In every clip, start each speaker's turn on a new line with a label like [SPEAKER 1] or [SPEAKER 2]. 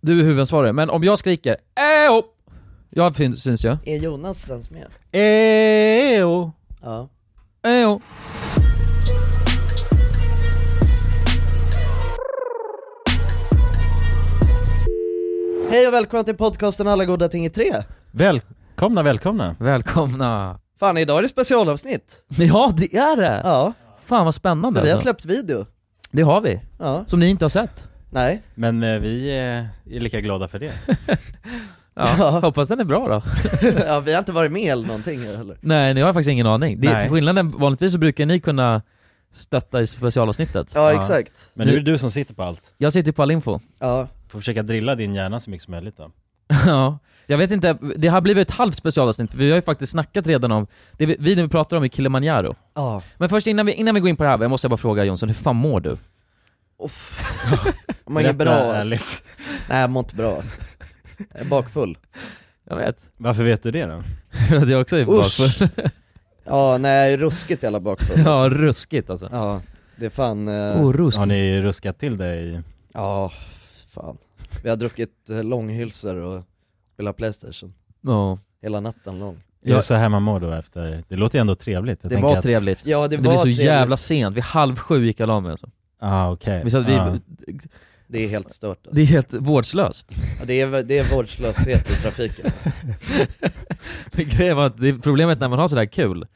[SPEAKER 1] Du är huvudansvarig, men om jag skriker EO! Jag fin- syns ju.
[SPEAKER 2] Är Jonas ens med?
[SPEAKER 1] EO!
[SPEAKER 2] Ja.
[SPEAKER 1] EO!
[SPEAKER 2] Hej och välkomna till podcasten Alla goda ting i tre.
[SPEAKER 3] Välkomna, välkomna.
[SPEAKER 1] Välkomna!
[SPEAKER 2] Fan, idag är det specialavsnitt.
[SPEAKER 1] Ja, det är det!
[SPEAKER 2] Ja,
[SPEAKER 1] Fan vad
[SPEAKER 2] för
[SPEAKER 1] spännande
[SPEAKER 2] vi har
[SPEAKER 1] alltså.
[SPEAKER 2] släppt video.
[SPEAKER 1] Det har vi.
[SPEAKER 2] Ja,
[SPEAKER 1] Som ni inte har sett.
[SPEAKER 2] nej.
[SPEAKER 3] Men eh, vi eh, är lika glada för det.
[SPEAKER 1] Ja.
[SPEAKER 2] Ja.
[SPEAKER 1] Hoppas den är bra då.
[SPEAKER 2] ja, vi har inte varit med eller någonting heller.
[SPEAKER 1] Nej, ni har faktiskt ingen aning. Det är
[SPEAKER 3] Nej.
[SPEAKER 1] skillnaden, vanligtvis så brukar ni kunna stötta i specialavsnittet.
[SPEAKER 2] Ja,
[SPEAKER 3] Ja.
[SPEAKER 2] exakt.
[SPEAKER 3] Men nu
[SPEAKER 1] Nu-
[SPEAKER 3] är det du som sitter på allt.
[SPEAKER 1] Jag sitter ju på all info.
[SPEAKER 2] Ja,
[SPEAKER 3] Får försöka drilla din hjärna så mycket som möjligt då.
[SPEAKER 1] Ja, jag vet inte, det har blivit ett halvt specialavsnitt, för vi har ju faktiskt snackat redan om, det vi, videon vi pratar om är Kilimanjaro.
[SPEAKER 2] ja.
[SPEAKER 1] Men först innan vi, innan vi går in på det här, jag måste bara fråga Jonsson, hur fan mår du?
[SPEAKER 2] Man är
[SPEAKER 3] Berätta
[SPEAKER 2] bra alltså.
[SPEAKER 3] ärligt.
[SPEAKER 2] Nej, jag mår inte bra. Jag är bakfull.
[SPEAKER 1] Jag vet.
[SPEAKER 3] Varför vet du det då?
[SPEAKER 1] det är också i bakför.
[SPEAKER 2] Ja, nej, jag är ruskigt jävla bakfull.
[SPEAKER 1] Ja, ruskigt alltså.
[SPEAKER 2] ja. Det är fan... eh,
[SPEAKER 1] Oh, ruskigt.
[SPEAKER 3] Har ni ruskat till dig?
[SPEAKER 2] Ja, fan. Vi har druckit eh, långhylsor och spelat Playstation
[SPEAKER 1] Ja.
[SPEAKER 2] hela natten lång.
[SPEAKER 3] Är det
[SPEAKER 1] Ja,
[SPEAKER 3] så här man mår då efter? Det låter ju ändå trevligt. Jag
[SPEAKER 1] det
[SPEAKER 3] tänker
[SPEAKER 1] var
[SPEAKER 3] att-
[SPEAKER 1] trevligt.
[SPEAKER 2] Ja,
[SPEAKER 1] Det,
[SPEAKER 2] det, var
[SPEAKER 1] blev så
[SPEAKER 2] trevligt.
[SPEAKER 1] jävla sent, vid halv sju gick jag av mig alltså.
[SPEAKER 3] Ah, okej.
[SPEAKER 1] Vi satt, vi,
[SPEAKER 3] Ah.
[SPEAKER 2] Det är helt stört alltså.
[SPEAKER 1] Det är helt vårdslöst.
[SPEAKER 2] Ja, det, är, det är vårdslöshet i trafiken.
[SPEAKER 1] Det grejen var att det, problemet när man har sådär kul,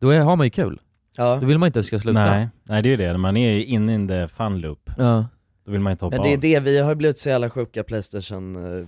[SPEAKER 1] då är, har man ju kul.
[SPEAKER 2] Ja.
[SPEAKER 1] Då vill man inte att det ska sluta.
[SPEAKER 3] Nej. Nej, det är ju det. När man är inne in the fun loop,
[SPEAKER 1] Ja,
[SPEAKER 3] då vill man inte hoppa
[SPEAKER 2] Men det är
[SPEAKER 3] av.
[SPEAKER 2] det, vi har blivit så jävla sjuka playstation eh,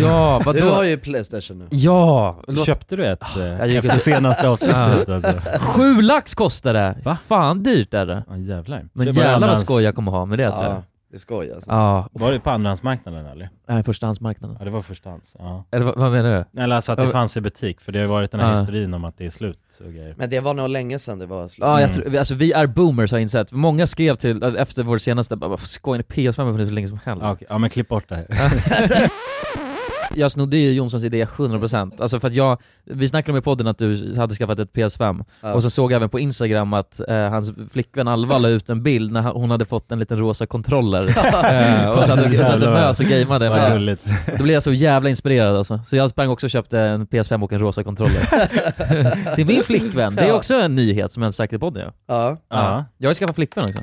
[SPEAKER 1] ja
[SPEAKER 2] Du har
[SPEAKER 1] vadå?
[SPEAKER 2] ju playstation nu.
[SPEAKER 1] Ja! låt- Ah,
[SPEAKER 3] Köpte du ett
[SPEAKER 1] jag
[SPEAKER 3] eh,
[SPEAKER 1] gick
[SPEAKER 3] efter
[SPEAKER 1] och-
[SPEAKER 3] senaste avsnittet alltså?
[SPEAKER 1] Sju lax kostar det!
[SPEAKER 3] Va?
[SPEAKER 1] Fan dyrt är det.
[SPEAKER 3] Ah, jävlar.
[SPEAKER 1] Men
[SPEAKER 3] Så var det
[SPEAKER 1] jävlar vad
[SPEAKER 3] andrahands-
[SPEAKER 1] skoj jag kommer ha med det tror jag.
[SPEAKER 2] Ja, det är skoj alltså.
[SPEAKER 1] Ja,
[SPEAKER 3] Var det på andrahandsmarknaden eller?
[SPEAKER 1] det här är förstahandsmarknaden.
[SPEAKER 3] Ja, det var förstahands. Ja.
[SPEAKER 1] Eller vad, vad menar du?
[SPEAKER 3] Eller alltså att det
[SPEAKER 1] Ja.
[SPEAKER 3] fanns i butik, för det har ju varit den här
[SPEAKER 1] Ja.
[SPEAKER 3] historien om att det är slut och grejer.
[SPEAKER 2] Men det var nog länge sedan det var slut.
[SPEAKER 1] Ja, jag
[SPEAKER 3] Mm.
[SPEAKER 1] tror, alltså vi är boomers har jag insett. Många skrev till, efter vår senaste, bara "Vad skojar ni? PS5 har funnits hur länge som helst.
[SPEAKER 3] Ja, okej. ja men klipp bort det här.
[SPEAKER 1] Jag snodde ju Jonssons idé 100%, alltså för att jag, vi snackade om i podden att du hade skaffat ett PS5,
[SPEAKER 2] Ja.
[SPEAKER 1] och så såg jag även på instagram att eh, hans flickvän Alva la ut en bild när hon hade fått en liten rosa kontroller, eh, och så hade, och så hade
[SPEAKER 3] Jävlar.
[SPEAKER 1] mös och gameade
[SPEAKER 3] Vad gulligt.
[SPEAKER 1] Då blev jag så jävla inspirerad alltså. Så jag sprang också och köpte en PS5 och en rosa kontroller. Till min flickvän. Det är också en nyhet som jag inte sagt i podden ja.
[SPEAKER 2] Ja.
[SPEAKER 3] Ja.
[SPEAKER 1] Jag har ju skaffat flickvän också.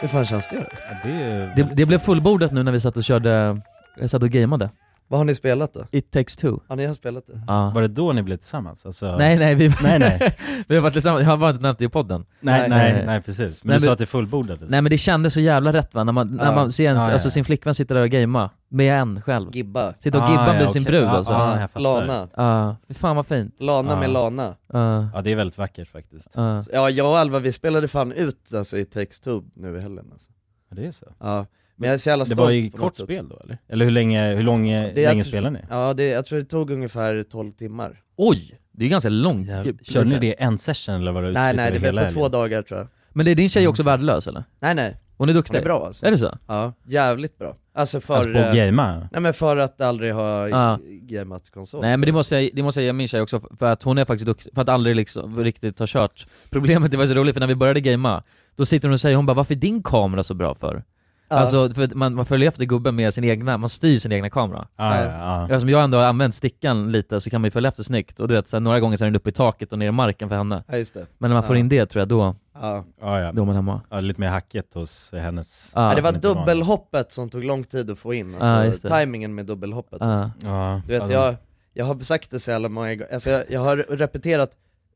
[SPEAKER 2] Hur fan känns det då?
[SPEAKER 3] Det är
[SPEAKER 1] Det,
[SPEAKER 3] ju...
[SPEAKER 1] det blev fullbordat nu när vi satt och körde, jag satt och gameade.
[SPEAKER 2] Vad har ni spelat då?
[SPEAKER 1] It takes two.
[SPEAKER 2] Ja, ni har spelat det?
[SPEAKER 1] Ja.
[SPEAKER 3] Var det då ni blev tillsammans? Alltså...
[SPEAKER 1] Nej nej, vi,
[SPEAKER 3] Nej, nej.
[SPEAKER 1] vi har varit tillsammans, jag har bara inte nämnt det i podden.
[SPEAKER 3] Nej,
[SPEAKER 1] nej.
[SPEAKER 3] nej, nej, precis. Men
[SPEAKER 1] Nej, men-
[SPEAKER 3] du sa att det fullbordades.
[SPEAKER 1] Nej men det kändes så jävla rätt va, när man, när
[SPEAKER 2] Ja.
[SPEAKER 1] man ser ens,
[SPEAKER 3] Ja, ja, ja.
[SPEAKER 1] alltså, sin flickvän sitta där och gamea, med en själv.
[SPEAKER 2] Gibba?
[SPEAKER 1] Sitta och
[SPEAKER 3] Ah,
[SPEAKER 1] gibba med
[SPEAKER 3] ja,
[SPEAKER 1] sin
[SPEAKER 3] okej.
[SPEAKER 1] brud
[SPEAKER 3] Ja,
[SPEAKER 1] alltså.
[SPEAKER 3] ja, jag fattar.
[SPEAKER 2] Lana?
[SPEAKER 1] Ja, fy fan vad fint.
[SPEAKER 2] Lana
[SPEAKER 3] Ja.
[SPEAKER 2] med Lana?
[SPEAKER 1] Ja,
[SPEAKER 3] Ja, det är väldigt vackert faktiskt.
[SPEAKER 1] ja.
[SPEAKER 2] Ja, jag och Alva vi spelade fan ut alltså i texttub nu i helgen alltså.
[SPEAKER 3] Ja, det är så.
[SPEAKER 2] Ja, men jag är så jävla
[SPEAKER 3] Det
[SPEAKER 2] stolt
[SPEAKER 3] var ju
[SPEAKER 2] på något
[SPEAKER 3] kort
[SPEAKER 2] sätt.
[SPEAKER 3] spel då eller? Eller hur länge, hur lång, hur
[SPEAKER 2] Det är
[SPEAKER 3] länge
[SPEAKER 2] att-
[SPEAKER 3] spelar ni?
[SPEAKER 2] Ja, det, jag tror det tog ungefär 12 timmar.
[SPEAKER 1] Oj! Det är ganska långt.
[SPEAKER 3] Körde ni det en session eller var det
[SPEAKER 2] nej
[SPEAKER 3] utspritt
[SPEAKER 2] nej,
[SPEAKER 3] över
[SPEAKER 2] det
[SPEAKER 3] hela
[SPEAKER 2] var på två
[SPEAKER 3] helgen?
[SPEAKER 2] dagar tror jag.
[SPEAKER 1] Men det är din tjej också värdelös eller?
[SPEAKER 2] Nej nej,
[SPEAKER 1] Hon är duktig?
[SPEAKER 2] det är bra alltså.
[SPEAKER 1] Är det så?
[SPEAKER 2] Ja, jävligt bra. Alltså för,
[SPEAKER 3] Alltså på
[SPEAKER 2] eh,
[SPEAKER 3] att gamea?
[SPEAKER 2] nej men för att aldrig ha
[SPEAKER 1] Ja.
[SPEAKER 2] g- gameat konsol.
[SPEAKER 1] Nej men det måste, jag, det måste jag ge min tjej också, för att hon är faktiskt duktig, för att aldrig liksom riktigt har kört Problemet, det var så roligt, för när vi började gamea, då sitter hon och säger hon bara 'Varför är din kamera så bra för?'
[SPEAKER 2] Ja.
[SPEAKER 1] Alltså, för att man, man följer efter gubben med sin egna, man styr sin egna kamera
[SPEAKER 3] Ja,
[SPEAKER 2] nej.
[SPEAKER 3] Ah, ja, ja.
[SPEAKER 1] Eftersom jag ändå har använt stickan lite så kan man ju följa efter snyggt, och du vet så här, några gånger så är den uppe i taket och ner i marken för henne
[SPEAKER 2] Ja just det.
[SPEAKER 1] Men när man får
[SPEAKER 2] Ja.
[SPEAKER 1] in det tror jag då,
[SPEAKER 2] Ja.
[SPEAKER 3] Ja, Ah, ja.
[SPEAKER 1] då är man hemma
[SPEAKER 3] ja, lite mer hacket hos hennes...
[SPEAKER 1] Ja.
[SPEAKER 2] Ja, det var
[SPEAKER 3] hennes barn.
[SPEAKER 2] dubbelhoppet som tog lång tid att få in,
[SPEAKER 1] Ja, just
[SPEAKER 2] alltså
[SPEAKER 1] det.
[SPEAKER 2] timingen med dubbelhoppet.
[SPEAKER 1] Ja.
[SPEAKER 3] Ja,
[SPEAKER 2] Du vet,
[SPEAKER 3] alltså-
[SPEAKER 2] jag, jag har sagt det så jävla många gånger, alltså, jag, jag har repeterat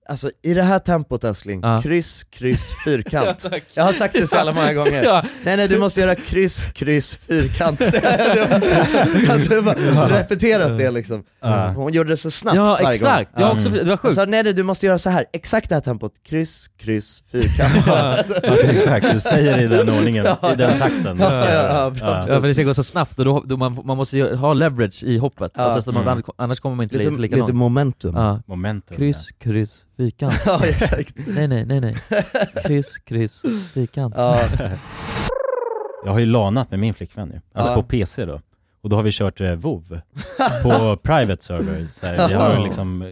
[SPEAKER 2] Alltså i det här tempot älskling,
[SPEAKER 1] Ja.
[SPEAKER 2] kryss, kryss, fyrkant. jag har sagt det så jävla många gånger.
[SPEAKER 1] Ja.
[SPEAKER 2] Nej nej, du måste göra kryss, kryss, fyrkant. Det var- alltså jag har bara repeterat det liksom.
[SPEAKER 3] Ja.
[SPEAKER 2] Hon gjorde det så snabbt
[SPEAKER 1] Ja
[SPEAKER 2] varje
[SPEAKER 1] exakt,
[SPEAKER 2] gång. Mm. Alltså,
[SPEAKER 1] jag har också, det var
[SPEAKER 2] Jag
[SPEAKER 1] sjukt
[SPEAKER 2] sa nej nej, du måste göra så här exakt det här tempot, kryss, kryss, fyrkant.
[SPEAKER 3] Ja, exakt, du säger det i den ordningen,
[SPEAKER 2] Ja.
[SPEAKER 3] i den takten.
[SPEAKER 2] Ja, ja, ja, bra.
[SPEAKER 1] Ja för det ska gå så snabbt och då, då man, man måste ju ha leverage i hoppet,
[SPEAKER 2] Ja.
[SPEAKER 1] alltså, så att man,
[SPEAKER 3] Mm.
[SPEAKER 1] annars- annars kommer man inte
[SPEAKER 2] lite,
[SPEAKER 1] lika likadant.
[SPEAKER 2] lite momentum.
[SPEAKER 1] ja.
[SPEAKER 3] Momentum.
[SPEAKER 1] Kryss, kryss, fyrkant.
[SPEAKER 2] Ja exakt.
[SPEAKER 1] Nej nej nej nej. Kryss, kryss, fyrkant.
[SPEAKER 2] Ja,
[SPEAKER 3] Jag har ju lanat med min flickvän ju, alltså
[SPEAKER 2] Ja.
[SPEAKER 3] på PC då. Och då har vi kört eh, WoW liksom, på private server. Så här, vi har ju liksom eh,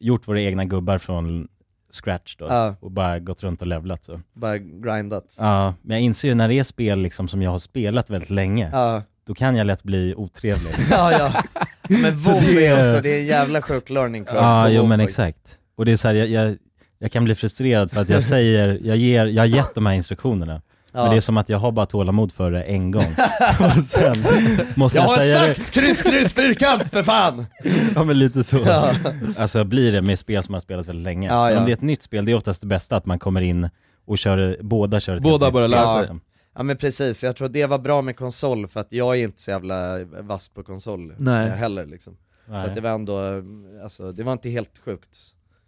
[SPEAKER 3] gjort våra egna gubbar från scratch då
[SPEAKER 2] Ja.
[SPEAKER 3] och bara gått runt och levlat så.
[SPEAKER 2] Bara grindat.
[SPEAKER 3] Ja, men jag inser ju när det är spel liksom som jag har spelat väldigt länge,
[SPEAKER 2] Ja,
[SPEAKER 3] då kan jag lätt bli otrevlig.
[SPEAKER 2] ja. ja. Men
[SPEAKER 3] Så
[SPEAKER 2] WoW
[SPEAKER 3] det är-
[SPEAKER 2] är också, det är en jävla sjuk learning curve.
[SPEAKER 3] Ja,
[SPEAKER 2] på
[SPEAKER 3] jo
[SPEAKER 2] WoW,
[SPEAKER 3] men
[SPEAKER 2] faktiskt.
[SPEAKER 3] exakt. Och det är så här, jag, jag, jag kan bli frustrerad för att jag säger, jag, ger, jag har gett de här instruktionerna,
[SPEAKER 2] Ja.
[SPEAKER 3] men det är som att jag har bara tålamod för det en gång. och sen måste
[SPEAKER 2] Jag
[SPEAKER 3] jag,
[SPEAKER 2] har
[SPEAKER 3] säga det.
[SPEAKER 2] sagt kryss, kryss, fyrkant för fan!
[SPEAKER 3] Ja men lite så.
[SPEAKER 2] Ja.
[SPEAKER 3] Alltså blir det med spel som jag har spelat väldigt länge.
[SPEAKER 2] Ja, ja.
[SPEAKER 3] Om det är ett nytt spel, det är oftast det bästa att man kommer in och kör, båda kör ett
[SPEAKER 1] Båda
[SPEAKER 3] helt nytt
[SPEAKER 1] börjar
[SPEAKER 3] spel,
[SPEAKER 2] lära sig.
[SPEAKER 3] liksom.
[SPEAKER 2] Ja men precis, jag tror att det var bra med konsol för att jag är inte så jävla vass på konsol
[SPEAKER 1] Nej.
[SPEAKER 2] eh, heller liksom. Så att det
[SPEAKER 3] Nej.
[SPEAKER 2] var ändå, eh, alltså det var inte helt sjukt.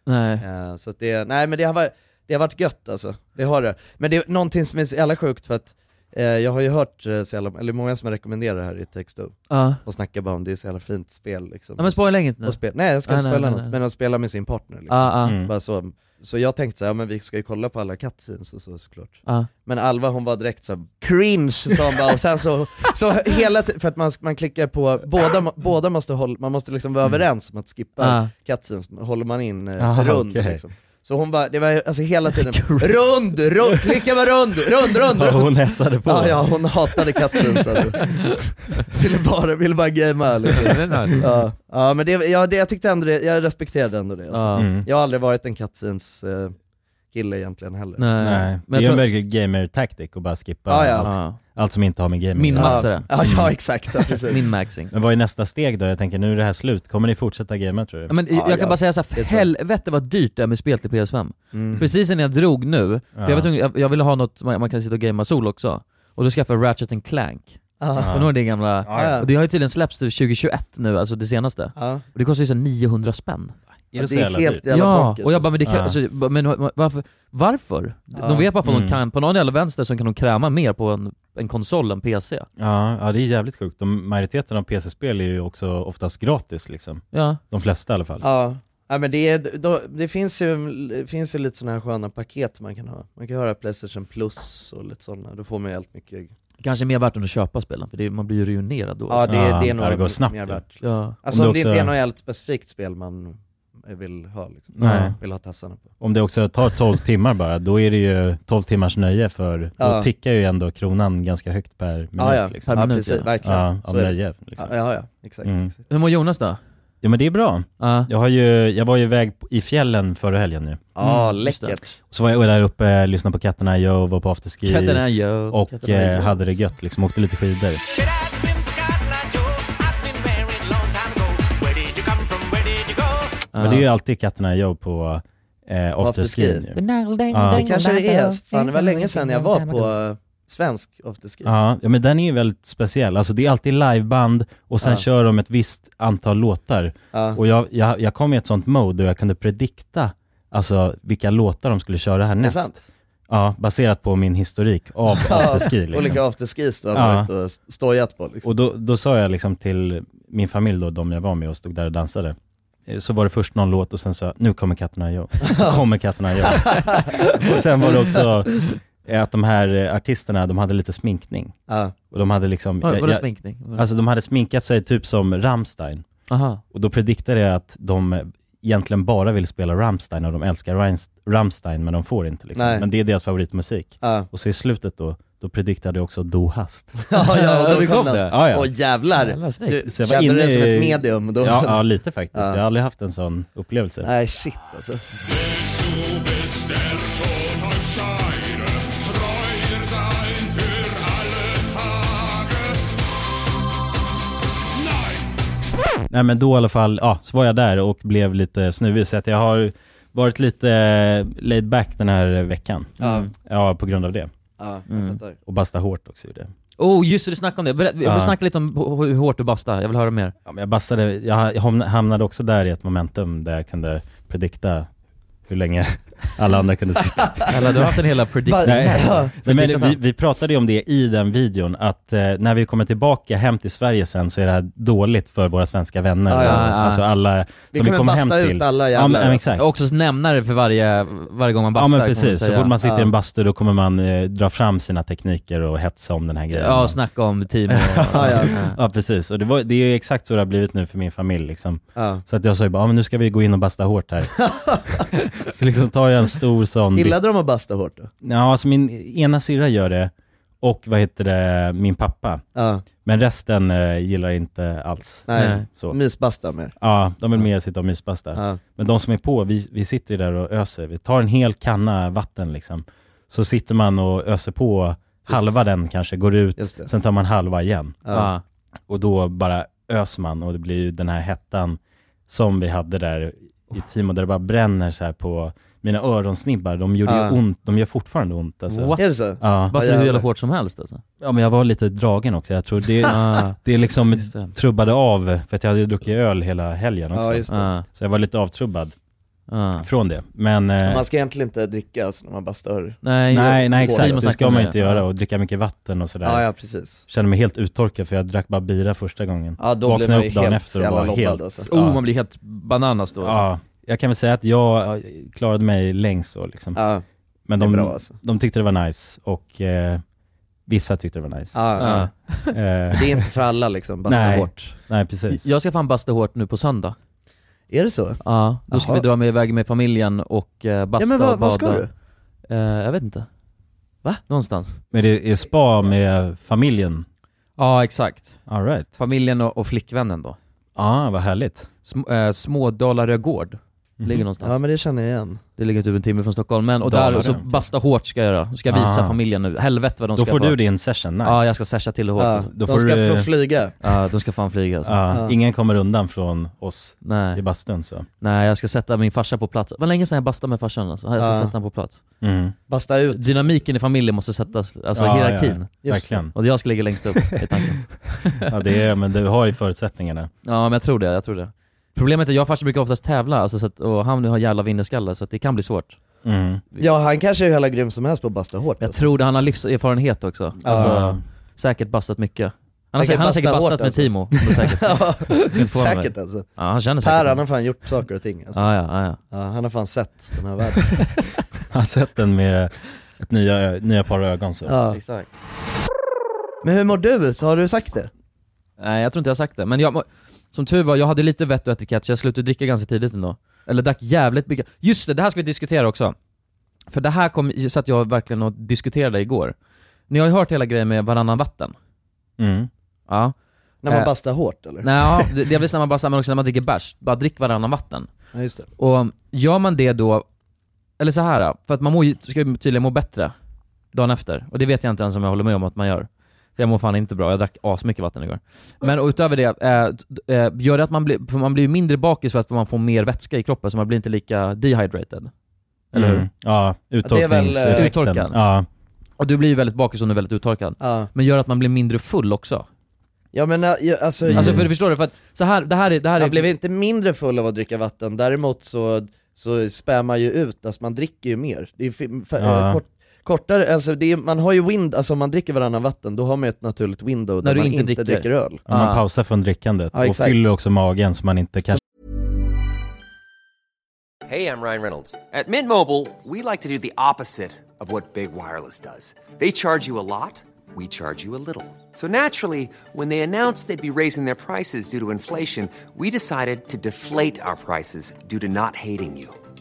[SPEAKER 1] Nej.
[SPEAKER 2] Eh, så att det, nej men det har, varit, det har varit gött alltså, det har det. Men det är någonting som är så jävla sjukt för att eh, jag har ju hört eh, så jävla, eller många som rekommenderar det här i text
[SPEAKER 1] Ja.
[SPEAKER 2] och snackar bara om det är så jävla fint spel liksom.
[SPEAKER 1] ja men spoila inget nu.
[SPEAKER 2] och spel, nej jag ska
[SPEAKER 1] Ah,
[SPEAKER 2] inte
[SPEAKER 1] nej,
[SPEAKER 2] spela
[SPEAKER 1] nej,
[SPEAKER 2] något,
[SPEAKER 1] nej. Ah.
[SPEAKER 2] men att spela med sin partner liksom.
[SPEAKER 1] Ja, ja,
[SPEAKER 3] Mm.
[SPEAKER 2] Bara så. så jag tänkte så här, ja men vi ska ju kolla på alla cutscenes och så såklart.
[SPEAKER 1] ja.
[SPEAKER 2] Men Alva hon var direkt så här, cringe sa hon bara och sen så, så hela ti- för att man, man klickar på, båda, må- båda måste hålla, man måste liksom vara överens om att skippa
[SPEAKER 1] Ja.
[SPEAKER 2] cutscenes, håller man in eh,
[SPEAKER 3] Aha,
[SPEAKER 2] rund
[SPEAKER 3] okej.
[SPEAKER 2] liksom. Så hon bara, det var ju- alltså hela tiden, rund, rund, klicka med rund, rund, rund,
[SPEAKER 3] Ja,
[SPEAKER 2] rund.
[SPEAKER 3] Hon hetsade på.
[SPEAKER 2] Ja, ja hon hatade cutscenes alltså. Ville bara, ville bara gamea liksom.
[SPEAKER 1] Det är nice.
[SPEAKER 2] ja. ja men det, ja, det, jag tyckte ändå det, jag respekterade ändå det. Alltså.
[SPEAKER 1] Ja.
[SPEAKER 3] Mm.
[SPEAKER 2] Jag har aldrig varit en cutscenes eh, kille egentligen heller.
[SPEAKER 1] Nej.
[SPEAKER 3] Nej,
[SPEAKER 1] Men
[SPEAKER 3] det är
[SPEAKER 1] jag
[SPEAKER 3] en
[SPEAKER 1] tror...
[SPEAKER 3] verklig gamer-taktik att bara skippa
[SPEAKER 2] Ja, ja.
[SPEAKER 3] Allt,
[SPEAKER 1] Ja.
[SPEAKER 3] allt som inte har med gaming
[SPEAKER 1] Min
[SPEAKER 3] att göra.
[SPEAKER 1] max. maxare.
[SPEAKER 2] Ja, ja exakt, ja, precis.
[SPEAKER 1] Mm. Min maxing.
[SPEAKER 3] Men vad är nästa steg då? Jag tänker nu är det här slut, kommer ni fortsätta gamea tror du?
[SPEAKER 1] Ja, men jag
[SPEAKER 2] Ja,
[SPEAKER 1] kan
[SPEAKER 2] ja.
[SPEAKER 1] bara säga så här, för
[SPEAKER 2] Det tror jag.
[SPEAKER 1] helvete vad dyrt det är med spel till PS5.
[SPEAKER 2] Mm.
[SPEAKER 1] Precis när jag drog nu, för jag,
[SPEAKER 3] Ja.
[SPEAKER 1] var tvungen, jag, jag ville ha något, man, man kan sitta och gamea sol också. Och då skaffade jag Ratchet and Clank.
[SPEAKER 2] Ja.
[SPEAKER 1] Kommer du ihåg det gamla?
[SPEAKER 3] Ja, ja.
[SPEAKER 1] Och det har ju tydligen släppts till 2021 nu, alltså det senaste.
[SPEAKER 2] Ja.
[SPEAKER 1] Och det kostar ju så 900 spänn.
[SPEAKER 3] Är
[SPEAKER 2] Ja,
[SPEAKER 3] det så
[SPEAKER 2] det är
[SPEAKER 3] jävla
[SPEAKER 2] helt
[SPEAKER 3] dyrt?
[SPEAKER 2] jävla
[SPEAKER 1] ja,
[SPEAKER 2] bonkers.
[SPEAKER 1] och jag bara men, det kan,
[SPEAKER 3] Ja.
[SPEAKER 1] alltså, bara, men varför? varför?
[SPEAKER 2] Ja.
[SPEAKER 1] De vet bara att de
[SPEAKER 3] Mm.
[SPEAKER 1] kan, på någon jävla vänster så kan de kräma mer på en, en konsol än PC.
[SPEAKER 3] Ja, ja, det är jävligt sjukt. De, majoriteten av PC-spel är ju också oftast gratis liksom.
[SPEAKER 1] Ja,
[SPEAKER 3] De flesta i alla fall.
[SPEAKER 2] Ja, ja men det, är, då, det finns, ju, det finns ju lite sådana här sköna paket man kan ha. Man kan höra Playstation plus och lite sådana, då får man ju helt mycket.
[SPEAKER 1] kanske mer värt än att köpa spelen, för det, man blir ju ruinerad då.
[SPEAKER 2] Ja det,
[SPEAKER 3] Ja,
[SPEAKER 2] det är
[SPEAKER 3] ja,
[SPEAKER 2] nog
[SPEAKER 3] det går snabbt,
[SPEAKER 2] mer
[SPEAKER 3] ja.
[SPEAKER 2] värt.
[SPEAKER 1] Ja.
[SPEAKER 2] Alltså om
[SPEAKER 3] Om
[SPEAKER 2] det,
[SPEAKER 3] det
[SPEAKER 2] inte är
[SPEAKER 3] också-
[SPEAKER 2] något helt specifikt spel man vill ha liksom.
[SPEAKER 3] Nej.
[SPEAKER 2] Vill ha tassarna på.
[SPEAKER 3] Om det också tar 12 timmar bara, då är det ju 12 timmars nöje för
[SPEAKER 2] Ja.
[SPEAKER 3] då tickar ju ändå kronan ganska högt per minut.
[SPEAKER 2] Ja ja,
[SPEAKER 3] liksom.
[SPEAKER 1] Per
[SPEAKER 2] ja
[SPEAKER 1] minut,
[SPEAKER 2] precis,
[SPEAKER 1] ja.
[SPEAKER 2] verkligen.
[SPEAKER 3] ja
[SPEAKER 2] Så
[SPEAKER 3] av
[SPEAKER 2] är det.
[SPEAKER 3] nöje. Liksom.
[SPEAKER 2] Ja, ja, ja exakt.
[SPEAKER 3] Mm.
[SPEAKER 2] exakt.
[SPEAKER 1] Hur mår Jonas då?
[SPEAKER 3] Ja men det är bra.
[SPEAKER 1] Ja.
[SPEAKER 3] Jag, har ju, jag var ju iväg på- i fjällen förra helgen nu.
[SPEAKER 2] Ja,
[SPEAKER 1] Mm, just det.
[SPEAKER 2] läckert.
[SPEAKER 3] Så var jag där uppe, lyssnade på katterna, jag var på afterski
[SPEAKER 1] Katten är ju...
[SPEAKER 3] och
[SPEAKER 2] Katterna Joe.
[SPEAKER 3] eh, hade det gött liksom, åkte lite skidor.
[SPEAKER 4] Good afternoon, Scotland, Joe. I've been married long time ago. Where did you come from? Where did you go?
[SPEAKER 3] Men det är ju alltid katterna jag på eh,
[SPEAKER 2] afterski.
[SPEAKER 3] afterski nu.
[SPEAKER 5] Ja.
[SPEAKER 2] Det kanske det är, fan det var länge sedan jag var på eh, svensk afterski.
[SPEAKER 3] Ja, ja, men den är ju väldigt speciell. Alltså det är alltid liveband och sen
[SPEAKER 2] Ja.
[SPEAKER 3] kör de ett visst antal låtar.
[SPEAKER 2] Ja.
[SPEAKER 3] Och jag, jag, jag kom i ett sånt mode och jag kunde predikta alltså vilka låtar de skulle köra
[SPEAKER 2] Är det
[SPEAKER 3] härnäst.
[SPEAKER 2] sant?
[SPEAKER 3] Ja, baserat på min historik av afterski liksom.
[SPEAKER 2] Olika afterskis du har
[SPEAKER 3] Ja.
[SPEAKER 2] varit och stojat på liksom.
[SPEAKER 3] Och då, då sa jag liksom till min familj då, de jag var med och stod där och dansade. Eh, Så var det först någon låt och sen sa jag, nu kommer katterna jag. Så kommer katterna jag. och sen var det också eh, att de här eh, artisterna, de hade lite sminkning.
[SPEAKER 2] Ja.
[SPEAKER 3] Och de hade liksom,
[SPEAKER 1] Var,
[SPEAKER 3] jag-
[SPEAKER 1] var det
[SPEAKER 3] jag-
[SPEAKER 1] sminkning? Var det-
[SPEAKER 3] Alltså de hade sminkat sig typ som Rammstein.
[SPEAKER 1] Aha.
[SPEAKER 3] Och då prediktade jag att de egentligen bara vill spela Rammstein och de älskar Rammst- Rammstein men de får inte liksom.
[SPEAKER 2] Nej.
[SPEAKER 3] Men det är deras favoritmusik.
[SPEAKER 2] Ja.
[SPEAKER 3] Och så i slutet då, då prediktade jag också Do Hast.
[SPEAKER 2] Ja, ja, och då kom den.
[SPEAKER 3] Ja, ja.
[SPEAKER 2] Åh jävlar!
[SPEAKER 1] Jävla snyggt.
[SPEAKER 2] Du
[SPEAKER 3] Så jag var
[SPEAKER 2] kände
[SPEAKER 3] inne
[SPEAKER 2] dig som ett
[SPEAKER 3] i-
[SPEAKER 2] medium då?
[SPEAKER 3] ja, ja, lite faktiskt.
[SPEAKER 2] Ja.
[SPEAKER 3] Jag har aldrig haft en sån upplevelse.
[SPEAKER 2] Nej shit alltså.
[SPEAKER 3] Mm. Nej men då i alla fall, ja, så var jag där och blev lite snuvig. Så att jag har varit lite eh, laid back den här veckan.
[SPEAKER 2] Ja,
[SPEAKER 3] Ja, på grund av det.
[SPEAKER 2] ja jag
[SPEAKER 1] Mm.
[SPEAKER 2] fattar.
[SPEAKER 3] Och basta hårt också gjorde jag.
[SPEAKER 1] Oh just det, du snackade om det. Berätt,
[SPEAKER 3] Ja.
[SPEAKER 1] Snacka lite om h- hur hårt du bastar, jag vill höra mer.
[SPEAKER 3] Ja, men jag bastade, jag hamna- hamnade också där i ett momentum där jag kunde predikta hur länge alla andra kunde sitta.
[SPEAKER 1] Eller du har haft en hela prediction.
[SPEAKER 3] Nej.
[SPEAKER 2] Ja.
[SPEAKER 3] Nej, men vi, vi pratade ju om det i den videon, att eh, när vi kommer tillbaka hem till Sverige sen så är det här dåligt för våra svenska vänner.
[SPEAKER 2] Ja, ja,
[SPEAKER 3] Och,
[SPEAKER 1] ja.
[SPEAKER 3] Alltså alla
[SPEAKER 2] Vi
[SPEAKER 3] som vi
[SPEAKER 2] kommer
[SPEAKER 3] kommer hem
[SPEAKER 2] basta ut
[SPEAKER 3] till.
[SPEAKER 2] alla
[SPEAKER 3] ja,
[SPEAKER 2] jävlar.
[SPEAKER 3] men, ja, men exakt.
[SPEAKER 1] Och också nämna det för varje, varje gång man
[SPEAKER 3] Ja
[SPEAKER 1] bastar. kan
[SPEAKER 3] men
[SPEAKER 1] man
[SPEAKER 3] precis, så
[SPEAKER 1] säga.
[SPEAKER 3] fort man sitter
[SPEAKER 2] Ja.
[SPEAKER 3] i en bastu då kommer man eh, dra fram sina tekniker och hetsa om den här grejen.
[SPEAKER 1] Ja, och snacka om team och...
[SPEAKER 2] Ja, ja.
[SPEAKER 3] ja precis, och det, var, det är ju exakt så det har blivit nu för min familj liksom.
[SPEAKER 2] Ja.
[SPEAKER 3] Så att jag sa ju bara, ja men nu ska vi gå in och basta hårt här. så liksom tar en stor sån...
[SPEAKER 2] Gillade de att basta hårt då?
[SPEAKER 3] Ja, alltså min ena syrra gör det och vad heter det, min pappa.
[SPEAKER 2] Ja,
[SPEAKER 3] Men resten eh, gillar inte alls.
[SPEAKER 2] nej.
[SPEAKER 1] Nej.
[SPEAKER 3] Så.
[SPEAKER 2] Mysbasta mer.
[SPEAKER 3] Ja, de vill mer sitta och mysbasta.
[SPEAKER 2] Ja.
[SPEAKER 3] Men de som är på, vi, vi sitter ju där och öser. Vi tar en hel kanna vatten liksom. Så sitter man och öser på halva den kanske, går ut,
[SPEAKER 2] Just det.
[SPEAKER 3] sen tar man halva igen.
[SPEAKER 2] Ja.
[SPEAKER 3] Och då bara öser man och det blir ju den här hettan som vi hade där
[SPEAKER 2] Oh.
[SPEAKER 3] i Timo, där det bara bränner så här på mina öronsnibbar. De gjorde
[SPEAKER 2] Ah.
[SPEAKER 3] ju ont, de gör fortfarande ont alltså.
[SPEAKER 1] What?
[SPEAKER 2] Är det så?
[SPEAKER 3] Ja.
[SPEAKER 1] Bara för
[SPEAKER 2] jävlar.
[SPEAKER 1] hur jävla hårt som helst alltså.
[SPEAKER 3] ja, men jag var lite dragen också. Jag tror det,
[SPEAKER 1] Ah,
[SPEAKER 3] det liksom
[SPEAKER 1] just det.
[SPEAKER 3] trubbade av, för att jag hade ju druckit öl hela helgen också.
[SPEAKER 2] Ja, just det.
[SPEAKER 1] Ah,
[SPEAKER 3] så jag var lite avtrubbad
[SPEAKER 1] ah.
[SPEAKER 3] från det. Men eh,
[SPEAKER 2] Man ska egentligen inte dricka alltså, när man bastar.
[SPEAKER 1] Nej,
[SPEAKER 3] nej, nej
[SPEAKER 1] Simon
[SPEAKER 3] exakt, det
[SPEAKER 1] snackade
[SPEAKER 3] ska
[SPEAKER 1] om
[SPEAKER 3] man
[SPEAKER 1] det.
[SPEAKER 3] ju inte göra och dricka mycket vatten och sådär.
[SPEAKER 2] Ja, ja precis.
[SPEAKER 3] Kände mig helt uttorkad för jag drack bara bira första gången.
[SPEAKER 2] Ja då
[SPEAKER 3] Vaknade
[SPEAKER 2] blir man ju
[SPEAKER 3] upp dagen
[SPEAKER 2] helt
[SPEAKER 3] efter och
[SPEAKER 2] jävla
[SPEAKER 3] var
[SPEAKER 2] lobbad
[SPEAKER 3] helt-
[SPEAKER 2] alltså.
[SPEAKER 1] Oh,
[SPEAKER 3] Ja.
[SPEAKER 1] man blir helt bananas då. alltså.
[SPEAKER 3] Ja, jag kan väl säga att jag eh, klarade mig längst så liksom.
[SPEAKER 2] Ja,
[SPEAKER 3] Men
[SPEAKER 2] det är
[SPEAKER 3] de,
[SPEAKER 2] bra alltså.
[SPEAKER 3] de tyckte det var nice och eh, vissa tyckte det var nice.
[SPEAKER 2] Ja, alltså.
[SPEAKER 1] Ja.
[SPEAKER 3] Eh,
[SPEAKER 2] Det är inte för alla liksom, basta
[SPEAKER 3] Nej.
[SPEAKER 2] hårt.
[SPEAKER 3] nej precis.
[SPEAKER 1] Jag ska fan basta hårt nu på söndag.
[SPEAKER 2] Är det så?
[SPEAKER 1] Ja, då ska
[SPEAKER 2] Jaha.
[SPEAKER 1] vi dra mig iväg med familjen och eh, basta
[SPEAKER 2] ja men
[SPEAKER 1] och
[SPEAKER 2] vad,
[SPEAKER 1] bada.
[SPEAKER 2] vad ska du?
[SPEAKER 1] Eh, jag vet inte.
[SPEAKER 2] Va?
[SPEAKER 1] Någonstans.
[SPEAKER 3] Men det är spa med familjen.
[SPEAKER 1] Ja, exakt.
[SPEAKER 3] All right.
[SPEAKER 1] Familjen och, och flickvännen då.
[SPEAKER 3] Ja, ah, vad härligt.
[SPEAKER 1] Sm- eh, Smådalarö gård.
[SPEAKER 3] Mm-hmm. Mhm.
[SPEAKER 1] Ligger någonstans.
[SPEAKER 2] Ja men det känner jag igen.
[SPEAKER 1] Det ligger typ en timme från Stockholm, men och
[SPEAKER 3] Dalarö,
[SPEAKER 1] där så
[SPEAKER 3] okej.
[SPEAKER 1] basta hårt ska jag göra. Ska jag visa
[SPEAKER 3] Ah.
[SPEAKER 1] familjen nu. Helvete vad de
[SPEAKER 3] Då
[SPEAKER 1] ska
[SPEAKER 3] får
[SPEAKER 1] få.
[SPEAKER 3] du din session, nice.
[SPEAKER 1] Ja, jag ska sasha till det hårt.
[SPEAKER 2] Ja,
[SPEAKER 1] alltså.
[SPEAKER 3] Då
[SPEAKER 2] de
[SPEAKER 3] får
[SPEAKER 2] ska
[SPEAKER 3] du-
[SPEAKER 2] få flyga.
[SPEAKER 1] Ja, de ska fan flyga alltså.
[SPEAKER 3] Ja,
[SPEAKER 2] Ja.
[SPEAKER 3] Ingen kommer undan från oss i
[SPEAKER 1] Nej.
[SPEAKER 3] bastun så.
[SPEAKER 1] Nej, jag ska sätta min farsa på plats. Det var länge sedan jag bastade med farsan alltså. Jag ska
[SPEAKER 2] Ja.
[SPEAKER 1] sätta honom på plats.
[SPEAKER 3] Mm.
[SPEAKER 2] Basta ut.
[SPEAKER 1] Dynamiken i familjen måste sättas, alltså
[SPEAKER 3] Ja,
[SPEAKER 1] hierarkin.
[SPEAKER 2] det.
[SPEAKER 3] Verkligen.
[SPEAKER 1] Och jag ska ligga längst upp i tanken.
[SPEAKER 3] Ja, det är, men du har ju förutsättningarna.
[SPEAKER 1] Ja men jag tror det, jag tror det. Problemet är att jag och farsan brukar oftast tävla, alltså, så att, och han nu har jävla vinnerskalle så att det kan bli svårt.
[SPEAKER 3] Mm.
[SPEAKER 2] Ja han kanske är hur jävla grym som helst på att basta hårt
[SPEAKER 1] Jag
[SPEAKER 2] alltså.
[SPEAKER 1] tror det, han har livserfarenhet också. Alltså,
[SPEAKER 3] Ja.
[SPEAKER 1] Säkert bastat mycket. Han har,
[SPEAKER 2] Säkert
[SPEAKER 1] säkert han har säkert
[SPEAKER 2] bastat
[SPEAKER 1] bastat
[SPEAKER 2] hårt,
[SPEAKER 1] med
[SPEAKER 2] alltså.
[SPEAKER 1] Timo. Det är Säkert.
[SPEAKER 2] Ja,
[SPEAKER 1] inte förvåna mig.
[SPEAKER 2] säkert alltså.
[SPEAKER 1] Ja, han känner säkert
[SPEAKER 2] Per han har fan gjort saker och ting alltså.
[SPEAKER 1] ja, ja, ja, ja.
[SPEAKER 2] ja, Han har fan sett den här världen.
[SPEAKER 3] Jag har sett den med ett nya, nya par ögon så.
[SPEAKER 2] Ja.
[SPEAKER 1] Exakt.
[SPEAKER 2] Men hur mår du? Så har du sagt det?
[SPEAKER 1] Nej jag tror inte jag har sagt det, men jag, som tur var, jag hade lite vett och etikett så jag slutade dricka ganska tidigt ändå. Eller drack jävligt mycket. Just det, det här ska vi diskutera också. För det här kom, satt jag verkligen och diskuterade igår. Ni har ju hört hela grejen med varannan vatten.
[SPEAKER 3] Mm.
[SPEAKER 1] Ja.
[SPEAKER 2] När man
[SPEAKER 1] Eh.
[SPEAKER 2] bastar hårt eller?
[SPEAKER 1] Nej, ja, det- delvis när man bara men också när man dricker bärs. Bara drick varannan vatten.
[SPEAKER 2] Ja, just det.
[SPEAKER 1] Och gör man det då, eller så här, då, för att man mår, ju- ska ju tydligen må bättre dagen efter. Och det vet jag inte ens om jag håller med om att man gör. För jag mår fan inte bra, jag drack asmycket vatten igår. Men och utöver det, eh, d- eh, gör det att man blir, för man blir ju mindre bakis för att man får mer vätska i kroppen så man blir inte lika dehydrated. Eller hur?
[SPEAKER 3] Mm. Ja,
[SPEAKER 2] är väl, eh,
[SPEAKER 3] uttorkningseffekten.
[SPEAKER 1] uttorkad.
[SPEAKER 3] Ja.
[SPEAKER 1] Och du blir ju väldigt bakis om du är väldigt uttorkad.
[SPEAKER 2] Ja,
[SPEAKER 1] Men gör att man blir mindre full också.
[SPEAKER 2] ja men äh, ja, alltså,
[SPEAKER 3] Mm.
[SPEAKER 1] Alltså för, förstår du? För att så här, det här är... Det här är
[SPEAKER 2] jag blev inte mindre full av att dricka vatten, däremot så, så spär man ju ut, alltså man dricker ju mer. Det är ju fi- fa-
[SPEAKER 3] Ja.
[SPEAKER 2] eh, kort, kortare, alltså det är, man har ju wind, alltså om man dricker varannan vatten då har man ju ett naturligt window där
[SPEAKER 1] När du
[SPEAKER 2] man
[SPEAKER 1] inte
[SPEAKER 2] inte dricker,
[SPEAKER 1] dricker.
[SPEAKER 2] öl.
[SPEAKER 3] Ja, Man
[SPEAKER 1] Ah.
[SPEAKER 3] pausar från drickandet
[SPEAKER 2] Ja,
[SPEAKER 3] och
[SPEAKER 2] exakt.
[SPEAKER 3] fyller också magen så man inte kanske
[SPEAKER 5] Hey, I'm Ryan Reynolds. At Mint Mobile, we like to do the opposite of what Big Wireless does. They charge you a lot, we charge you a little. So naturally, when they announced they'd be raising their prices due to inflation, we decided to deflate our prices due to not hating you.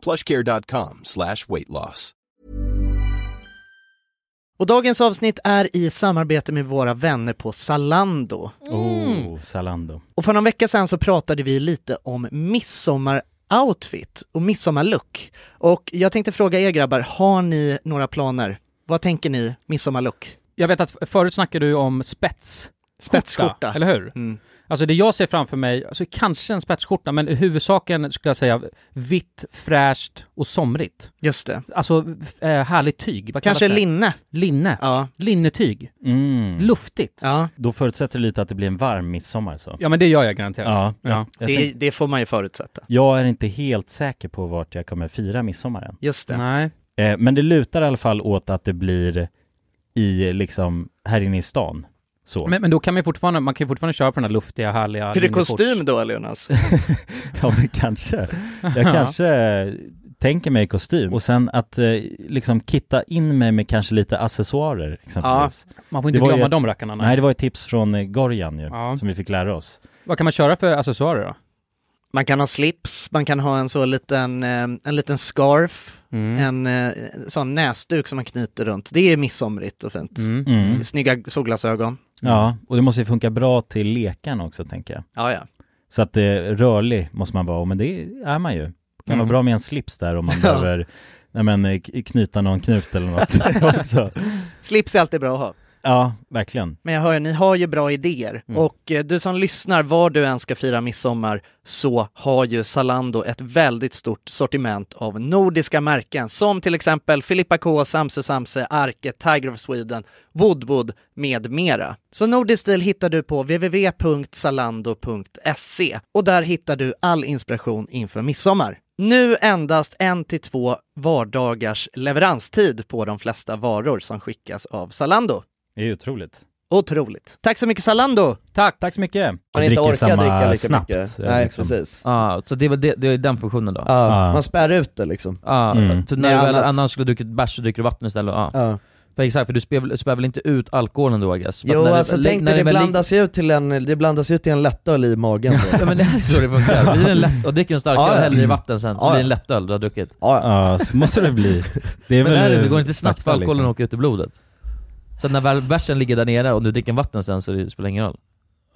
[SPEAKER 6] plushcare.com slash weight loss.
[SPEAKER 7] Och dagens avsnitt är i samarbete med våra vänner på Zalando.
[SPEAKER 3] Oh, Zalando.
[SPEAKER 7] Och för någon vecka sedan så pratade vi lite om midsommaroutfit och midsommarlook. Och jag tänkte fråga er grabbar, har ni några planer Vad tänker ni, midsommarlook?
[SPEAKER 8] Jag vet att f- förut snackade du om spets.
[SPEAKER 7] Spetsskjorta.
[SPEAKER 8] Eller hur?
[SPEAKER 7] Mm.
[SPEAKER 8] Alltså det jag ser framför mig, alltså kanske en spetsskjorta, men i huvudsaken skulle jag säga vitt, fräscht och somrigt.
[SPEAKER 7] Just det.
[SPEAKER 8] Alltså f- eh, härligt tyg. Vad kallas
[SPEAKER 7] Kanske
[SPEAKER 8] det?
[SPEAKER 7] linne.
[SPEAKER 8] Linne.
[SPEAKER 7] Ja.
[SPEAKER 8] Linnetyg.
[SPEAKER 3] Mm.
[SPEAKER 8] Luftigt.
[SPEAKER 7] Ja.
[SPEAKER 3] Då förutsätter det lite att det blir en varm midsommar så.
[SPEAKER 8] Ja men det gör jag garanterat.
[SPEAKER 3] Ja.
[SPEAKER 8] Ja.
[SPEAKER 3] Jag,
[SPEAKER 7] Det,
[SPEAKER 3] tänk,
[SPEAKER 7] det får man ju förutsätta.
[SPEAKER 3] jag är inte helt säker på vart jag kommer fira midsommar än.
[SPEAKER 7] Just det.
[SPEAKER 8] Nej.
[SPEAKER 3] Eh, men det lutar i alla fall åt att det blir i, liksom, här inne i stan. Så.
[SPEAKER 8] Men, men då kan man ju fortfarande, man kan ju fortfarande köra på den här luftiga, härliga
[SPEAKER 7] Blir det
[SPEAKER 8] linnekorts-
[SPEAKER 7] kostym då, Jonas?
[SPEAKER 3] Ja, men kanske. Jag kanske tänker mig kostym och sen att eh, liksom kitta in mig med kanske lite accessoarer exempelvis.
[SPEAKER 8] Man får inte
[SPEAKER 3] Det var ju
[SPEAKER 8] glömma
[SPEAKER 3] ett-
[SPEAKER 8] de rackarna.
[SPEAKER 3] Nej, det var ett tips från eh, Gorjan ju,
[SPEAKER 8] Ja.
[SPEAKER 3] som vi fick lära oss.
[SPEAKER 8] Vad kan man köra för accessoarer då?
[SPEAKER 7] Man kan ha slips, man kan ha en så liten, eh, en liten scarf, en
[SPEAKER 8] Mm.
[SPEAKER 7] eh, sån näsduk som man knyter runt. Det är midsomrigt och fint.
[SPEAKER 8] Mm.
[SPEAKER 3] Mm.
[SPEAKER 7] Snygga solglasögon.
[SPEAKER 3] Ja, och det måste ju funka bra till lekarna också tänker jag.
[SPEAKER 7] Ja, ja.
[SPEAKER 3] Så att eh, rörlig måste man vara, men det är man ju. Det kan
[SPEAKER 8] Mm.
[SPEAKER 3] vara bra med en slips där om man
[SPEAKER 7] Ja.
[SPEAKER 3] behöver nej, men, eh, k- knyta någon knut eller något också.
[SPEAKER 7] Slips är alltid bra att ha.
[SPEAKER 3] Ja, verkligen.
[SPEAKER 7] Men jag hör, ni har ju bra idéer. Och eh, du som lyssnar, var du än ska fira midsommar så har ju Zalando ett väldigt stort sortiment av nordiska märken som till exempel Filippa K, Samse Samse, Arke, Tiger of Sweden, Woodwood med mera. Så nordisk stil hittar du på www.zalando.se och där hittar du all inspiration inför midsommar. Nu endast en till två vardagars leveranstid på de flesta varor som skickas av Zalando.
[SPEAKER 3] Det är ju otroligt.
[SPEAKER 7] Otroligt. Tack så mycket Zalando!
[SPEAKER 3] Tack! Tack så mycket!
[SPEAKER 2] Man
[SPEAKER 3] Jag
[SPEAKER 2] inte
[SPEAKER 3] dricker
[SPEAKER 2] orkar
[SPEAKER 3] samma
[SPEAKER 2] dricka lika
[SPEAKER 3] snabbt,
[SPEAKER 2] mycket.
[SPEAKER 3] eh,
[SPEAKER 2] Nej
[SPEAKER 3] liksom.
[SPEAKER 2] precis.
[SPEAKER 1] Ah, så det, var det, det är den funktionen då?
[SPEAKER 2] Ja,
[SPEAKER 3] Ja.
[SPEAKER 2] Man spär ut det liksom.
[SPEAKER 1] Ah,
[SPEAKER 3] Mm.
[SPEAKER 1] Så när
[SPEAKER 2] Nej,
[SPEAKER 1] du väl,
[SPEAKER 2] annat-
[SPEAKER 1] annars skulle du druckit bärs så dricker du vatten istället? Ah.
[SPEAKER 2] Ja.
[SPEAKER 1] För exakt, för du spär, väl- spär väl inte ut alkoholen då I guess? För att
[SPEAKER 2] Jo
[SPEAKER 1] när
[SPEAKER 2] alltså
[SPEAKER 1] när
[SPEAKER 2] tänk dig,
[SPEAKER 1] när
[SPEAKER 2] det,
[SPEAKER 1] väl lig-
[SPEAKER 2] blandas ju ut till en, det blandas ut till en lättöl i magen. då.
[SPEAKER 1] Ja men det här är så det funkar, blir det en lätt, och dricker en starköl,
[SPEAKER 2] Ja, ja.
[SPEAKER 1] häller i vatten sen, så
[SPEAKER 2] Ja, ja.
[SPEAKER 1] blir det en lättöl du har druckit
[SPEAKER 2] ja.
[SPEAKER 3] Ja, så måste det bli. Det är
[SPEAKER 1] Men
[SPEAKER 3] väl,
[SPEAKER 1] där är det, det
[SPEAKER 3] eh,
[SPEAKER 1] går inte snabbt för
[SPEAKER 3] fakta,
[SPEAKER 1] alkoholen
[SPEAKER 3] liksom.
[SPEAKER 1] åker ut i blodet Så att när väl bärsen ligger där nere och du dricker vatten sen så det spelar ingen roll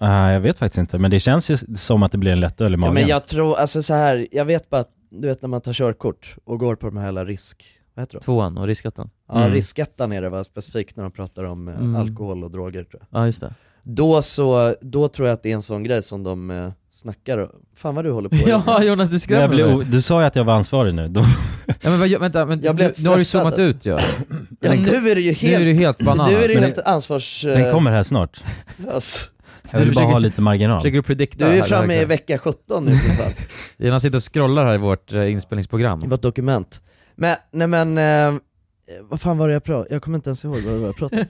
[SPEAKER 3] Nej, Ah, jag vet faktiskt inte, men det känns ju som att det blir en lätt öl i
[SPEAKER 2] ja
[SPEAKER 3] magen.
[SPEAKER 2] men jag tror, alltså så här, jag vet bara att, du vet när man tar körkort och går på de här hela risk, vad heter det?
[SPEAKER 1] Tvåan och riskskatten,
[SPEAKER 2] Ja
[SPEAKER 3] Mm.
[SPEAKER 2] riskettan är det va, specifikt när de pratar om eh,
[SPEAKER 1] Mm.
[SPEAKER 2] alkohol och droger tror jag.
[SPEAKER 1] ja just det
[SPEAKER 2] Då så, då tror jag att det är en sån grej som de eh, snackar om. Fan vad du håller på
[SPEAKER 1] Ja Jonas du
[SPEAKER 3] jag
[SPEAKER 1] skrämmer
[SPEAKER 3] blir o-
[SPEAKER 1] mig!
[SPEAKER 3] du sa ju att jag var ansvarig nu. Då,
[SPEAKER 1] Ja men vad, gör- vänta, vänta
[SPEAKER 2] Jag blev
[SPEAKER 1] nu, nu har du
[SPEAKER 2] stressad,
[SPEAKER 1] zoomat
[SPEAKER 2] alltså.
[SPEAKER 1] ut ju ja.
[SPEAKER 2] ja nu är det
[SPEAKER 1] Nu
[SPEAKER 2] ju
[SPEAKER 1] är
[SPEAKER 2] helt,
[SPEAKER 1] du helt banan
[SPEAKER 2] nu är det ju
[SPEAKER 3] Men
[SPEAKER 2] helt ansvars...
[SPEAKER 3] den kommer här snart.
[SPEAKER 2] Alltså,
[SPEAKER 3] Jag vill
[SPEAKER 1] Du
[SPEAKER 3] bara
[SPEAKER 1] försöker-
[SPEAKER 3] ha lite marginal.
[SPEAKER 1] Försöker du predikta
[SPEAKER 2] du är ju
[SPEAKER 1] här, det
[SPEAKER 2] framme
[SPEAKER 1] här
[SPEAKER 2] i vecka 17 nu i alla fall.
[SPEAKER 1] Jonas sitter och scrollar här i vårt eh, inspelningsprogram
[SPEAKER 2] Det var ett dokument. Men, nej men, eh, vad fan var det jag pratade Jag kommer inte ens ihåg vad det var jag pratade om.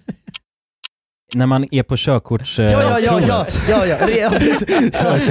[SPEAKER 3] När man är på körkorts... eh,
[SPEAKER 2] Ja, ja, ja, ja,
[SPEAKER 3] provet.
[SPEAKER 2] ja, ja, det, ja, precis. ja,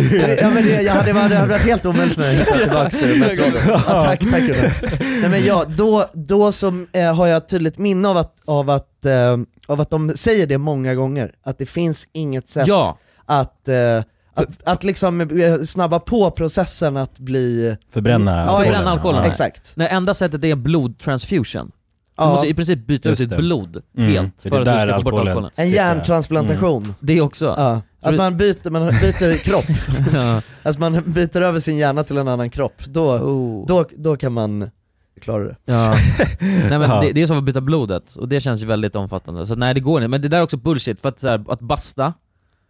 [SPEAKER 2] det- ja men det, jag hade, det hade varit helt omöjligt för mig att hitta tillbaks till den här tråden. Ja, tack, tack Gunnar. Nej men ja, då, då som, eh, har jag ett tydligt minne av att, av, att, eh, av att de säger det många gånger, att det finns inget sätt
[SPEAKER 1] Ja!
[SPEAKER 2] att, eh, att, att liksom eh, snabba på processen att bli...
[SPEAKER 3] Förbränna
[SPEAKER 2] Ja,
[SPEAKER 1] förbränna alkoholen.
[SPEAKER 3] Ja.
[SPEAKER 2] Exakt.
[SPEAKER 1] Nej enda sättet är blodtransfusion Du måste i princip byta ut
[SPEAKER 3] Just
[SPEAKER 1] ditt
[SPEAKER 3] det.
[SPEAKER 1] blod
[SPEAKER 3] Mm.
[SPEAKER 1] helt
[SPEAKER 3] Så det
[SPEAKER 1] för
[SPEAKER 3] är
[SPEAKER 1] att du
[SPEAKER 3] där
[SPEAKER 1] ska få bort
[SPEAKER 3] alkoholen-
[SPEAKER 1] alkoholen
[SPEAKER 2] En
[SPEAKER 3] Sitter.
[SPEAKER 2] hjärntransplantation.
[SPEAKER 1] Det också?
[SPEAKER 2] Ja. Att man byter, man byter kropp,
[SPEAKER 1] Ja.
[SPEAKER 2] alltså man byter över sin hjärna till en annan kropp, då,
[SPEAKER 1] Oh.
[SPEAKER 2] då, då kan man klara det.
[SPEAKER 1] Ja. nej men
[SPEAKER 3] Ja.
[SPEAKER 1] det, det är som att byta blodet, och det känns ju väldigt omfattande. Så nej det går inte, men det där är också bullshit för att, så här, att basta,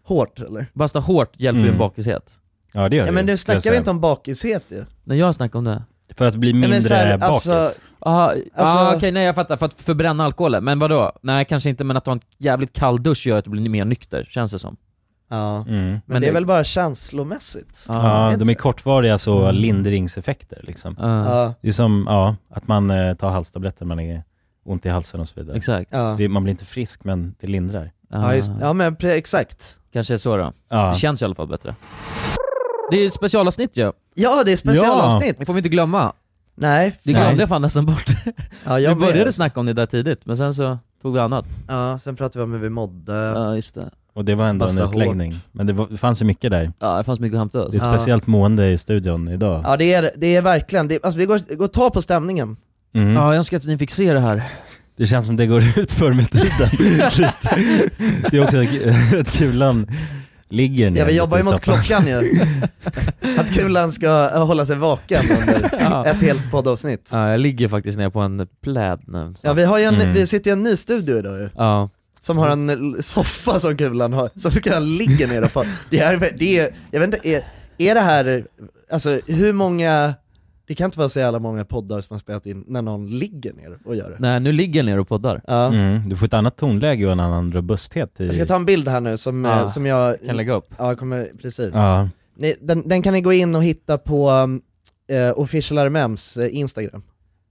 [SPEAKER 2] Hårt eller?
[SPEAKER 1] basta hårt hjälper ju
[SPEAKER 3] Mm.
[SPEAKER 1] en bakishet.
[SPEAKER 3] Ja, det gör
[SPEAKER 2] Ja
[SPEAKER 3] det
[SPEAKER 2] men
[SPEAKER 3] ju,
[SPEAKER 2] nu
[SPEAKER 3] skulle jag
[SPEAKER 2] snackar vi
[SPEAKER 3] säga.
[SPEAKER 2] inte om bakishet ju.
[SPEAKER 1] När jag snackar om det.
[SPEAKER 3] För att bli
[SPEAKER 2] men
[SPEAKER 3] mindre
[SPEAKER 2] så här,
[SPEAKER 3] bakis.
[SPEAKER 2] alltså-
[SPEAKER 1] Aha,
[SPEAKER 2] Alltså-
[SPEAKER 1] ah, okej nej jag fattar, för att förbränna alkoholen. Men vadå? Nej kanske inte, men att ta en jävligt kall dusch gör att du blir mer nykter, känns det som.
[SPEAKER 2] Ja. Men,
[SPEAKER 3] Mm.
[SPEAKER 1] Men
[SPEAKER 2] det är
[SPEAKER 1] det-
[SPEAKER 2] väl bara känslomässigt?
[SPEAKER 3] Ja,
[SPEAKER 2] vet
[SPEAKER 3] de är
[SPEAKER 2] inte.
[SPEAKER 3] kortvariga så
[SPEAKER 1] Mm.
[SPEAKER 3] lindringseffekter liksom.
[SPEAKER 1] Ah,
[SPEAKER 2] Ja.
[SPEAKER 3] Det är som, ja, att man eh, tar halstabletter när man är ont i halsen och så vidare.
[SPEAKER 1] Exakt.
[SPEAKER 2] Ja.
[SPEAKER 3] Det, man blir inte frisk men det lindrar.
[SPEAKER 2] Ja,
[SPEAKER 1] Ah,
[SPEAKER 2] just, ja men pre- exakt.
[SPEAKER 1] Kanske är så då.
[SPEAKER 3] Ja.
[SPEAKER 1] Det känns i alla fall bättre. Det är ett specialavsnitt ju,
[SPEAKER 2] Ja det är specialavsnitt!
[SPEAKER 1] det får vi inte glömma.
[SPEAKER 2] Nej,
[SPEAKER 1] Det
[SPEAKER 3] Nej.
[SPEAKER 1] glömde jag fan nästan bort.
[SPEAKER 2] ja,
[SPEAKER 1] Vi
[SPEAKER 2] jag
[SPEAKER 1] började
[SPEAKER 2] började
[SPEAKER 1] snacka om det där tidigt, men sen så tog vi annat.
[SPEAKER 2] Ja, sen pratade vi om hur vi mådde.
[SPEAKER 1] Ja just det.
[SPEAKER 3] Och det var ändå
[SPEAKER 2] Basta
[SPEAKER 3] en
[SPEAKER 2] hårt.
[SPEAKER 3] utläggning. Men det, var, det fanns ju mycket där.
[SPEAKER 1] Ja det fanns mycket att hämta. Alltså.
[SPEAKER 3] Det är ett
[SPEAKER 2] Ja.
[SPEAKER 3] speciellt mående i studion idag.
[SPEAKER 2] Ja det är, det är verkligen, det, alltså vi går, går och tar på stämningen.
[SPEAKER 3] Mm.
[SPEAKER 1] Ja, jag önskar att ni fick se det här.
[SPEAKER 3] Det känns som det går ut för med tiden. Lite. det är också att kulan ligger ner
[SPEAKER 2] Ja vi jobbar ju
[SPEAKER 3] lite i
[SPEAKER 2] mot
[SPEAKER 3] soffan.
[SPEAKER 2] klockan ju. Att kulan ska eh, hålla sig vaken under
[SPEAKER 1] Ja.
[SPEAKER 2] ett helt poddavsnitt.
[SPEAKER 1] Ja, jag ligger faktiskt ner på en pläd nu.
[SPEAKER 2] Ja vi, har ju en,
[SPEAKER 3] Mm.
[SPEAKER 2] vi sitter i en ny studio idag ju.
[SPEAKER 1] Ja.
[SPEAKER 2] Som har en l- soffa som kulan har, som kulan ligger ner på. Det här, det är, jag vet inte, är, är det här, alltså hur många, det kan inte vara så jävla många poddar som har spelat in när någon ligger ner och gör det.
[SPEAKER 1] Nej, nu ligger jag ner och poddar.
[SPEAKER 2] Ja.
[SPEAKER 3] Mm, du får ett annat tonläge och en annan robusthet i...
[SPEAKER 2] Jag ska ta en bild här nu som,
[SPEAKER 3] Ja,
[SPEAKER 2] eh, som jag
[SPEAKER 3] kan lägga upp.
[SPEAKER 2] Ja, jag kommer, precis.
[SPEAKER 3] Ja.
[SPEAKER 2] Ni, den, den kan ni gå in och hitta på um, eh, official RMMs eh, Instagram.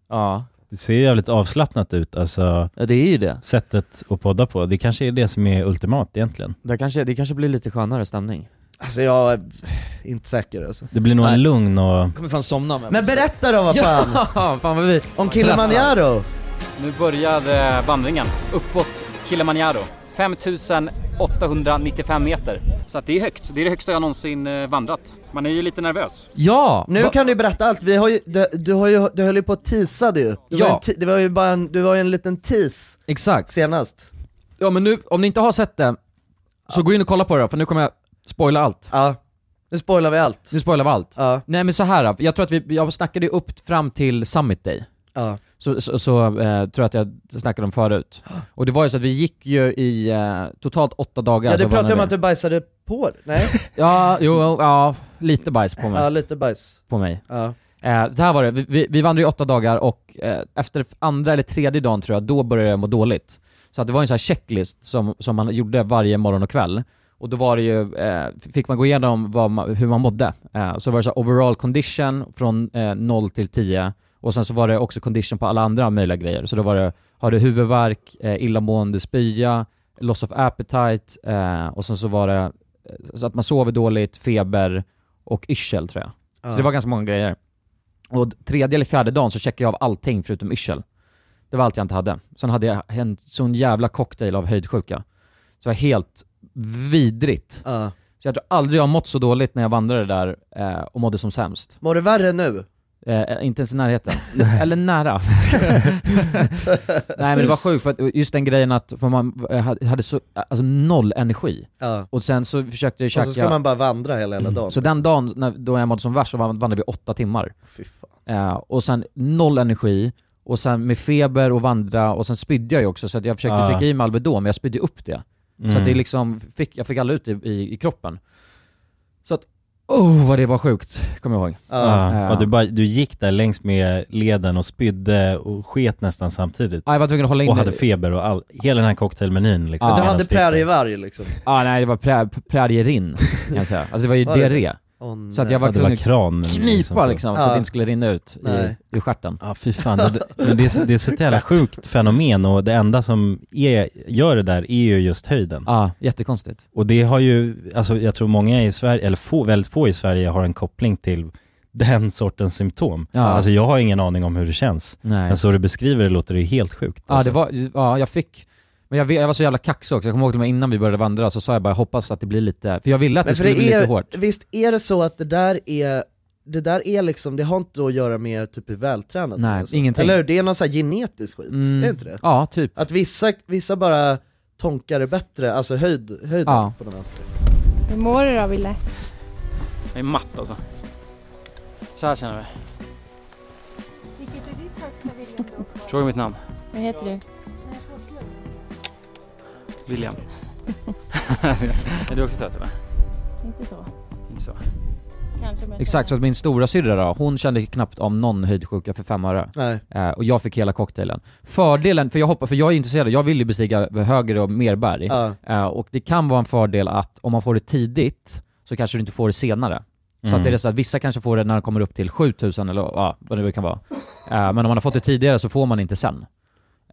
[SPEAKER 1] Ja.
[SPEAKER 3] Det ser ju jävligt avslappnat ut alltså.
[SPEAKER 1] Ja, det är ju det.
[SPEAKER 3] Sättet att podda på. Det kanske är det som är ultimat egentligen.
[SPEAKER 1] Det kanske, det kanske blir lite skönare stämning.
[SPEAKER 2] Alltså jag är inte säker alltså.
[SPEAKER 3] Det blir nog en lugn och...
[SPEAKER 1] kommer fan somna om jag
[SPEAKER 2] Men berätta då vad fan!
[SPEAKER 1] Ja, fan vad vi...
[SPEAKER 2] Om Kilimanjaro!
[SPEAKER 9] Nu började eh, vandringen uppåt Kilimanjaro. 5895 meter. Så att det är högt. Det är det högsta jag någonsin eh, vandrat. Man är ju lite nervös.
[SPEAKER 1] Ja!
[SPEAKER 2] Nu
[SPEAKER 9] va-
[SPEAKER 2] kan du berätta allt, vi har ju, du, du, har ju, du höll ju på att teasa du. Det var,
[SPEAKER 1] Ja.
[SPEAKER 2] ju en, te- det var ju bara en, du var ju en liten tease
[SPEAKER 1] Exakt.
[SPEAKER 2] senast.
[SPEAKER 1] Ja men nu, om ni inte har sett det, så gå in och kolla på det då, för nu kommer jag spoila allt.
[SPEAKER 2] Ja, nu spoilar vi allt.
[SPEAKER 1] Nu spoilar vi allt.
[SPEAKER 2] Ja.
[SPEAKER 1] Nej men så här, jag tror att vi, jag snackade ju upp fram till Summit Day.
[SPEAKER 2] Ja.
[SPEAKER 1] Så, så, så eh, tror jag att jag snackade om förut. Och det var ju så att vi gick ju i eh, totalt åtta dagar.
[SPEAKER 2] Ja du
[SPEAKER 1] så
[SPEAKER 2] pratade
[SPEAKER 1] var
[SPEAKER 2] om
[SPEAKER 1] vi-
[SPEAKER 2] att du bajsade på dig. nej?
[SPEAKER 1] Ja, jo, ja, lite bajs på mig.
[SPEAKER 2] Ja lite bajs.
[SPEAKER 1] på mig.
[SPEAKER 2] Ja.
[SPEAKER 1] Eh, så här var det, vi, vi, vi vandrade i åtta dagar och eh, efter andra eller tredje dagen tror jag, då började jag må dåligt. Så att det var en sån här checklist som, som man gjorde varje morgon och kväll. Och då var det ju, eh, fick man gå igenom vad man, hur man mådde. Eh, så var det så här overall condition från eh, 0 till 10 och sen så var det också condition på alla andra möjliga grejer. Så då var det, har du huvudvärk, eh, illamående, spya, loss of appetite eh, och sen så var det eh, så att man sover dåligt, feber och yrsel tror jag.
[SPEAKER 8] Ja.
[SPEAKER 1] Så det var ganska många grejer. Och tredje eller fjärde dagen så checkade jag av allting förutom yrsel. Det var allt jag inte hade. Sen hade jag en sån jävla cocktail av höjdsjuka. Så det var helt vidrigt. Så jag tror aldrig jag har mått så dåligt när jag vandrade där eh, och mådde som sämst.
[SPEAKER 2] Mår du värre nu?
[SPEAKER 1] Eh, inte ens i närheten. Eller nära. Nej men det var sjukt, för att just den grejen att för man eh, hade så, alltså noll energi.
[SPEAKER 2] Ja.
[SPEAKER 1] Och sen så försökte jag
[SPEAKER 2] Och så ska
[SPEAKER 1] käka-
[SPEAKER 2] man bara vandra hela hela dagen.
[SPEAKER 1] Mm.
[SPEAKER 2] liksom.
[SPEAKER 1] så den dagen när, då jag mådde som värst så vand- vandrade vi åtta timmar. Eh, och sen noll energi, och sen med feber och vandra, och sen spydde jag ju också så att jag försökte
[SPEAKER 3] Ah.
[SPEAKER 1] dricka i mig Alvedon men jag spydde upp det. Så
[SPEAKER 3] Mm.
[SPEAKER 1] att det liksom, fick, jag fick alla ut i, i, i kroppen. Så att, oh vad det var sjukt, kommer jag ihåg.
[SPEAKER 3] Ja.
[SPEAKER 1] Eh,
[SPEAKER 3] Och du, bara, du gick där längs med leden och spydde och sket nästan samtidigt.
[SPEAKER 1] Ja, Ah, jag var tvungen att hålla in
[SPEAKER 3] Och
[SPEAKER 1] det.
[SPEAKER 3] hade feber och all, hela den här cocktailmenyn liksom.
[SPEAKER 1] Ja. Du
[SPEAKER 3] Hela
[SPEAKER 1] hade
[SPEAKER 3] sticken.
[SPEAKER 2] Prärievarg liksom.
[SPEAKER 1] Ja Ah, nej det var prä- prärierin kan jag säga. Alltså det var ju
[SPEAKER 2] Var det
[SPEAKER 1] diarré.
[SPEAKER 2] det? Åh,
[SPEAKER 1] så att jag
[SPEAKER 2] nej.
[SPEAKER 1] var
[SPEAKER 2] Ja, det
[SPEAKER 1] tvungen
[SPEAKER 2] var
[SPEAKER 1] att
[SPEAKER 3] kran,
[SPEAKER 1] knipa
[SPEAKER 3] Mm, liksom
[SPEAKER 1] liksom,
[SPEAKER 3] så.
[SPEAKER 1] så att
[SPEAKER 2] Ja.
[SPEAKER 1] det inte skulle rinna ut i,
[SPEAKER 2] Nej.
[SPEAKER 1] ur stjärten.
[SPEAKER 3] Ja fy fan, det, men det, är, så- det är så ett jävla sjukt fenomen och det enda som är, gör det där är ju just höjden.
[SPEAKER 1] Ja, Ah, jättekonstigt.
[SPEAKER 3] Och det har ju, alltså jag tror många i Sverige, eller få, väldigt få i Sverige har en koppling till den sortens symptom.
[SPEAKER 1] Ja.
[SPEAKER 3] Alltså jag har ingen aning om hur det känns.
[SPEAKER 1] Nej.
[SPEAKER 3] Men så du beskriver det låter det ju helt sjukt. alltså.
[SPEAKER 1] Ja, ah, det var, ja jag fick, men jag, vet- jag var så jävla kaxig också, jag kommer ihåg till och med innan vi började vandra så sa jag bara jag hoppas att det blir lite, för jag ville att det
[SPEAKER 2] Men för
[SPEAKER 1] skulle bli
[SPEAKER 2] är,
[SPEAKER 1] lite hårt.
[SPEAKER 2] Visst är det så att det där är, det där är liksom, det har inte att göra med typ hur vältränad
[SPEAKER 1] Nej,
[SPEAKER 2] man är, så.
[SPEAKER 1] ingenting.
[SPEAKER 2] Eller hur? Det är någon sån här genetisk skit,
[SPEAKER 1] Mm.
[SPEAKER 2] är det inte det?
[SPEAKER 1] Ja, typ.
[SPEAKER 2] Att vissa, vissa bara tonkar det bättre, alltså höjd, höjden
[SPEAKER 1] Ja.
[SPEAKER 2] på den vänster.
[SPEAKER 10] Hur mår du då Wille?
[SPEAKER 9] Jag är matt alltså. Så här känner jag mig.
[SPEAKER 10] Vilket är ditt högsta William då?
[SPEAKER 9] Fråga mitt namn.
[SPEAKER 10] Vad heter du?
[SPEAKER 9] William. är du också trött eller?
[SPEAKER 10] Inte så.
[SPEAKER 9] Inte så.
[SPEAKER 10] Kanske men...
[SPEAKER 1] Exakt, så att min stora syrra då, hon kände knappt om någon höjdsjuka för fem öre.
[SPEAKER 2] Nej.
[SPEAKER 1] Eh, och jag fick hela cocktailen. Fördelen, för jag hoppar, för jag är intresserad, jag vill ju bestiga högre och mer berg.
[SPEAKER 2] Ja.
[SPEAKER 1] Eh, och det kan vara en fördel att om man får det tidigt så kanske du inte får det senare. Så
[SPEAKER 8] Mm.
[SPEAKER 1] att det är så att vissa kanske får det när de kommer upp till 7000 eller ja, vad det kan vara. Eh, men om man har fått det tidigare så får man inte sen.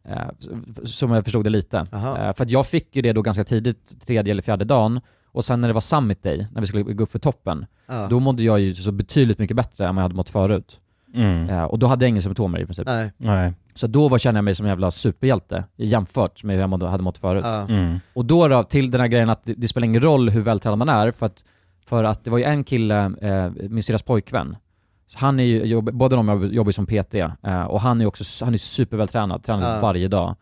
[SPEAKER 1] Eh, s- som jag förstod det lite. Eh, för att jag fick ju det då ganska tidigt, tredje eller fjärde dagen. Och sen när det var summit day, när vi skulle gå upp för toppen,
[SPEAKER 2] Ja.
[SPEAKER 1] då mådde jag ju så betydligt mycket bättre än vad jag hade mått förut.
[SPEAKER 3] Mm.
[SPEAKER 1] Eh, och då hade jag inga symptomer i princip.
[SPEAKER 2] Nej.
[SPEAKER 3] Nej.
[SPEAKER 1] Så då var, kände jag mig som en jävla superhjälte jämfört med hur jag mådde, hade mått förut.
[SPEAKER 2] Ja. Mm.
[SPEAKER 1] Och då, då till den här grejen att det, det spelar ingen roll hur vältränad man är, för att, för att det var ju en kille, eh, min syrras pojkvän, så han är ju, jobb, båda de jobb- jobbar ju som PT, eh, och han är också s- han är supervältränad, tränar
[SPEAKER 8] Ja.
[SPEAKER 1] varje dag.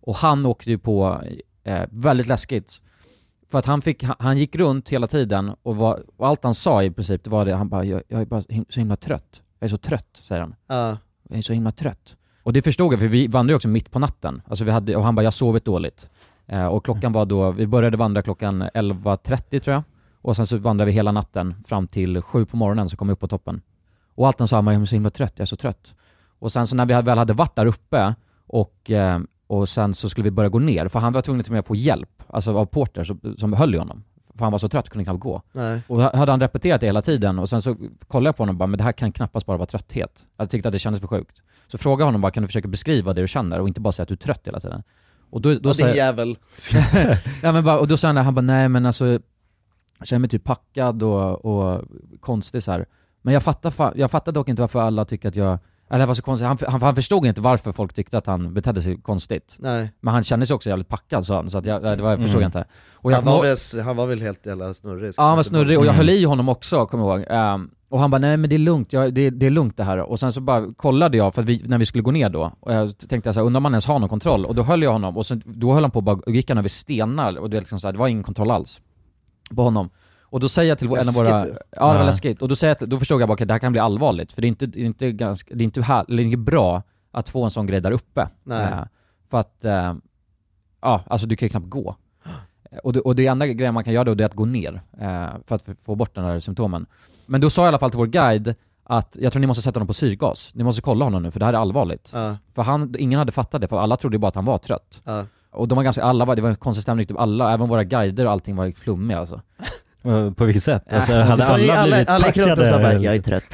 [SPEAKER 1] Och han åkte ju på, eh, väldigt läskigt, För att han, fick, han, han gick runt hela tiden och, var, och allt han sa i princip det var det, han bara jag, jag är bara him, så himla trött. Jag är så trött, säger han.
[SPEAKER 2] Ja.
[SPEAKER 1] Jag är så himla trött. Och det förstod jag för vi vandrade ju också mitt på natten. Alltså vi hade, och han bara jag har sovit dåligt. Eh, och klockan var då, vi började vandra klockan 11.30 tror jag. Och sen så vandrade vi hela natten fram till sju på morgonen så kom vi upp på toppen. Och allt han sa, han bara, jag är så himla trött, jag är så trött. Och sen så när vi hade- väl hade varit där uppe och, eh, och sen så skulle vi börja gå ner, för han var tvungen till och med att få hjälp, alltså av Porter som, som höll i honom. För han var så trött, kunde knappt gå.
[SPEAKER 2] Nej.
[SPEAKER 1] Och ha- hade han repeterat det hela tiden och sen så kollade jag på honom och bara, men det här kan knappast bara vara trötthet. Jag tyckte att det kändes för sjukt. Så frågade jag honom bara, kan du försöka beskriva det du känner och inte bara säga att du är trött hela tiden? Och då, då
[SPEAKER 2] Ja,
[SPEAKER 1] sa
[SPEAKER 2] din
[SPEAKER 1] jag-
[SPEAKER 2] jävel.
[SPEAKER 1] ja, men bara, och då sa han, det, han bara, nej men alltså, jag känner mig typ packad och, och konstig så här. Men jag fattar, fa- jag fattar dock inte varför alla tycker att jag, eller det var så konstigt, han, han, han förstod inte varför folk tyckte att han betedde sig konstigt.
[SPEAKER 2] Nej.
[SPEAKER 1] Men han kände sig också jävligt packad sa han, så att jag, det var, jag förstod
[SPEAKER 2] Mm.
[SPEAKER 1] inte. Och jag,
[SPEAKER 2] han, var
[SPEAKER 1] må-
[SPEAKER 2] väl, han var väl helt jävla snurrig? alltså. Mm.
[SPEAKER 1] Ja han var snurrig och jag höll i honom också, kommer jag ihåg. Ehm, och han bara nej men det är lugnt, jag, det, det är lugnt det här. Och sen så bara kollade jag, för att vi, när vi skulle gå ner då, och jag tänkte såhär, undrar om han ens har någon kontroll? Och då höll jag honom, och sen, då höll han på och bara, och gick han över stenar och det, var liksom så här, det var ingen kontroll alls på honom. Och då säger jag till en av
[SPEAKER 2] Läskigt
[SPEAKER 1] våra...
[SPEAKER 2] ju.
[SPEAKER 1] Ja det var
[SPEAKER 2] Nej.
[SPEAKER 1] läskigt. Och då, säger jag, till- då förstod jag bara att det här kan bli allvarligt, för det är inte, det är inte, ganska, det är inte, här, det är inte bra att få en sån grej där uppe.
[SPEAKER 2] Nej.
[SPEAKER 1] Eh, för att, eh, ja alltså du kan ju knappt gå. Och det, och det enda grejen man kan göra då det är att gå ner eh, för att få bort den här symptomen. Men då sa jag i alla fall till vår guide att jag tror ni måste sätta honom på syrgas. Ni måste kolla honom nu för det här är allvarligt.
[SPEAKER 2] Ja.
[SPEAKER 1] För han, ingen hade fattat det för alla trodde ju bara att han var trött.
[SPEAKER 2] Ja.
[SPEAKER 1] Och de var ganska, alla var, det var en konstig stämning, typ alla, även våra guider och allting var flummiga alltså.
[SPEAKER 3] Eh, På vilket sätt? Alltså,
[SPEAKER 1] Äh,
[SPEAKER 3] hade
[SPEAKER 1] det var ju
[SPEAKER 3] alla,
[SPEAKER 1] alla-
[SPEAKER 3] blivit
[SPEAKER 1] alla gick runt
[SPEAKER 3] packade?
[SPEAKER 1] och sa bara,
[SPEAKER 3] eller?
[SPEAKER 1] "Jag är trött."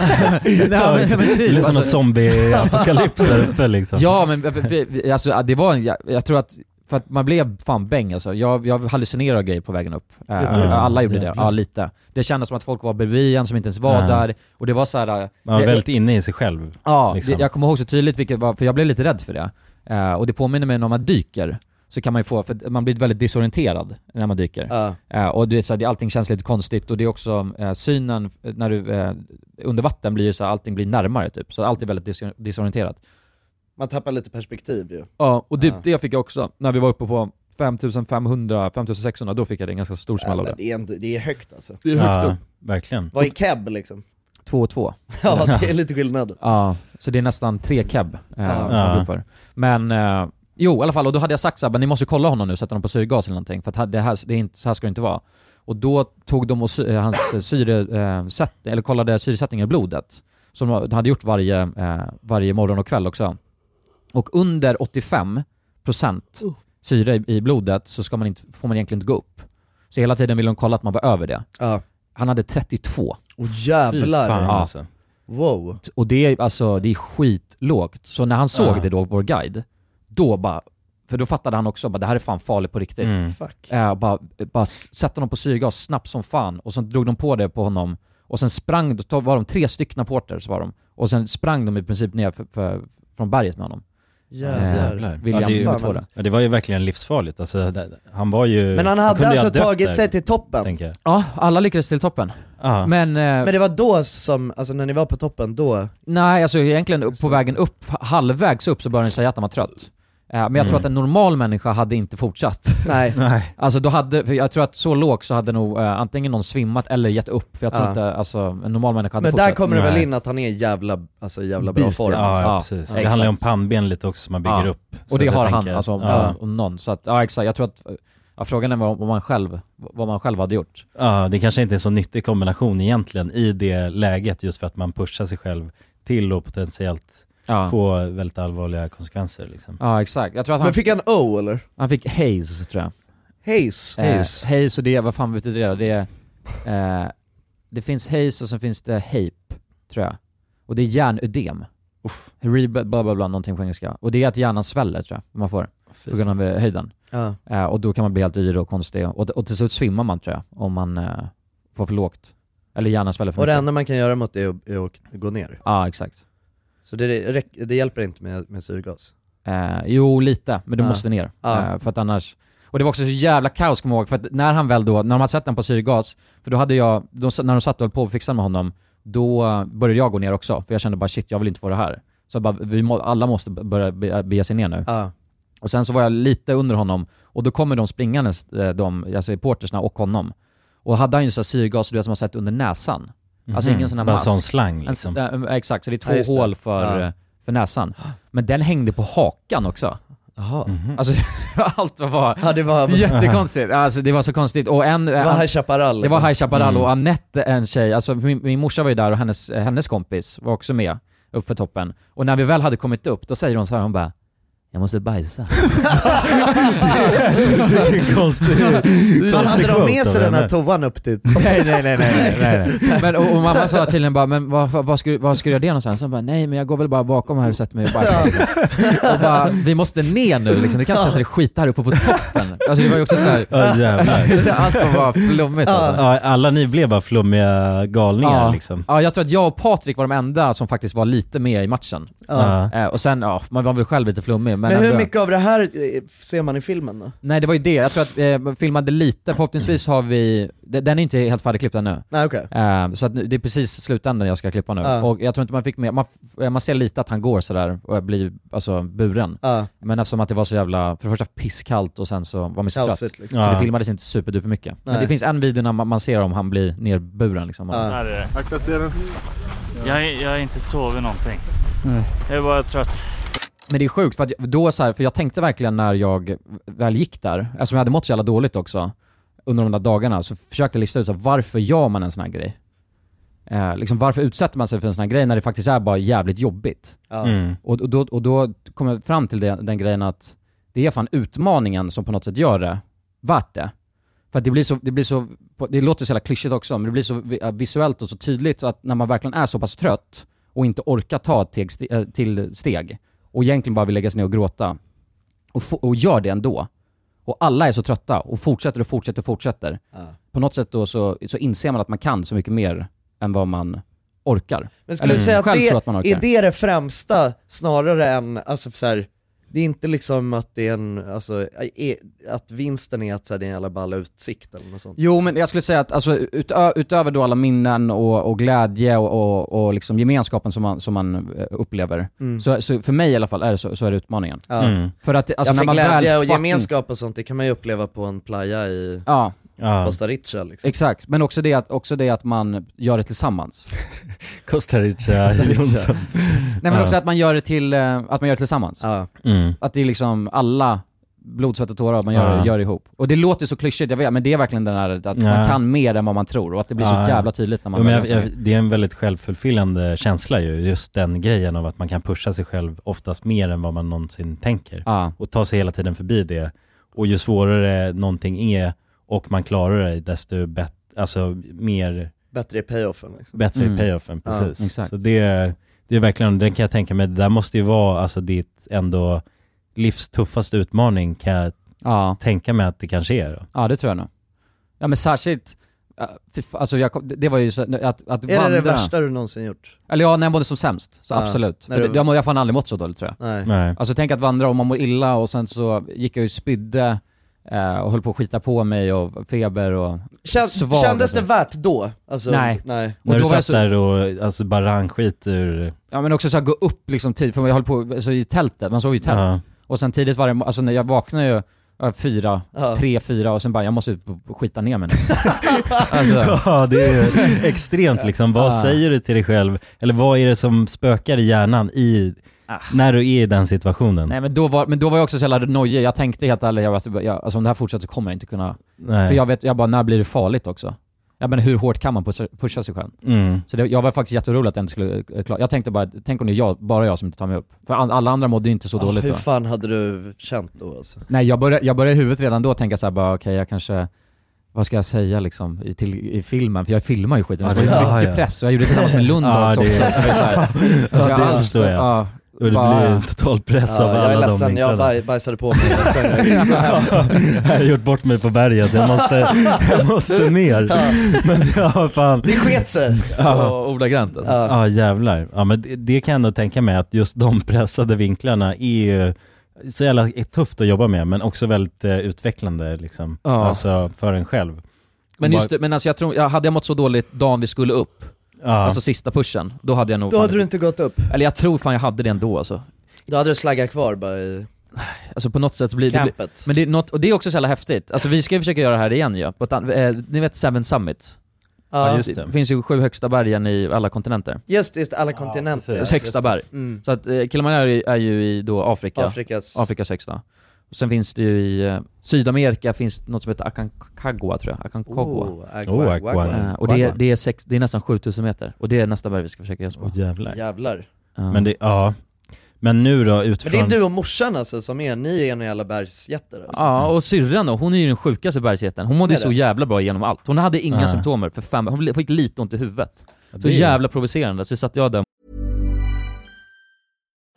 [SPEAKER 1] Nej, men- men typ,
[SPEAKER 3] Det är som en
[SPEAKER 1] alltså.
[SPEAKER 3] zombie-apokalyps där uppe liksom.
[SPEAKER 1] Ja men vi, vi, alltså, det var, en- jag, jag tror att, för att man blev fan bäng alltså. Jag, jag hallucinerade grejer på vägen upp. Eh,
[SPEAKER 3] Gjorde du?
[SPEAKER 1] alla gjorde det,
[SPEAKER 3] Jävlar.
[SPEAKER 1] ja lite. Det kändes som att folk var bredvid en som inte ens var
[SPEAKER 3] Ja.
[SPEAKER 1] där, och det var så här. eh,
[SPEAKER 3] Man var
[SPEAKER 1] jag-
[SPEAKER 3] väldigt inne i sig själv.
[SPEAKER 1] Ja,
[SPEAKER 3] liksom.
[SPEAKER 1] det, jag kommer ihåg så tydligt vilket var, för jag blev lite rädd för det. Eh, och det påminner mig när man dyker, så kan man ju få, för man blir väldigt disorienterad när man dyker.
[SPEAKER 2] Ja.
[SPEAKER 1] Eh, och du vet, så här, det- allting känns lite konstigt och det är också eh, synen, eh, när du, eh, under vatten blir ju så här, allting blir närmare typ. Så allt är väldigt disor- disorienterat.
[SPEAKER 2] Man tappar lite perspektiv ju.
[SPEAKER 1] Ja, och det,
[SPEAKER 2] Ja.
[SPEAKER 1] det fick jag också när vi var uppe på 5500, 5600, då fick jag det en ganska stor smäll av det.
[SPEAKER 2] Det är, ändå, det är högt alltså.
[SPEAKER 1] Det är högt Ja, upp. verkligen.
[SPEAKER 2] Vad är keb liksom?
[SPEAKER 1] Två och två.
[SPEAKER 2] Ja, det är lite skillnad.
[SPEAKER 1] Ja, så det är nästan tre keb eh,
[SPEAKER 2] Ja.
[SPEAKER 1] som
[SPEAKER 2] Ja.
[SPEAKER 1] man går för. Men, eh, jo i alla fall, och då hade jag sagt såhär, men ni måste kolla honom nu, sätta honom på syrgas eller någonting, för att det här, det är inte, så här ska det inte vara. Och då tog de och sy- eh, hans eh, syre, eh, sätt, eller kollade syresättningen i blodet, som de hade gjort varje, eh, varje morgon och kväll också. Och under 85% syre i- i blodet så ska man inte, får man egentligen inte gå upp. Så hela tiden ville de kolla att man var över det. Han hade 32.
[SPEAKER 2] Åh jävlar!
[SPEAKER 1] Fy fan,
[SPEAKER 2] Ja.
[SPEAKER 1] alltså.
[SPEAKER 2] Wow.
[SPEAKER 1] Och det är alltså, det är skitlågt. Så när han såg
[SPEAKER 2] Ja.
[SPEAKER 1] det då, vår guide, då bara, för då fattade han också bara det här är fan farligt på riktigt.
[SPEAKER 2] Mm. Fuck.
[SPEAKER 1] Eh, bara, bara sätta honom på syrgas snabbt som fan och sen drog de på det på honom och sen sprang, då var de tre stycken porters var de, och sen sprang de i princip ner för, för, från berget med honom.
[SPEAKER 3] Jävlar.
[SPEAKER 1] Eh, William,
[SPEAKER 3] ja,
[SPEAKER 1] nummer två
[SPEAKER 3] det,
[SPEAKER 1] där.
[SPEAKER 3] ju- ja, det var ju verkligen livsfarligt. Alltså, det- han var ju...
[SPEAKER 1] Men han hade
[SPEAKER 3] kunde ju ha
[SPEAKER 1] alltså
[SPEAKER 3] dött
[SPEAKER 1] tagit
[SPEAKER 3] där,
[SPEAKER 1] sig till
[SPEAKER 2] toppen.
[SPEAKER 3] Tänker jag.
[SPEAKER 1] Ja, alla lyckades till toppen.
[SPEAKER 3] Ja.
[SPEAKER 1] Men, eh,
[SPEAKER 2] Men det var då som, alltså när ni var på toppen, då...
[SPEAKER 1] Nej, alltså egentligen upp- på vägen upp, halvvägs upp så började den säga att han var trött. Eh, Men jag
[SPEAKER 2] Mm.
[SPEAKER 1] tror att en normal människa hade inte fortsatt.
[SPEAKER 2] Nej.
[SPEAKER 3] Nej.
[SPEAKER 1] Alltså då hade, för jag tror att så lågt så hade nog eh, antingen någon svimmat eller gett upp, för jag tror
[SPEAKER 2] Ja.
[SPEAKER 1] inte, alltså en normal människa hade
[SPEAKER 2] Men
[SPEAKER 1] fortsatt.
[SPEAKER 2] där kommer det väl in att han är jävla, alltså jävla bra
[SPEAKER 1] Beast,
[SPEAKER 2] form.
[SPEAKER 1] ja.
[SPEAKER 2] alltså.
[SPEAKER 3] Ja, precis. Det handlar ju om pannben lite också som man bygger
[SPEAKER 1] Ja.
[SPEAKER 3] upp. Så
[SPEAKER 1] Och det
[SPEAKER 3] jag
[SPEAKER 1] har han
[SPEAKER 3] tänker-
[SPEAKER 1] alltså, om,
[SPEAKER 3] Ja.
[SPEAKER 1] om någon. Så att, ja exakt, jag tror att, ja, frågan är vad vad man själv, vad man själv hade gjort.
[SPEAKER 3] Ja, det kanske inte är en så nyttig kombination egentligen i det läget just för att man pushar sig själv till och potentiellt
[SPEAKER 1] Ja.
[SPEAKER 3] få väldigt allvarliga konsekvenser liksom.
[SPEAKER 1] Ja exakt, jag tror att han...
[SPEAKER 3] Men fick
[SPEAKER 2] han O eller?
[SPEAKER 1] Han fick Haze tror jag.
[SPEAKER 2] Haze?
[SPEAKER 1] Haze.
[SPEAKER 2] Haze.
[SPEAKER 1] Eh, haze och det, vad fan betyder det då? Det är... Eh, det finns Haze och sen finns det Hape, tror jag. Och det är hjärnödem. Uff. Rebel, bla bla bla, någonting på engelska. Och det är att hjärnan sväller tror jag, man får. På grund av eh, höjden.
[SPEAKER 2] Ja.
[SPEAKER 1] Eh, och då kan man bli helt yr och konstig. Och, och till slut svimmar man tror jag, om man eh, får för lågt. Eller hjärnan sväller för
[SPEAKER 2] Och det
[SPEAKER 1] mycket.
[SPEAKER 2] enda man kan göra mot det är att, är att gå ner.
[SPEAKER 1] Ja, exakt.
[SPEAKER 2] Så det, räck- det hjälper inte med, med syrgas?
[SPEAKER 1] Eh, jo, lite, men du
[SPEAKER 2] Ja.
[SPEAKER 1] måste ner.
[SPEAKER 2] Ja.
[SPEAKER 1] Eh, för att annars... Och det var också så jävla kaos, kommer jag ihåg, för att när han väl då, när de hade satt den på syrgas, för då hade jag, de, när de satt och höll på och fixade med honom, då eh, började jag gå ner också, för jag kände bara shit, jag vill inte få det här. Så jag bara, vi må, alla måste b- börja be- bege sig ner nu. Och sen så var jag lite under honom och då kommer de springandes, eh, de, alltså portersna och honom. Och hade han ju så här syrgas du vet, som man sett under näsan. Alltså
[SPEAKER 3] Mhm.
[SPEAKER 1] ingen sån här
[SPEAKER 3] Bara
[SPEAKER 1] mask.
[SPEAKER 3] sån slang,
[SPEAKER 1] En-
[SPEAKER 3] liksom.
[SPEAKER 1] eh, Exakt, så det är två
[SPEAKER 3] Ja, just det.
[SPEAKER 1] hål för,
[SPEAKER 3] Ja.
[SPEAKER 1] eh, för näsan. Men den hängde på hakan också.
[SPEAKER 2] Jaha.
[SPEAKER 3] Mhm.
[SPEAKER 1] Alltså allt var,
[SPEAKER 2] Ja, det var
[SPEAKER 1] jättekonstigt. Alltså det var så konstigt. Och en, eh,
[SPEAKER 2] Det var High Chaparral.
[SPEAKER 1] det var High Chaparral
[SPEAKER 2] Mm.
[SPEAKER 1] och Anette, en tjej, alltså min, min morsa var ju där och hennes, eh, hennes kompis var också med upp för toppen. Och när vi väl hade kommit upp, då säger hon så här, hon bara jag måste bajsa.
[SPEAKER 2] Vilken konstig- Men hade de med sig den här toan upp till toppen?
[SPEAKER 1] Nej nej nej nej. nej, nej. Men, och, och mamma sa till henne bara, men vad, vad, vad, ska, du- vad ska du göra det någonstans? Hon bara, nej men jag går väl bara bakom här och sätter mig och bajsar. och bara, vi måste ner nu liksom, du kan inte sätta dig skit här uppe på toppen. Alltså det var ju också så här,
[SPEAKER 3] Ja, jävlar.
[SPEAKER 1] allt var bara flummigt alltså.
[SPEAKER 3] Ja, alla ni blev bara flummiga galningar
[SPEAKER 1] ja.
[SPEAKER 3] liksom.
[SPEAKER 1] Ja, jag tror att jag och Patrik var de enda som faktiskt var lite med i matchen.
[SPEAKER 3] Ja.
[SPEAKER 1] Eh, och sen, ja, man var väl själv lite flummig men,
[SPEAKER 2] Men hur
[SPEAKER 1] ändå-
[SPEAKER 2] mycket av det här eh, ser man i filmen då?
[SPEAKER 1] Nej det var ju det, jag tror att eh, man filmade lite, förhoppningsvis har vi, de- den är inte helt färdigklippt ännu.
[SPEAKER 2] Nej, okej.
[SPEAKER 1] Eh, så att nu, det är precis slutändan jag ska klippa nu.
[SPEAKER 2] Ja.
[SPEAKER 1] Och jag tror inte man fick med, man, f- eh, man ser lite att han går sådär och blir alltså buren.
[SPEAKER 2] Ja.
[SPEAKER 1] Men eftersom att det var så jävla, för det första pisskallt och sen så var man ju så trött.
[SPEAKER 2] Kaosigt, liksom.
[SPEAKER 1] Så
[SPEAKER 2] Ja.
[SPEAKER 1] det filmades inte superduper mycket. Men
[SPEAKER 2] Nej.
[SPEAKER 1] det finns en video när man, man ser om han blir nerburen liksom.
[SPEAKER 11] Här är det. Akta stenen. Jag, jag har inte sovit någonting.
[SPEAKER 1] Nej.
[SPEAKER 11] Jag är bara trött.
[SPEAKER 1] Men det är sjukt, för, att jag- då så här, för jag tänkte verkligen när jag väl gick där, eftersom jag hade mått så jävla dåligt också under de där dagarna, så försökte jag lista ut så här, varför gör man en sån här grej? Eh, liksom varför utsätter man sig för en sån här grej när det faktiskt är bara jävligt jobbigt?
[SPEAKER 2] Ja. Mm.
[SPEAKER 1] Och, och, då, och då kom jag fram till det, den grejen att det är fan utmaningen som på något sätt gör det värt det. För att det blir så, det blir så, det låter så jävla klyschigt också, men det blir så vi- eh, visuellt och så tydligt så att när man verkligen är så pass trött och inte orkar ta ett teg, ste- eh, till steg och egentligen bara vill lägga sig ner och gråta och, få- och gör det ändå och alla är så trötta och fortsätter och fortsätter och fortsätter. På något sätt då så, så inser man att man kan så mycket mer än vad man orkar.
[SPEAKER 2] Men skulle
[SPEAKER 1] Eller
[SPEAKER 2] du säga att
[SPEAKER 1] själv
[SPEAKER 2] det,
[SPEAKER 1] tror att man orkar.
[SPEAKER 2] är det det främsta snarare än, alltså så här, det är inte liksom att det är en, alltså, är, att vinsten är att så här, det är en jävla ball utsikt eller något sånt?
[SPEAKER 1] Jo men jag skulle säga att alltså, utö- utöver då alla minnen och, och glädje och, och, och liksom gemenskapen som man, som man eh, upplever,
[SPEAKER 2] Mm.
[SPEAKER 1] så, så för mig i alla fall är det så, så är det utmaningen.
[SPEAKER 2] Ja.
[SPEAKER 3] Mm.
[SPEAKER 1] För att alltså,
[SPEAKER 2] ja,
[SPEAKER 1] när
[SPEAKER 2] för
[SPEAKER 1] man
[SPEAKER 2] glädje
[SPEAKER 1] väl
[SPEAKER 2] och
[SPEAKER 1] fucking-
[SPEAKER 2] gemenskap och sånt, det kan man ju uppleva på en playa i
[SPEAKER 1] Ja. Ja.
[SPEAKER 2] Costa Rica liksom.
[SPEAKER 1] Exakt, men också det, att, också det att man gör det tillsammans.
[SPEAKER 3] Costa Rica,
[SPEAKER 1] Costa Rica.
[SPEAKER 3] Jonsson.
[SPEAKER 1] Nej men
[SPEAKER 3] Ja.
[SPEAKER 1] också att man gör det till, eh, att man gör det tillsammans.
[SPEAKER 3] Mm.
[SPEAKER 1] Att det är liksom alla blod, svett och tårar man gör,
[SPEAKER 3] Ja.
[SPEAKER 1] gör ihop. Och det låter så klyschigt, jag vet, men det är verkligen den här att man
[SPEAKER 3] Ja.
[SPEAKER 1] kan mer än vad man tror och att det blir
[SPEAKER 3] Ja,
[SPEAKER 1] så
[SPEAKER 3] ja.
[SPEAKER 1] jävla tydligt när man
[SPEAKER 3] Jo, men
[SPEAKER 1] väl
[SPEAKER 3] jag,
[SPEAKER 1] gör det.
[SPEAKER 3] jag, Det är en väldigt självförfyllande känsla ju, just den grejen av att man kan pusha sig själv oftast mer än vad man någonsin tänker. Och ta sig hela tiden förbi det. Och ju svårare någonting är och man klarar det, desto bättre, alltså mer
[SPEAKER 2] Bättre i payoffen liksom.
[SPEAKER 3] bättre i payoffen, precis. Så det, det är verkligen, den kan jag tänka mig, det där måste ju vara alltså ditt ändå livs tuffaste utmaning kan jag tänka mig att det kanske är då.
[SPEAKER 1] Ja det tror jag nog. Ja men särskilt, äh, fy fa- alltså jag, kom- det- det var ju så, att, att
[SPEAKER 2] Är det det
[SPEAKER 1] vandra-
[SPEAKER 2] värsta du någonsin gjort?
[SPEAKER 1] Eller ja, när jag mådde som sämst. Så
[SPEAKER 2] Ja,
[SPEAKER 1] absolut.
[SPEAKER 2] när
[SPEAKER 1] För
[SPEAKER 2] du-
[SPEAKER 1] det- Jag, mår- jag har fan aldrig mått så dåligt tror jag.
[SPEAKER 2] Nej. Nej.
[SPEAKER 1] Alltså tänk att vandra och man mår illa och sen så gick jag ju och spydde eh, och höll på att skita på mig och feber och
[SPEAKER 2] Kän,
[SPEAKER 1] sval
[SPEAKER 2] kändes
[SPEAKER 1] och
[SPEAKER 2] det
[SPEAKER 1] så.
[SPEAKER 2] värt då? Alltså,
[SPEAKER 1] liksom. nej.
[SPEAKER 2] nej.
[SPEAKER 1] Och
[SPEAKER 3] När du
[SPEAKER 1] då var jag
[SPEAKER 3] satt
[SPEAKER 1] så,
[SPEAKER 3] där och alltså, bara rann skit ur...
[SPEAKER 1] Ja men också så här, gå upp liksom tid, för jag höll på, så i tältet, man sov ju i tält.
[SPEAKER 3] Ja.
[SPEAKER 1] Och sen tidigt varje morgon, alltså när jag vaknade ju eh, fyra,
[SPEAKER 3] Ja.
[SPEAKER 1] tre, fyra och sen bara jag måste ut och skita ner mig nu. alltså,
[SPEAKER 3] Ja, det är extremt liksom. Vad
[SPEAKER 1] Ja.
[SPEAKER 3] säger du till dig själv? Eller vad är det som spökar i hjärnan i, när du är i den situationen?
[SPEAKER 1] Ah. Nej men då var, men då var jag också så jävla nojig, jag tänkte helt ärligt, jag, var- jag, alltså om det här fortsätter så kommer jag inte kunna...
[SPEAKER 3] Nej.
[SPEAKER 1] För jag vet, jag bara, när blir det farligt också? Ja men hur hårt kan man pusha, pusha sig själv?
[SPEAKER 3] Mm.
[SPEAKER 1] Så det, jag var faktiskt jätteorolig att den skulle eh, klara, jag tänkte bara, tänk om det är jag, bara jag som inte tar mig upp. För an- alla andra mådde ju inte så
[SPEAKER 2] Ah,
[SPEAKER 1] dåligt
[SPEAKER 2] Hur
[SPEAKER 1] då.
[SPEAKER 2] fan hade du känt då alltså?
[SPEAKER 1] Nej jag började, jag började i huvudet redan då tänka såhär bara, okej jag kanske, vad ska jag säga liksom i, till, i filmen? För jag filmar ju skiten,
[SPEAKER 3] Ja,
[SPEAKER 1] så det
[SPEAKER 3] det-
[SPEAKER 1] var
[SPEAKER 3] ja,
[SPEAKER 1] mycket
[SPEAKER 3] ja.
[SPEAKER 1] press. Och jag gjorde det tillsammans med Lund
[SPEAKER 3] Ja,
[SPEAKER 1] också.
[SPEAKER 3] det-
[SPEAKER 1] också, så det är så här- Alltså,
[SPEAKER 3] Ja,
[SPEAKER 1] så
[SPEAKER 3] det
[SPEAKER 1] allt-
[SPEAKER 3] förstår jag.
[SPEAKER 1] ja,
[SPEAKER 3] Och det
[SPEAKER 1] bara-
[SPEAKER 3] blir en total press av
[SPEAKER 2] Ja,
[SPEAKER 3] alla
[SPEAKER 2] jag är
[SPEAKER 3] de
[SPEAKER 2] ledsen, jag
[SPEAKER 3] vinklarna.
[SPEAKER 2] baj, bajsade på mig. Ja.
[SPEAKER 3] Jag har gjort bort mig på berget, jag måste, jag måste ner.
[SPEAKER 2] Ja.
[SPEAKER 3] Men ja, fan.
[SPEAKER 2] Det sket sig.
[SPEAKER 3] Ja.
[SPEAKER 1] ordagrant alltså.
[SPEAKER 3] Ja, jävlar. Ja, men det, det kan jag ändå tänka mig att just de pressade vinklarna är ju så jävla tufft att jobba med men också väldigt eh, utvecklande liksom.
[SPEAKER 1] Ja.
[SPEAKER 3] Alltså för en själv.
[SPEAKER 1] Men
[SPEAKER 3] Bara-
[SPEAKER 1] just det, men alltså jag tror, jag hade jag mått så dåligt dagen vi skulle upp, alltså sista pushen, då hade jag nog
[SPEAKER 2] Då
[SPEAKER 1] fan
[SPEAKER 2] hade du inte gått upp.
[SPEAKER 1] Eller jag tror fan jag hade det ändå alltså.
[SPEAKER 2] Då hade du slaggat kvar bara i...
[SPEAKER 1] Alltså på något sätt så blir det...
[SPEAKER 2] Campet.
[SPEAKER 1] blir- Men det är något, och det är också så jävla häftigt. Alltså vi ska ju försöka göra det här igen ju. Ja. På ett an- eh, ni vet Seven Summit?
[SPEAKER 2] Ja, just det.
[SPEAKER 1] finns ju sju högsta bergen i alla kontinenter.
[SPEAKER 2] Just just alla kontinenter.
[SPEAKER 1] Yes, högsta berg.
[SPEAKER 2] Mm.
[SPEAKER 1] Så att eh, Kilimanjaro är- är ju i då Afrika.
[SPEAKER 2] Afrikas-
[SPEAKER 1] Afrikas högsta. Och sen finns det ju i eh, Sydamerika finns något som heter Aconcagua tror jag, Aconcagua.
[SPEAKER 2] Oh, Aconcagua. Oh, Aconcagua.
[SPEAKER 1] Eh, Och det, är- det, är sex, det är nästan 7000 meter, och det är nästa berg vi ska försöka göra oss på.
[SPEAKER 3] Åh, jävlar.
[SPEAKER 2] Jävlar.
[SPEAKER 1] Ja.
[SPEAKER 3] Men det, ja. Men nu då
[SPEAKER 2] Men
[SPEAKER 3] utifrån...
[SPEAKER 2] det är du och morsan alltså som är, ni är en jävla bergsjätter alltså.
[SPEAKER 1] Ja, och syrran då, hon är ju den sjukaste bergsjätten. Hon mådde ju
[SPEAKER 2] Är
[SPEAKER 1] så
[SPEAKER 2] det?
[SPEAKER 1] jävla bra igenom allt. Hon hade inga
[SPEAKER 2] Nej.
[SPEAKER 1] symptomer för fem, hon fick lite ont i huvudet. Så
[SPEAKER 12] det är-
[SPEAKER 1] jävla provocerande, så satt jag där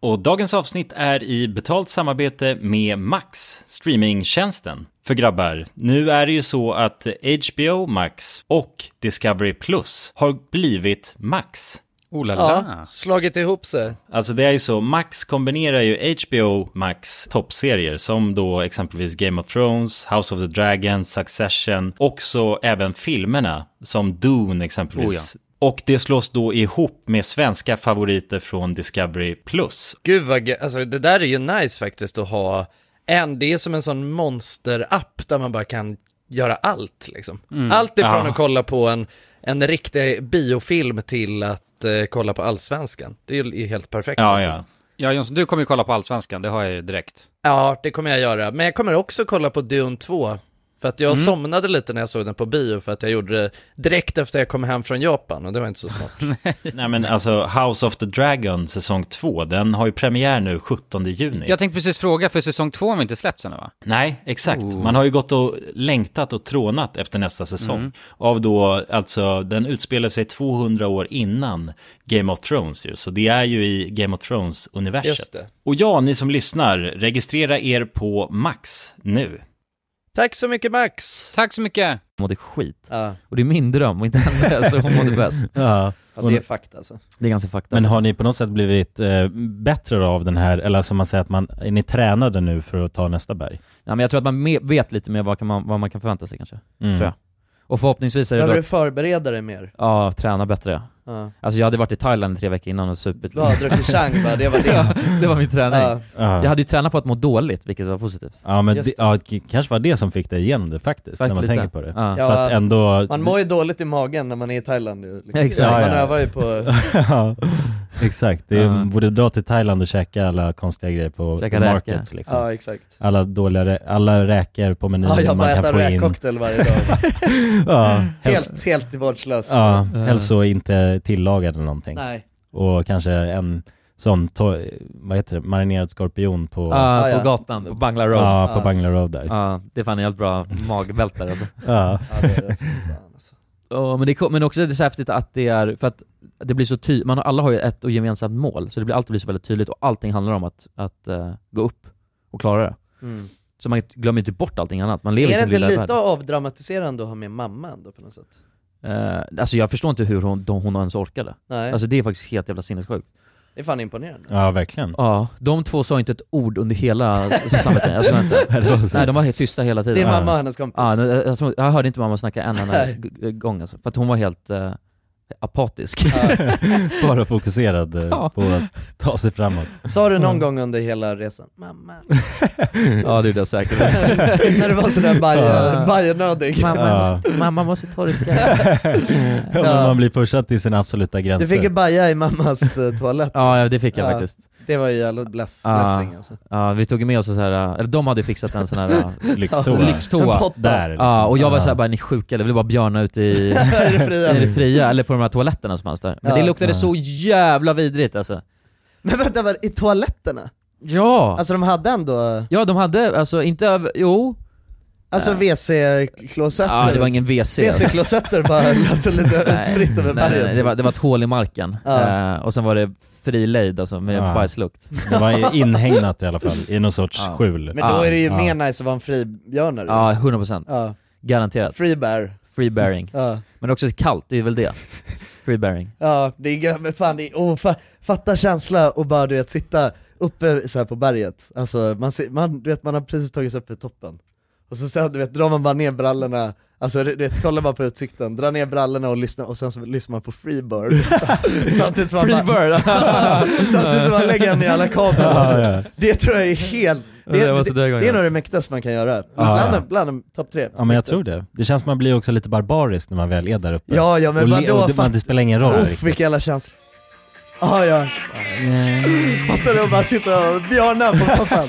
[SPEAKER 12] Och dagens avsnitt är i betalt samarbete med Max, streamingtjänsten för grabbar.
[SPEAKER 3] Nu är det ju så att HBO Max och Discovery Plus har blivit Max.
[SPEAKER 8] Oh
[SPEAKER 7] Ja, slagit ihop sig.
[SPEAKER 12] Alltså det är ju så, Max kombinerar ju HBO Max toppserier som då exempelvis Game of Thrones, House of the Dragon, Succession och så även filmerna som Dune exempelvis.
[SPEAKER 7] Oh
[SPEAKER 12] Och det slås då ihop med svenska favoriter från Discovery Plus.
[SPEAKER 7] Gud vad ge- alltså det där är ju nice faktiskt att ha en, det är som en sån monster-app där man bara kan göra allt liksom.
[SPEAKER 8] Mm.
[SPEAKER 7] Allt ifrån
[SPEAKER 8] Ja.
[SPEAKER 7] att kolla på en, en riktig biofilm till att eh, kolla på allsvenskan. Det är ju helt perfekt. faktiskt.
[SPEAKER 8] Ja, Jonsson, du kommer ju kolla på Allsvenskan, det har jag ju direkt.
[SPEAKER 7] ja, det kommer jag göra. Men jag kommer också kolla på Dune 2. För att jag
[SPEAKER 8] Mm.
[SPEAKER 7] somnade lite när jag såg den på bio för att jag gjorde det direkt efter jag kom hem från Japan och det var inte så smart.
[SPEAKER 12] Nej men alltså House of the Dragon säsong 2, den har ju premiär nu 17 juni.
[SPEAKER 8] Jag tänkte precis fråga, för säsong två har vi inte släppts ännu va?
[SPEAKER 12] Nej, exakt.
[SPEAKER 8] Oh.
[SPEAKER 12] Man har ju gått och längtat och trånat efter nästa säsong.
[SPEAKER 8] Mm.
[SPEAKER 12] Av då, alltså, den utspelar sig 200 år innan Game of Thrones ju. Så det är ju i Game of
[SPEAKER 7] Just
[SPEAKER 12] Thrones-universet.
[SPEAKER 7] det.
[SPEAKER 12] Och ja, ni som lyssnar, registrera er på Max nu.
[SPEAKER 7] Tack så mycket Max!
[SPEAKER 8] Tack så mycket!
[SPEAKER 1] och mådde skit. Och det är min dröm, och inte hennes, så hon mådde bäst.
[SPEAKER 3] Ja.
[SPEAKER 2] Ja, det är fakta alltså.
[SPEAKER 1] Det är ganska fakta.
[SPEAKER 3] Men har ni på något sätt blivit eh, bättre då av den här, eller som man säger att man, är ni tränade nu för att ta nästa berg?
[SPEAKER 1] Ja, men jag tror att man me- vet lite mer vad, kan man, vad man kan förvänta sig kanske.
[SPEAKER 3] Mm.
[SPEAKER 1] Tror jag. Och förhoppningsvis är det
[SPEAKER 2] Behöver
[SPEAKER 1] då-
[SPEAKER 2] du förbereda dig mer?
[SPEAKER 1] Ja, träna bättre
[SPEAKER 2] Ja.
[SPEAKER 1] Alltså jag hade varit i Thailand i tre veckor innan och supit
[SPEAKER 2] Ja, druckit Chang bara, det var det.
[SPEAKER 1] Ja, det var min träning
[SPEAKER 2] Ja.
[SPEAKER 3] Ja.
[SPEAKER 1] Jag hade ju tränat på att må dåligt, vilket var positivt
[SPEAKER 3] Ja men
[SPEAKER 1] Just
[SPEAKER 3] det, ja, k- kanske var det som fick dig igenom det faktiskt, när man
[SPEAKER 1] Faktiskt
[SPEAKER 3] tänker
[SPEAKER 1] lite.
[SPEAKER 3] på det.
[SPEAKER 1] Ja.
[SPEAKER 3] Så att ändå...
[SPEAKER 2] Man mår ju dåligt i magen när man är i Thailand ju. liksom.
[SPEAKER 3] Exakt.
[SPEAKER 2] Man
[SPEAKER 3] Ja, ja.
[SPEAKER 2] övar ju på...
[SPEAKER 3] ja, exakt, det är,
[SPEAKER 2] Ja.
[SPEAKER 3] borde dra till Thailand och käka alla konstiga grejer på,
[SPEAKER 2] Käka
[SPEAKER 3] på
[SPEAKER 2] räkor.
[SPEAKER 3] markets liksom.
[SPEAKER 2] Ja, exakt.
[SPEAKER 3] Alla dåliga, rä- alla räkor på menyn
[SPEAKER 2] Ja, jag
[SPEAKER 3] man
[SPEAKER 2] bara
[SPEAKER 3] kan
[SPEAKER 2] äter
[SPEAKER 3] få in.
[SPEAKER 2] räkcocktail varje dag.
[SPEAKER 3] ja,
[SPEAKER 2] helt, helt vårdslös.
[SPEAKER 3] Ja, helst så inte tillagad eller någonting.
[SPEAKER 2] eh. Nej.
[SPEAKER 3] Och kanske en sån, to- vad heter det, marinerad skorpion på...
[SPEAKER 1] Ja, på gatan, på Bangla Road
[SPEAKER 3] Ja, på Bangla Road där.
[SPEAKER 1] Ja, det är fan en jävligt bra magvältare alltså.
[SPEAKER 3] Ja.
[SPEAKER 2] Ja, det är det. Fan, alltså.
[SPEAKER 1] Ja, men, det, kom- men också är det så häftigt att det är, för att det blir så tydligt, alla har ju ett och gemensamt mål, så det blir alltid blir så väldigt tydligt och allting handlar om att, att eh, gå upp och klara det.
[SPEAKER 2] Mm.
[SPEAKER 1] Så man glömmer inte bort allting annat, man lever i
[SPEAKER 2] Är det
[SPEAKER 1] sin
[SPEAKER 2] inte
[SPEAKER 1] lilla
[SPEAKER 2] lite
[SPEAKER 1] värld.
[SPEAKER 2] avdramatiserande att ha med mamma ändå på något sätt?
[SPEAKER 1] Eh, alltså jag förstår inte hur hon, de, hon ens orkade.
[SPEAKER 2] Nej.
[SPEAKER 1] Alltså det är faktiskt helt jävla sinnessjukt.
[SPEAKER 2] Det är fan imponerande.
[SPEAKER 3] Ja, verkligen.
[SPEAKER 1] Mm. Ja, de två sa inte ett ord under hela s- samveten, jag skojar
[SPEAKER 3] Nej, det var
[SPEAKER 1] inte.
[SPEAKER 3] så.
[SPEAKER 1] Nej, de var helt tysta hela tiden.
[SPEAKER 2] Din mamma och hennes kompis.
[SPEAKER 1] Ja, men jag, jag, tror, jag hörde inte mamma snacka en enda
[SPEAKER 2] Nej.
[SPEAKER 1] g- g- gång alltså, för att hon var helt, eh, apatisk.
[SPEAKER 3] Bara fokuserad eh,
[SPEAKER 1] Ja.
[SPEAKER 3] på att ta sig framåt.
[SPEAKER 2] Sa du någon gång under hela resan, mamma?
[SPEAKER 1] ja det är det säkert.
[SPEAKER 2] När du var sådär bajen-
[SPEAKER 1] Ja.
[SPEAKER 2] bajenödig.
[SPEAKER 1] Mamma, jag måste-
[SPEAKER 2] Ja.
[SPEAKER 1] mamma måste ta det
[SPEAKER 3] Ja, men man blir pushad till sina absoluta
[SPEAKER 2] Du
[SPEAKER 3] gränser.
[SPEAKER 2] fick ju baja i mammas eh, toalett.
[SPEAKER 1] Ja det fick jag faktiskt.
[SPEAKER 2] Det var ju jävla bless,
[SPEAKER 1] Ja,
[SPEAKER 2] blessing alltså.
[SPEAKER 1] ja, vi tog med oss så här, eh, eller de hade fixat en sån här ja,
[SPEAKER 3] Lyxtoa.
[SPEAKER 1] lyxtoa.
[SPEAKER 3] En potta. Där, liksom.
[SPEAKER 1] ja, och jag var
[SPEAKER 3] Ja.
[SPEAKER 1] såhär bara, ni är sjuka eller? Vi vill bara björna ute i,
[SPEAKER 2] I det fria.
[SPEAKER 1] i det fria, eller på de här toaletterna som fanns där. Men
[SPEAKER 2] Ja.
[SPEAKER 1] det luktade
[SPEAKER 2] Ja.
[SPEAKER 1] så jävla vidrigt alltså.
[SPEAKER 2] Men vänta, var, i toaletterna?
[SPEAKER 1] Ja!
[SPEAKER 2] Alltså de hade ändå,
[SPEAKER 1] Ja de hade, alltså inte över, jo.
[SPEAKER 2] alltså
[SPEAKER 1] Ja.
[SPEAKER 2] WC-klosetter?
[SPEAKER 1] Ja det var ingen WC.
[SPEAKER 2] WC-klosetter bara, alltså lite
[SPEAKER 1] Nej,
[SPEAKER 2] utspritt
[SPEAKER 1] nej,
[SPEAKER 2] över
[SPEAKER 1] nej, nej,
[SPEAKER 2] berget.
[SPEAKER 1] det, var, det var ett hål i marken,
[SPEAKER 2] Ja.
[SPEAKER 1] Eh, och sen var det frilejd alltså med
[SPEAKER 3] Ja.
[SPEAKER 1] bajslukt.
[SPEAKER 3] Det var ju inhägnat i alla fall, i någon sorts skjul.
[SPEAKER 2] Men då är det ju mer nice att vara en fribjörnare.
[SPEAKER 1] Ja, 100 procent.
[SPEAKER 2] Ja.
[SPEAKER 1] Garanterat.
[SPEAKER 2] Free bear.
[SPEAKER 1] Free bearing.
[SPEAKER 2] Ja.
[SPEAKER 1] Men också kallt, det är väl det. Free bearing.
[SPEAKER 2] Ja, det är gö- men fan, det är, oh, fa, fatta känsla och bara du vet sitta uppe så här på berget, alltså man, ser, man, du vet, man har precis tagit sig upp i toppen, och så sen, du vet, drar man bara ner brallorna, alltså du vet, kollar bara på utsikten, drar ner brallorna och lyssnar, och sen så lyssnar man på Freebird Samtidigt som man bara-
[SPEAKER 1] Freebird.
[SPEAKER 2] Samtidigt som man lägger den i alla kabel alltså.
[SPEAKER 3] Ja, ja.
[SPEAKER 2] Det tror jag är helt, det,
[SPEAKER 3] Det var så
[SPEAKER 2] det,
[SPEAKER 3] där gången.
[SPEAKER 2] det är nog det mäktigaste man kan göra,
[SPEAKER 3] Ja.
[SPEAKER 2] bland, de- bland de topp tre
[SPEAKER 3] Ja men jag tror det. Det känns som man blir också lite barbarisk när man väl är där uppe.
[SPEAKER 2] Ja, ja men
[SPEAKER 3] och le-
[SPEAKER 2] vadå?
[SPEAKER 3] Och det, man,
[SPEAKER 2] fatt-
[SPEAKER 3] det spelar ingen roll
[SPEAKER 2] Uff,
[SPEAKER 3] riktigt.
[SPEAKER 2] vilka jävla känslor. Ah, ja. Fattar du att bara sitta och björna på toppen?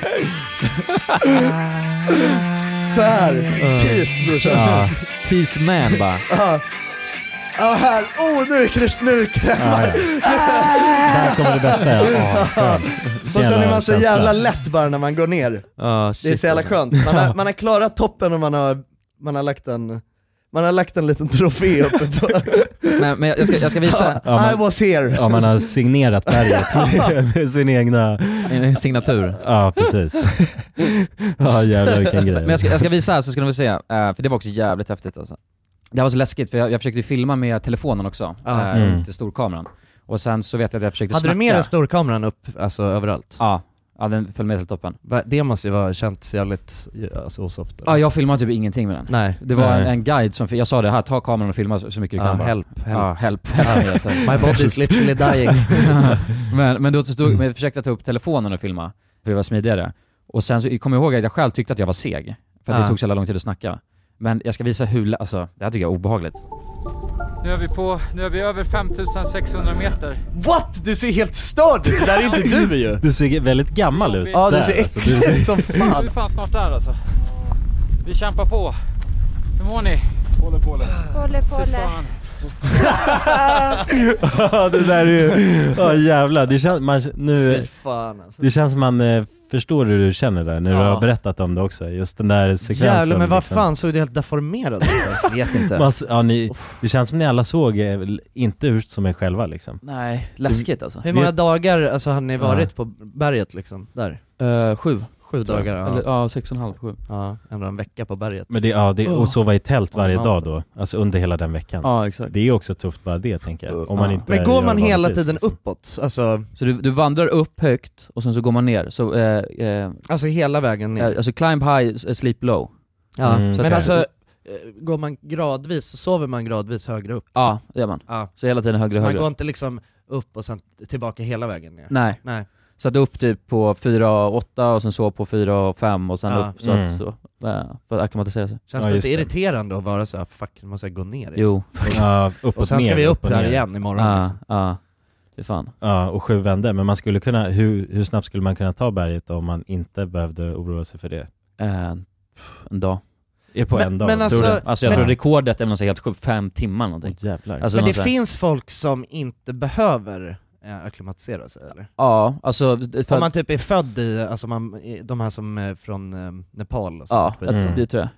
[SPEAKER 2] Så här. peace brorsan.
[SPEAKER 1] Ja. Peace man bara.
[SPEAKER 2] Ja. Ja här, oh nu kräks, nu krämar
[SPEAKER 3] Där kommer det bästa ja. Ja, skönt.
[SPEAKER 2] Och sen är man så
[SPEAKER 3] Jävla
[SPEAKER 2] jävla
[SPEAKER 3] känsla.
[SPEAKER 2] lätt bara när man går ner.
[SPEAKER 1] Ja,
[SPEAKER 2] Det är
[SPEAKER 1] shit,
[SPEAKER 2] så jävla
[SPEAKER 1] alltså.
[SPEAKER 2] skönt. Man har, man har klarat toppen och man har, man har lagt en man har lagt en liten trofé uppe på...
[SPEAKER 1] Men, men jag, ska, jag ska visa.
[SPEAKER 3] Ja, men-
[SPEAKER 2] I was here!
[SPEAKER 3] Ja man har signerat berget med- med sin egna...
[SPEAKER 1] En signatur.
[SPEAKER 3] Ja precis. Ja jävlar vilken grej.
[SPEAKER 1] Men jag ska, jag ska visa här så ska ni få se, eh, för det var också jävligt häftigt alltså. Det här var så läskigt för jag, jag försökte ju filma med telefonen också,
[SPEAKER 7] Ja.
[SPEAKER 1] eh,
[SPEAKER 7] Mm.
[SPEAKER 1] inte storkameran. Och sen så vet jag att jag försökte
[SPEAKER 7] Hade du
[SPEAKER 1] snacka.
[SPEAKER 7] med dig storkameran upp, alltså överallt?
[SPEAKER 1] Ja, ja den följde med till toppen.
[SPEAKER 7] Va- Det måste ju ha känts jävligt alltså, osoft. eller?
[SPEAKER 1] Ja jag filmade typ ingenting med den.
[SPEAKER 7] Nej.
[SPEAKER 1] Det var en,
[SPEAKER 7] Nej.
[SPEAKER 1] en guide som, jag sa det här, ta kameran och filma så så mycket du
[SPEAKER 7] Ja,
[SPEAKER 1] kan bara.
[SPEAKER 7] help, help. Ah,
[SPEAKER 1] Ja, help. help. Alltså.
[SPEAKER 7] My body is literally dying.
[SPEAKER 1] men, men då stod, men jag försökte ta upp telefonen och filma, för det var smidigare. Och sen så kom jag ihåg att jag själv tyckte att jag var seg, för att
[SPEAKER 7] Ja.
[SPEAKER 1] det tog så jävla lång tid att snacka. Men jag ska visa hur, lä- alltså det här tycker jag är obehagligt.
[SPEAKER 11] Nu är vi på, nu är vi över 5600 meter.
[SPEAKER 2] What? Du ser helt störd ut! Det där är inte du ju!
[SPEAKER 3] Du ser väldigt gammal ut
[SPEAKER 11] Ja, du
[SPEAKER 3] där,
[SPEAKER 11] ser
[SPEAKER 3] alltså.
[SPEAKER 11] äcklig ut som Nu är vi fan snart där alltså. Vi kämpar på. Hur mår ni? Polle Polle.
[SPEAKER 10] Polle, polle.
[SPEAKER 3] Ja det där är ju, ja jävlar. Det känns, man, nu,
[SPEAKER 2] fan, alltså.
[SPEAKER 3] det känns som man eh, förstår hur du känner där när du
[SPEAKER 7] Ja.
[SPEAKER 3] har berättat om det också. Just den där sekvensen.
[SPEAKER 7] Jävlar men vad
[SPEAKER 3] liksom.
[SPEAKER 7] fan såg du helt deformerad ut?
[SPEAKER 1] Vet inte.
[SPEAKER 3] Man, s- ja, ni, det känns som ni alla såg eh, väl inte ut som er själva liksom.
[SPEAKER 1] Nej, läskigt alltså.
[SPEAKER 7] Hur många
[SPEAKER 1] Vet-
[SPEAKER 7] dagar alltså, har ni varit på
[SPEAKER 1] Ja.
[SPEAKER 7] berget liksom? Där?
[SPEAKER 1] sju.
[SPEAKER 7] Sju
[SPEAKER 1] Tror jag.
[SPEAKER 7] dagar? Ja.
[SPEAKER 1] Eller, ja, sex och en halv, sju.
[SPEAKER 7] Ja, ändå en vecka på berget.
[SPEAKER 3] Men det, ja, det, och sova i tält varje
[SPEAKER 7] Ja.
[SPEAKER 3] dag då, alltså under hela den veckan.
[SPEAKER 1] Ja, exakt.
[SPEAKER 3] Det är ju också tufft bara det tänker jag. Om man
[SPEAKER 1] Ja.
[SPEAKER 3] inte
[SPEAKER 1] Men går
[SPEAKER 3] gör
[SPEAKER 1] man
[SPEAKER 3] det
[SPEAKER 1] hela
[SPEAKER 3] vanligtvis,
[SPEAKER 1] tiden
[SPEAKER 3] liksom.
[SPEAKER 7] Uppåt, alltså...
[SPEAKER 1] Så du, du vandrar upp högt och sen så går man ner, så... Eh, eh,
[SPEAKER 7] alltså hela vägen ner?
[SPEAKER 1] alltså climb high, s- sleep low.
[SPEAKER 7] Ja,
[SPEAKER 1] Mm. Så att-
[SPEAKER 7] men alltså, eh, går man gradvis, så sover man gradvis högre upp?
[SPEAKER 1] Ja, det gör man. Så hela tiden högre
[SPEAKER 7] Så
[SPEAKER 1] och
[SPEAKER 7] man
[SPEAKER 1] högre.
[SPEAKER 7] går inte liksom upp och sen tillbaka hela vägen ner?
[SPEAKER 1] Nej.
[SPEAKER 7] Nej.
[SPEAKER 1] Så att upp typ på 4 8 och sen så på 4 5 och sen
[SPEAKER 7] Ja.
[SPEAKER 1] upp så
[SPEAKER 7] Mm.
[SPEAKER 1] att, så, ja, för att acklimatisera sig.
[SPEAKER 7] Känns det inte irriterande att vara såhär, fuck nu måste jag gå ner igen?
[SPEAKER 1] Jo.
[SPEAKER 3] Ja, upp
[SPEAKER 7] och sen ska
[SPEAKER 3] ner,
[SPEAKER 7] vi upp
[SPEAKER 3] och
[SPEAKER 7] här
[SPEAKER 3] ner.
[SPEAKER 7] igen imorgon
[SPEAKER 1] Ja,
[SPEAKER 7] liksom.
[SPEAKER 1] ja. Det är fan.
[SPEAKER 3] Ja, och sju vändor. Men man skulle kunna, hur, hur snabbt skulle man kunna ta berget om man inte behövde oroa sig för det?
[SPEAKER 1] En, Eh, en dag.
[SPEAKER 3] Är på en dag? Tror du?
[SPEAKER 1] alltså jag
[SPEAKER 3] men-
[SPEAKER 1] tror rekordet är väl något så helt sjukt, fem timmar någonting.
[SPEAKER 3] Åh, jävlar.
[SPEAKER 1] Alltså,
[SPEAKER 7] men
[SPEAKER 1] någon
[SPEAKER 7] det
[SPEAKER 1] så här-
[SPEAKER 7] finns folk som inte behöver eh, acklimatisera sig eller?
[SPEAKER 1] Ja, alltså... det- för
[SPEAKER 7] Om
[SPEAKER 1] att-
[SPEAKER 7] man typ är född i, alltså man, i- de här som är från eh, Nepal och
[SPEAKER 1] Ja, alltså,
[SPEAKER 7] sånt
[SPEAKER 1] jag tror- det tror jag.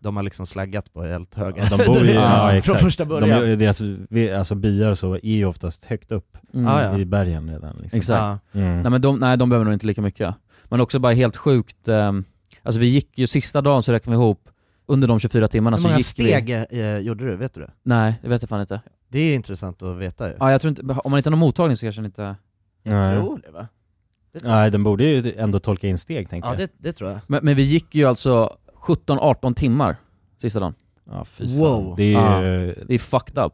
[SPEAKER 7] De har liksom slaggat på helt höga
[SPEAKER 3] Ja, de bor ju, ja,
[SPEAKER 7] Från
[SPEAKER 3] exakt.
[SPEAKER 7] första början.
[SPEAKER 3] De, deras vi- alltså, byar och så är ju oftast högt upp
[SPEAKER 1] Mm. Ja, ja.
[SPEAKER 3] i bergen redan. Liksom.
[SPEAKER 1] Exakt.
[SPEAKER 3] Mm.
[SPEAKER 1] Nej men de, nej, de behöver nog inte lika mycket. Men också bara helt sjukt, ehm, alltså vi gick ju sista dagen så räknade vi ihop, under de 24 timmarna
[SPEAKER 7] Hur
[SPEAKER 1] så
[SPEAKER 7] många
[SPEAKER 1] gick
[SPEAKER 7] steg
[SPEAKER 1] vi...
[SPEAKER 7] eh, gjorde du, vet du det?
[SPEAKER 1] Nej, det vet jag fan inte.
[SPEAKER 7] Det är intressant att veta ju.
[SPEAKER 1] Ja jag tror inte, om man inte har någon mottagning så kanske den inte...
[SPEAKER 3] Nej.
[SPEAKER 7] tror det va?
[SPEAKER 3] Nej, den borde ju ändå tolka in steg tänker
[SPEAKER 7] Ja
[SPEAKER 3] jag.
[SPEAKER 7] det, det tror jag.
[SPEAKER 1] Men, men vi gick ju alltså 17-18 timmar sista dagen.
[SPEAKER 3] Ja fy
[SPEAKER 1] Wow.
[SPEAKER 3] Det är ju-
[SPEAKER 1] det är fucked up.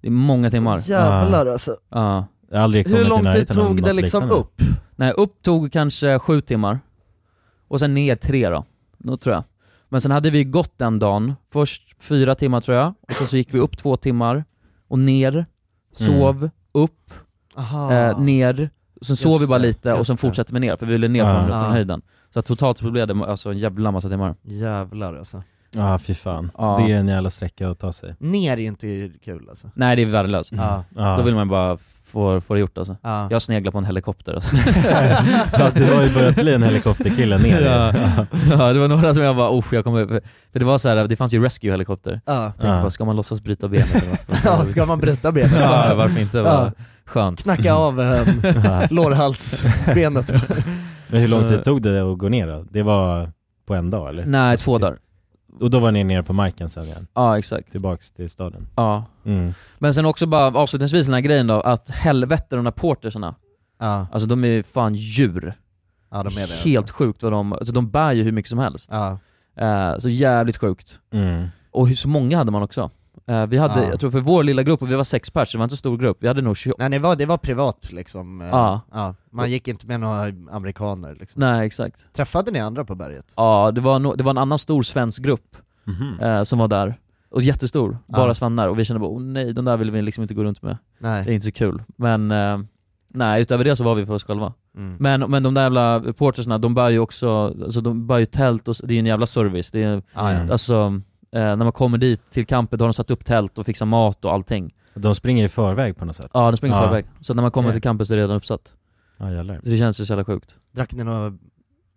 [SPEAKER 1] Det är många timmar.
[SPEAKER 2] Jävlar, alltså.
[SPEAKER 1] Ja.
[SPEAKER 3] Jag har aldrig
[SPEAKER 2] Hur kommit i lång tid närheten av tog det något liksom liknande. upp?
[SPEAKER 1] Nej, upp tog kanske sju timmar. Och sen ner tre då, då tror jag. Men sen hade vi gått den dagen, först fyra timmar tror jag, och sen så gick vi upp två timmar, och ner, sov, upp,
[SPEAKER 2] Aha.
[SPEAKER 1] eh, ner, och sen
[SPEAKER 2] Ah. Just
[SPEAKER 1] sov vi bara
[SPEAKER 2] det,
[SPEAKER 1] lite och
[SPEAKER 2] just
[SPEAKER 1] sen
[SPEAKER 2] det.
[SPEAKER 1] fortsatte vi ner, för vi ville ner från,
[SPEAKER 2] Ja.
[SPEAKER 1] från höjden. Så att totalt så blev det alltså en jävla massa timmar.
[SPEAKER 2] Jävlar alltså.
[SPEAKER 3] Ja, fy fan.
[SPEAKER 1] Ja.
[SPEAKER 3] Det är en jävla sträcka att ta sig.
[SPEAKER 2] Ner är ju inte kul alltså.
[SPEAKER 1] Nej det är värdelöst.
[SPEAKER 2] Ja.
[SPEAKER 3] Ja.
[SPEAKER 1] Då vill man bara få, få det gjort alltså.
[SPEAKER 2] Ja.
[SPEAKER 1] Jag sneglar på en helikopter alltså.
[SPEAKER 3] Ja, du har ju börjat bli en helikopterkille ner.
[SPEAKER 1] ja. ja, det var några som jag bara usch jag kommer, för för det var så här, det fanns ju rescue-helikopter.
[SPEAKER 2] Ja.
[SPEAKER 1] Jag tänkte
[SPEAKER 2] Ja.
[SPEAKER 1] bara, ska man låtsas bryta benet eller något?
[SPEAKER 2] Ja, ska man bryta benet?
[SPEAKER 1] ja, varför inte?
[SPEAKER 2] Ja.
[SPEAKER 1] Ja. Skönt.
[SPEAKER 2] Knacka av eh,
[SPEAKER 1] Ja.
[SPEAKER 2] lårhalsbenet.
[SPEAKER 3] Men hur lång
[SPEAKER 1] Så-
[SPEAKER 3] tid tog det att gå ner då? Det var på en dag eller? Alltså, typ.
[SPEAKER 1] Nej, två dagar.
[SPEAKER 3] Och då var ni nere på marken sen igen?
[SPEAKER 1] Ja, exakt.
[SPEAKER 3] Tillbaks till staden?
[SPEAKER 1] Ja.
[SPEAKER 3] Mm.
[SPEAKER 1] Men sen också bara avslutningsvis den här grejen då, att helvete de där portersarna.
[SPEAKER 2] Ja.
[SPEAKER 1] Alltså de är ju fan djur.
[SPEAKER 2] Ja, de är det,
[SPEAKER 1] Helt sjukt vad de, alltså de bär ju hur mycket som helst. Eh, så jävligt sjukt.
[SPEAKER 3] Mm.
[SPEAKER 1] Och hur, så många hade man också. Eh, vi hade,
[SPEAKER 2] Ja.
[SPEAKER 1] jag tror för vår lilla grupp, och vi var sex pers, så det var inte en stor grupp, vi hade nog 20,
[SPEAKER 2] Nej det var, det var privat liksom. eh,
[SPEAKER 1] Ja.
[SPEAKER 2] ja. Man gick inte med några amerikaner liksom.
[SPEAKER 1] Nej exakt.
[SPEAKER 2] Träffade ni andra på berget?
[SPEAKER 1] Ja, det var, no, det var en annan stor svensk grupp
[SPEAKER 2] Mhm.
[SPEAKER 1] eh, som var där. Och jättestor, bara
[SPEAKER 2] Ja.
[SPEAKER 1] svennar. Och vi kände bara oh, nej, den där vill vi liksom inte gå runt med.
[SPEAKER 2] Nej.
[SPEAKER 1] Det är inte så kul. Men eh, nej, utöver det så var vi för oss själva.
[SPEAKER 2] Mm.
[SPEAKER 1] Men, men de där jävla portersna, de bär ju också, alltså de bär ju tält och s- det är ju en jävla service. Det är,
[SPEAKER 2] Ah, ja.
[SPEAKER 1] Alltså, eh, när man kommer dit till campet har de satt upp tält och fixat mat och allting.
[SPEAKER 3] De springer i förväg på något sätt?
[SPEAKER 1] Ja, de springer
[SPEAKER 3] Ja.
[SPEAKER 1] förväg. Så när man kommer
[SPEAKER 3] Okej.
[SPEAKER 1] till campet så är det redan uppsatt.
[SPEAKER 3] Ja, jävlar.
[SPEAKER 1] Så det känns ju så jävla sjukt.
[SPEAKER 2] Drack ni någon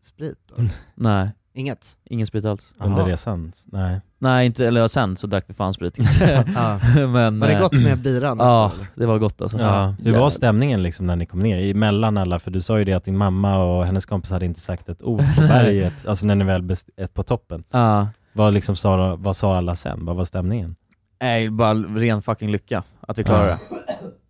[SPEAKER 2] sprit då?
[SPEAKER 1] Nej.
[SPEAKER 2] Inget?
[SPEAKER 1] Ingen sprit alls.
[SPEAKER 3] Under resan? Nej.
[SPEAKER 1] Nej, inte, eller sen så drack vi fan sprit kan jag
[SPEAKER 2] Ja.
[SPEAKER 1] säga. Men,
[SPEAKER 2] Var det
[SPEAKER 1] eh,
[SPEAKER 2] gott med biran
[SPEAKER 1] Ja,
[SPEAKER 2] efter, eller?
[SPEAKER 1] det var gott alltså.
[SPEAKER 3] Ja. Hur
[SPEAKER 1] Jävlar.
[SPEAKER 3] var stämningen liksom när ni kom ner? Emellan alla, för du sa ju det att din mamma och hennes kompis hade inte sagt ett ord på
[SPEAKER 1] Nej.
[SPEAKER 3] berget, alltså när ni väl best- ett på toppen.
[SPEAKER 1] Ja.
[SPEAKER 3] Vad, liksom sa, vad sa alla sen? Vad var stämningen?
[SPEAKER 1] Nej, bara ren fucking lycka att vi klarade det.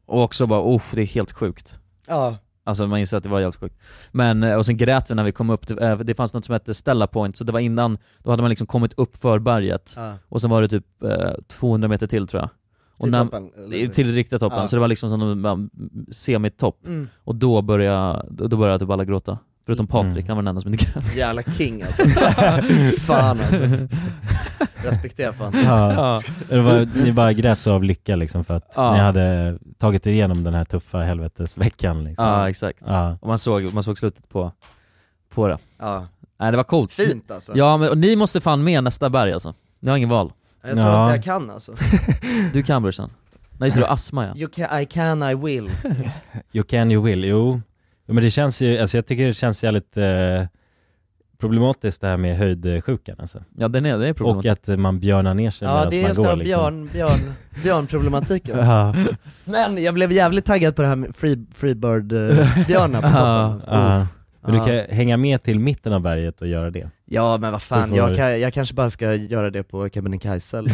[SPEAKER 1] Och också bara oh, det är helt sjukt.
[SPEAKER 2] Ja.
[SPEAKER 1] Alltså man inser att det var helt sjukt. Men, eh, och sen grät vi när vi kom upp, till, eh, det fanns något som hette Stella Point, så det var innan, då hade man liksom kommit upp för berget,
[SPEAKER 2] Ja.
[SPEAKER 1] och sen var det typ eh, 200 meter till tror jag. Och
[SPEAKER 2] Till
[SPEAKER 1] när,
[SPEAKER 2] toppen, eller?
[SPEAKER 1] Till riktiga toppen,
[SPEAKER 2] Ja.
[SPEAKER 1] så det var liksom som en um, semitopp.
[SPEAKER 2] Mm.
[SPEAKER 1] Och då började, då började typ alla gråta. Förutom
[SPEAKER 3] Mm.
[SPEAKER 1] Patrik, han var den enda som inte grät.
[SPEAKER 2] Jävla king alltså. fan alltså. Respektera fan.
[SPEAKER 3] Ja. Det var, ni bara grät så av lycka liksom för att
[SPEAKER 1] Ja.
[SPEAKER 3] ni hade tagit er igenom den här tuffa helvetesveckan liksom.
[SPEAKER 1] Ja exakt.
[SPEAKER 3] Ja.
[SPEAKER 1] Och man såg, man såg slutet på, på det.
[SPEAKER 2] Ja.
[SPEAKER 1] Nej det var coolt.
[SPEAKER 2] Fint, alltså.
[SPEAKER 1] Ja men och ni måste fan med nästa berg alltså. Ni har ingen val.
[SPEAKER 2] Jag tror Ja. inte jag kan, alltså.
[SPEAKER 1] Du kan brorsan. Nej just det, du har astma ja.
[SPEAKER 2] You can, I can, I will.
[SPEAKER 3] You can, you will, jo. Jo, Men det känns ju, alltså jag tycker det känns jävligt eh, problematiskt det här med höjdsjukan alltså.
[SPEAKER 1] Ja den är, det är
[SPEAKER 3] Och att eh, man björnar ner sig
[SPEAKER 2] Ja
[SPEAKER 3] medan
[SPEAKER 2] det är
[SPEAKER 3] man
[SPEAKER 2] just den
[SPEAKER 3] går
[SPEAKER 2] här
[SPEAKER 3] liksom.
[SPEAKER 2] björn, björn, björnproblematiken.
[SPEAKER 3] Ja.
[SPEAKER 2] Men jag blev jävligt taggad på det här med free, freebird-björnar på toppen.
[SPEAKER 3] Ja,
[SPEAKER 2] alltså.
[SPEAKER 3] ja. Men du
[SPEAKER 2] Ja.
[SPEAKER 3] kan hänga med till mitten av berget och göra det.
[SPEAKER 2] Ja men vad fan,
[SPEAKER 3] Så får-
[SPEAKER 2] jag, kan, jag kanske bara ska göra det på Kebnekaise eller,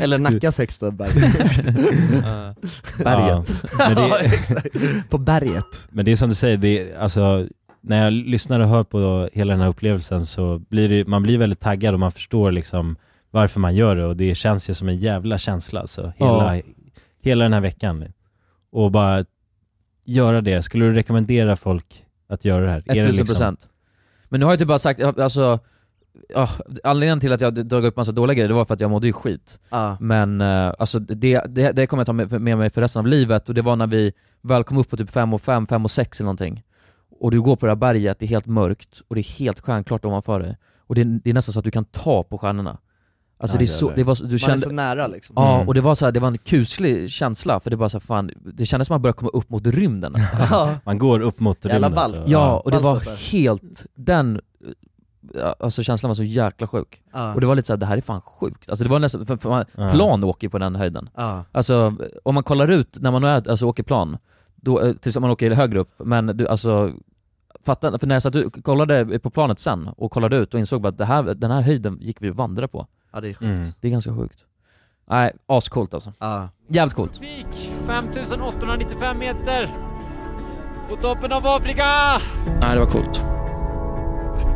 [SPEAKER 2] eller Nackas högsta berg.
[SPEAKER 3] Ja.
[SPEAKER 2] berget.
[SPEAKER 3] Ja,
[SPEAKER 2] Ja,
[SPEAKER 3] men det-
[SPEAKER 2] exakt. På berget.
[SPEAKER 3] Men det är som du säger, det är, alltså, när jag lyssnar och hör på hela den här upplevelsen så blir det, man blir väldigt taggad och man förstår liksom varför man gör det och det känns ju som en jävla känsla alltså, hela,
[SPEAKER 1] Ja.
[SPEAKER 3] hela den här veckan. Och bara göra det, skulle du rekommendera folk att göra det här? Är det
[SPEAKER 1] 1000
[SPEAKER 3] liksom-
[SPEAKER 1] procent. Men nu har jag typ bara sagt, alltså, ja, anledningen till att jag drog upp massa dåliga grejer det var för att jag mådde ju skit.
[SPEAKER 2] Ja.
[SPEAKER 1] Men eh, alltså det, det, det kommer jag ta med, med mig för resten av livet och det var när vi väl kom upp på typ 5 och 5, 5 och 6 eller någonting. Och du går på det här berget, det är helt mörkt och det är helt stjärnklart ovanför dig. Och det, är- det är nästan så att du kan ta på stjärnorna. Alltså
[SPEAKER 2] Ja,
[SPEAKER 1] det är
[SPEAKER 2] det är
[SPEAKER 1] så,
[SPEAKER 2] det.
[SPEAKER 1] det var, så- du
[SPEAKER 2] Man är
[SPEAKER 1] kände,
[SPEAKER 2] så nära, liksom.
[SPEAKER 1] Ja,
[SPEAKER 2] Mm.
[SPEAKER 1] och det var så här, det var en kuslig känsla för det var så här, fan, det kändes som att man började komma upp mot rymden.
[SPEAKER 2] Ja.
[SPEAKER 3] Man går upp mot
[SPEAKER 1] Jävla
[SPEAKER 3] rymden.
[SPEAKER 1] ballt.
[SPEAKER 3] så-
[SPEAKER 1] Ja, och det
[SPEAKER 2] Ballt
[SPEAKER 1] var
[SPEAKER 2] alltså.
[SPEAKER 1] helt, den ja, Alltså känslan var så jäkla sjuk.
[SPEAKER 2] Ja.
[SPEAKER 1] Och det var lite såhär, det här är fan sjukt. Alltså det var nästan, för, för man,
[SPEAKER 2] Ja.
[SPEAKER 1] plan åker ju på den höjden.
[SPEAKER 2] Ja.
[SPEAKER 1] Alltså om man kollar ut, när man är, alltså, åker plan, då, eh, tills man åker högre upp, men du, alltså Fatta, för när jag satt och kollade på planet sen och kollade ut och insåg bara att det här, den här höjden gick vi och vandrade på.
[SPEAKER 2] Ja det är
[SPEAKER 1] sjukt.
[SPEAKER 3] Mm.
[SPEAKER 1] Det är ganska sjukt. Nej, ascoolt alltså. Jävligt coolt.
[SPEAKER 11] 5895 meter. På toppen av Afrika!
[SPEAKER 1] Nej det var coolt.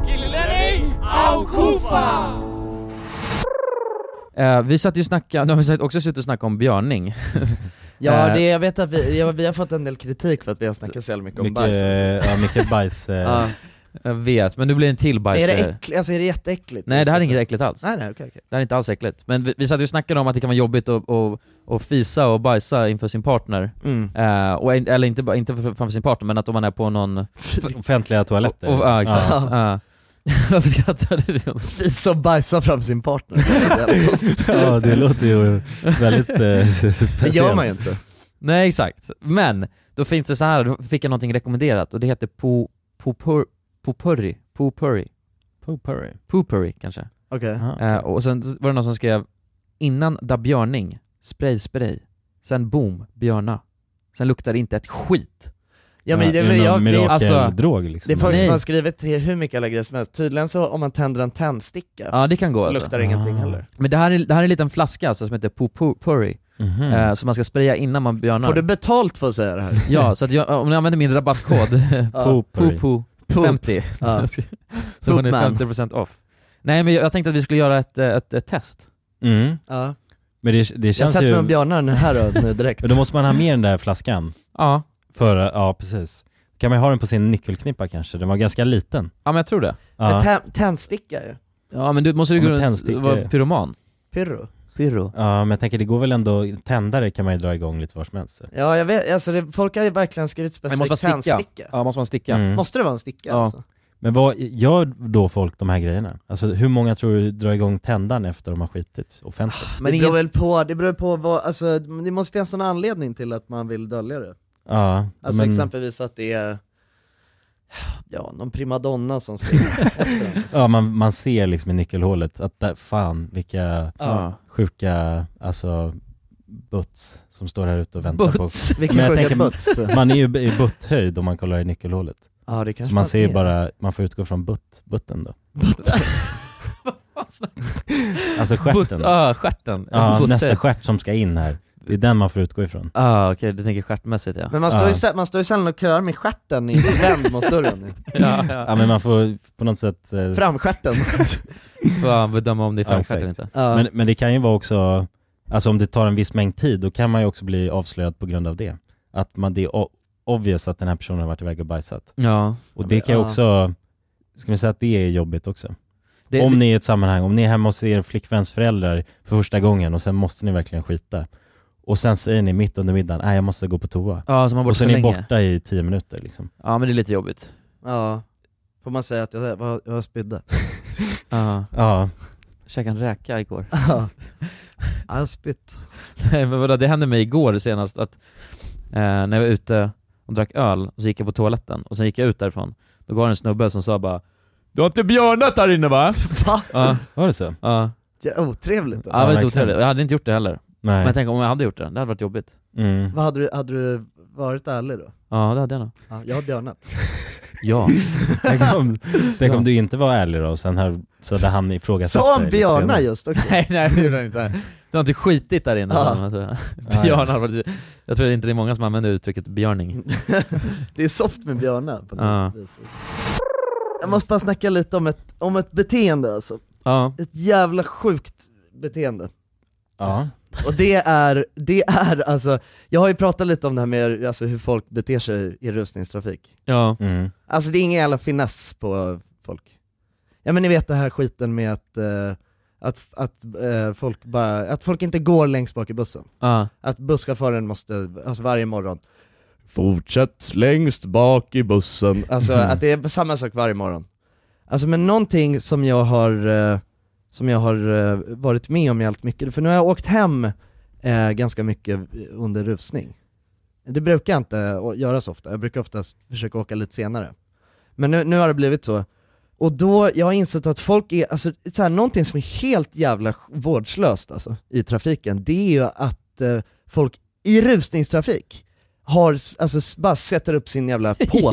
[SPEAKER 11] Killelänning! Aukufa!
[SPEAKER 1] Eh, vi satt ju och snackade, nu har vi satt- också suttit och snackat om björning.
[SPEAKER 2] Ja,
[SPEAKER 1] Eh,
[SPEAKER 2] det, jag vet att vi, ja, vi har fått en del kritik för att vi har snackat så jävla mycket om bajs
[SPEAKER 3] eh,
[SPEAKER 2] alltså.
[SPEAKER 1] ja, mycket bajs.
[SPEAKER 2] Ja.
[SPEAKER 1] Jag vet, men nu blir det en till bajs.
[SPEAKER 2] Är det äckligt, alltså är det jätteäckligt? Alltså.
[SPEAKER 1] Nej det här är inget äckligt alls.
[SPEAKER 2] Nej nej okej okej.
[SPEAKER 1] Det här är inte alls äckligt. Men vi, vi satt ju och snackade om att det kan vara jobbigt att, att, att fisa och bajsa inför sin partner.
[SPEAKER 2] Mm.
[SPEAKER 1] Eh, och, en- eller inte, bara- inte för- framför sin partner, men att om man är på någon...
[SPEAKER 3] Offentliga toaletter.
[SPEAKER 1] Och, och, ja, exakt.
[SPEAKER 2] Ja.
[SPEAKER 1] Ja. Varför skrattade du?
[SPEAKER 2] Fisa och bajsa fram sin partner. Det är jävla konstigt.
[SPEAKER 3] Ja, det låter ju väldigt, eh,
[SPEAKER 2] Det gör man ju inte.
[SPEAKER 1] Nej exakt. Men, då finns det så här, då fick jag någonting rekommenderat och det heter po, popur, popurri. Popurri.
[SPEAKER 3] Popurri.
[SPEAKER 1] Popurri kanske.
[SPEAKER 2] Okej.
[SPEAKER 1] Eh, och sen var det någon som skrev innan da björning, spray spray. Sen boom, björna. Sen luktar det inte ett skit.
[SPEAKER 2] Ja men det, men jag, det, alltså,
[SPEAKER 3] liksom.
[SPEAKER 2] det är folk som
[SPEAKER 1] Nej.
[SPEAKER 2] har skrivit till hur mycket alla grejer som helst. Tydligen så om man tänder en tändsticka
[SPEAKER 1] Ja det kan gå
[SPEAKER 2] så
[SPEAKER 1] alltså.
[SPEAKER 2] luktar det ingenting heller.
[SPEAKER 1] Men det här är, det här är en liten flaska alltså, som heter Pupurri,
[SPEAKER 2] Mhm.
[SPEAKER 1] eh, som man ska spraya innan man björnar.
[SPEAKER 2] Får du betalt för att säga det här?
[SPEAKER 1] Ja, så att jag, om ni använder min rabattkod,
[SPEAKER 2] Ja.
[SPEAKER 1] Pupu50,
[SPEAKER 2] Ja.
[SPEAKER 1] så får ni
[SPEAKER 2] Poopman.
[SPEAKER 1] 50% off. Nej men jag tänkte att vi skulle göra ett, eh, ett, ett test.
[SPEAKER 3] Mm.
[SPEAKER 2] Ja.
[SPEAKER 3] Men det, det känns
[SPEAKER 2] jag sätter
[SPEAKER 3] ju...
[SPEAKER 2] mig om björnarna här och nu direkt.
[SPEAKER 3] Men då måste man ha med den där flaskan.
[SPEAKER 1] Ja.
[SPEAKER 3] För, ja precis. Kan man ha den på sin nyckelknippa kanske? Den var ganska liten.
[SPEAKER 1] Ja men jag tror det.
[SPEAKER 2] Men
[SPEAKER 3] Ja,
[SPEAKER 2] tä- tändsticka ju.
[SPEAKER 1] Ja men du måste
[SPEAKER 3] Ja,
[SPEAKER 1] du gå
[SPEAKER 3] men
[SPEAKER 1] runt
[SPEAKER 3] tändstickor.
[SPEAKER 1] och vara pyroman.
[SPEAKER 2] Pyrro.
[SPEAKER 1] Pyro.
[SPEAKER 3] ja men jag tänker det går väl ändå, tändare kan man ju dra igång lite var som helst.
[SPEAKER 2] Ja jag vet, alltså det, folk har ju verkligen skrivit
[SPEAKER 1] Det måste
[SPEAKER 2] specifikt
[SPEAKER 1] vara sticka.
[SPEAKER 2] tändsticka.
[SPEAKER 1] Ja, måste vara en sticka.
[SPEAKER 3] Mm.
[SPEAKER 2] Måste det vara en sticka
[SPEAKER 3] Ja.
[SPEAKER 2] alltså?
[SPEAKER 3] Men vad gör då folk de här grejerna? Alltså hur många tror du drar igång tändaren efter de har skitit offentligt?
[SPEAKER 2] det beror väl på, det beror på vad, alltså det måste finnas någon anledning till att man vill dölja det.
[SPEAKER 3] Ja,
[SPEAKER 2] Alltså
[SPEAKER 3] men-
[SPEAKER 2] exempelvis att det är, ja någon primadonna som skriver efter en.
[SPEAKER 3] Ja man, man ser liksom i nyckelhålet att där, fan vilka
[SPEAKER 2] Ja.
[SPEAKER 3] sjuka, alltså butts som står här ute och väntar
[SPEAKER 2] Butts?
[SPEAKER 3] på...
[SPEAKER 2] Vilka
[SPEAKER 3] Men jag
[SPEAKER 2] sjuka
[SPEAKER 3] tänker,
[SPEAKER 2] butts?
[SPEAKER 3] Man är ju i butthöjd om man kollar i nyckelhålet.
[SPEAKER 2] Ja, det kanske
[SPEAKER 3] Så man
[SPEAKER 2] man
[SPEAKER 3] ser ju
[SPEAKER 2] är.
[SPEAKER 3] bara, man får utgå från butt, butten då. Alltså stjärten.
[SPEAKER 1] Butt- ja, ah, stjärten.
[SPEAKER 3] Ja,
[SPEAKER 1] Butter.
[SPEAKER 3] nästa stjärt som ska in här. Det är den man får utgå ifrån.
[SPEAKER 1] Ah, okej, du tänker stjärtmässigt ja.
[SPEAKER 2] Men man står, ju, sä- man står ju sällan och köar med stjärten i- vänd mot dörren.
[SPEAKER 1] Ja, ja.
[SPEAKER 3] Ja men man får på något sätt... Eh...
[SPEAKER 2] Framstjärten.
[SPEAKER 1] Får bedöma om det är
[SPEAKER 3] Ja,
[SPEAKER 1] framstjärt eller
[SPEAKER 3] exakt.
[SPEAKER 1] inte.
[SPEAKER 2] Ja.
[SPEAKER 3] Men, men det kan ju vara också, alltså om det tar en viss mängd tid, då kan man ju också bli avslöjad på grund av det. Att man, det är o- obvious att den här personen har varit iväg och bajsat.
[SPEAKER 1] Ja.
[SPEAKER 3] Och det kan ju
[SPEAKER 1] Ja.
[SPEAKER 3] också, ska man säga att det är jobbigt också?
[SPEAKER 1] Det-
[SPEAKER 3] om
[SPEAKER 1] det-
[SPEAKER 3] ni är i ett sammanhang, om ni är hemma hos er flickväns föräldrar för första gången och sen måste ni verkligen skita. Och sen säger ni mitt under middagen, nej jag måste gå på toa.
[SPEAKER 1] Ja, så man har varit
[SPEAKER 3] och sen
[SPEAKER 1] för
[SPEAKER 3] är ni
[SPEAKER 1] länge.
[SPEAKER 3] borta i tio minuter liksom.
[SPEAKER 1] Ja men det är lite jobbigt.
[SPEAKER 2] Ja, får man säga att jag, vad- jag spydde?
[SPEAKER 1] Ja.
[SPEAKER 3] Ja.
[SPEAKER 1] Käkade en räka igår.
[SPEAKER 2] Ja. Jag har spytt.
[SPEAKER 1] Nej men vadå, det hände mig igår senast att eh, när jag var ute och drack öl, och så gick jag på toaletten och sen gick jag ut därifrån, då går en snubbe som sa bara Du har inte björnat här inne va?
[SPEAKER 2] Va?
[SPEAKER 1] Ja.
[SPEAKER 3] Var det så?
[SPEAKER 1] Ja.
[SPEAKER 2] Ja, otrevligt.
[SPEAKER 1] Ja, väldigt otrevligt. Jag hade inte gjort det heller.
[SPEAKER 3] Nej.
[SPEAKER 1] Men jag tänker om jag hade gjort det, det hade varit jobbigt.
[SPEAKER 3] Mm.
[SPEAKER 2] Vad hade du, hade du varit ärlig då?
[SPEAKER 1] Ja det hade jag nog.
[SPEAKER 2] Ja, jag har björnat.
[SPEAKER 1] Ja.
[SPEAKER 3] Tänk om, tänk
[SPEAKER 1] Ja.
[SPEAKER 3] om du inte var ärlig då, och sen hör, så hade han ifrågasatt
[SPEAKER 2] Sa han
[SPEAKER 3] dig lite
[SPEAKER 2] björna
[SPEAKER 3] senare.
[SPEAKER 2] just också?
[SPEAKER 1] nej nej det gjorde han inte. Du har inte skitit där inne.
[SPEAKER 2] Ja.
[SPEAKER 1] sa han, men så-
[SPEAKER 3] ja.
[SPEAKER 1] Björn har varit, jag tror inte det är många som använder uttrycket björning.
[SPEAKER 2] Det är soft med björnar på något
[SPEAKER 1] Ja.
[SPEAKER 2] vis. Jag måste bara snacka lite om ett, om ett beteende alltså.
[SPEAKER 1] Ja.
[SPEAKER 2] Ett jävla sjukt beteende.
[SPEAKER 3] Ja.
[SPEAKER 2] Och det är, det är alltså, jag har ju pratat lite om det här med alltså, hur folk beter sig i rusningstrafik.
[SPEAKER 1] Ja.
[SPEAKER 3] Mm.
[SPEAKER 2] Alltså det är ingen jävla finess på folk. Ja men ni vet den här skiten med att, eh, att, att, eh, folk bara, att folk inte går längst bak i bussen.
[SPEAKER 1] Ja.
[SPEAKER 2] Att busschauffören måste, alltså varje morgon, fortsätt längst bak i bussen. Alltså
[SPEAKER 1] Mm.
[SPEAKER 2] att det är samma sak varje morgon. Alltså men någonting som jag har, eh, som jag har eh, varit med om jävligt mycket, för nu har jag åkt hem eh, ganska mycket under rusning. Det brukar jag inte å- göra så ofta, jag brukar oftast försöka åka lite senare. Men nu, nu har det blivit så. Och då, jag har insett att folk är, alltså så här, någonting som är helt jävla sj- vårdslöst alltså, i trafiken, det är ju att eh, folk i rusningstrafik har, s- alltså s- bara sätter upp sin jävla på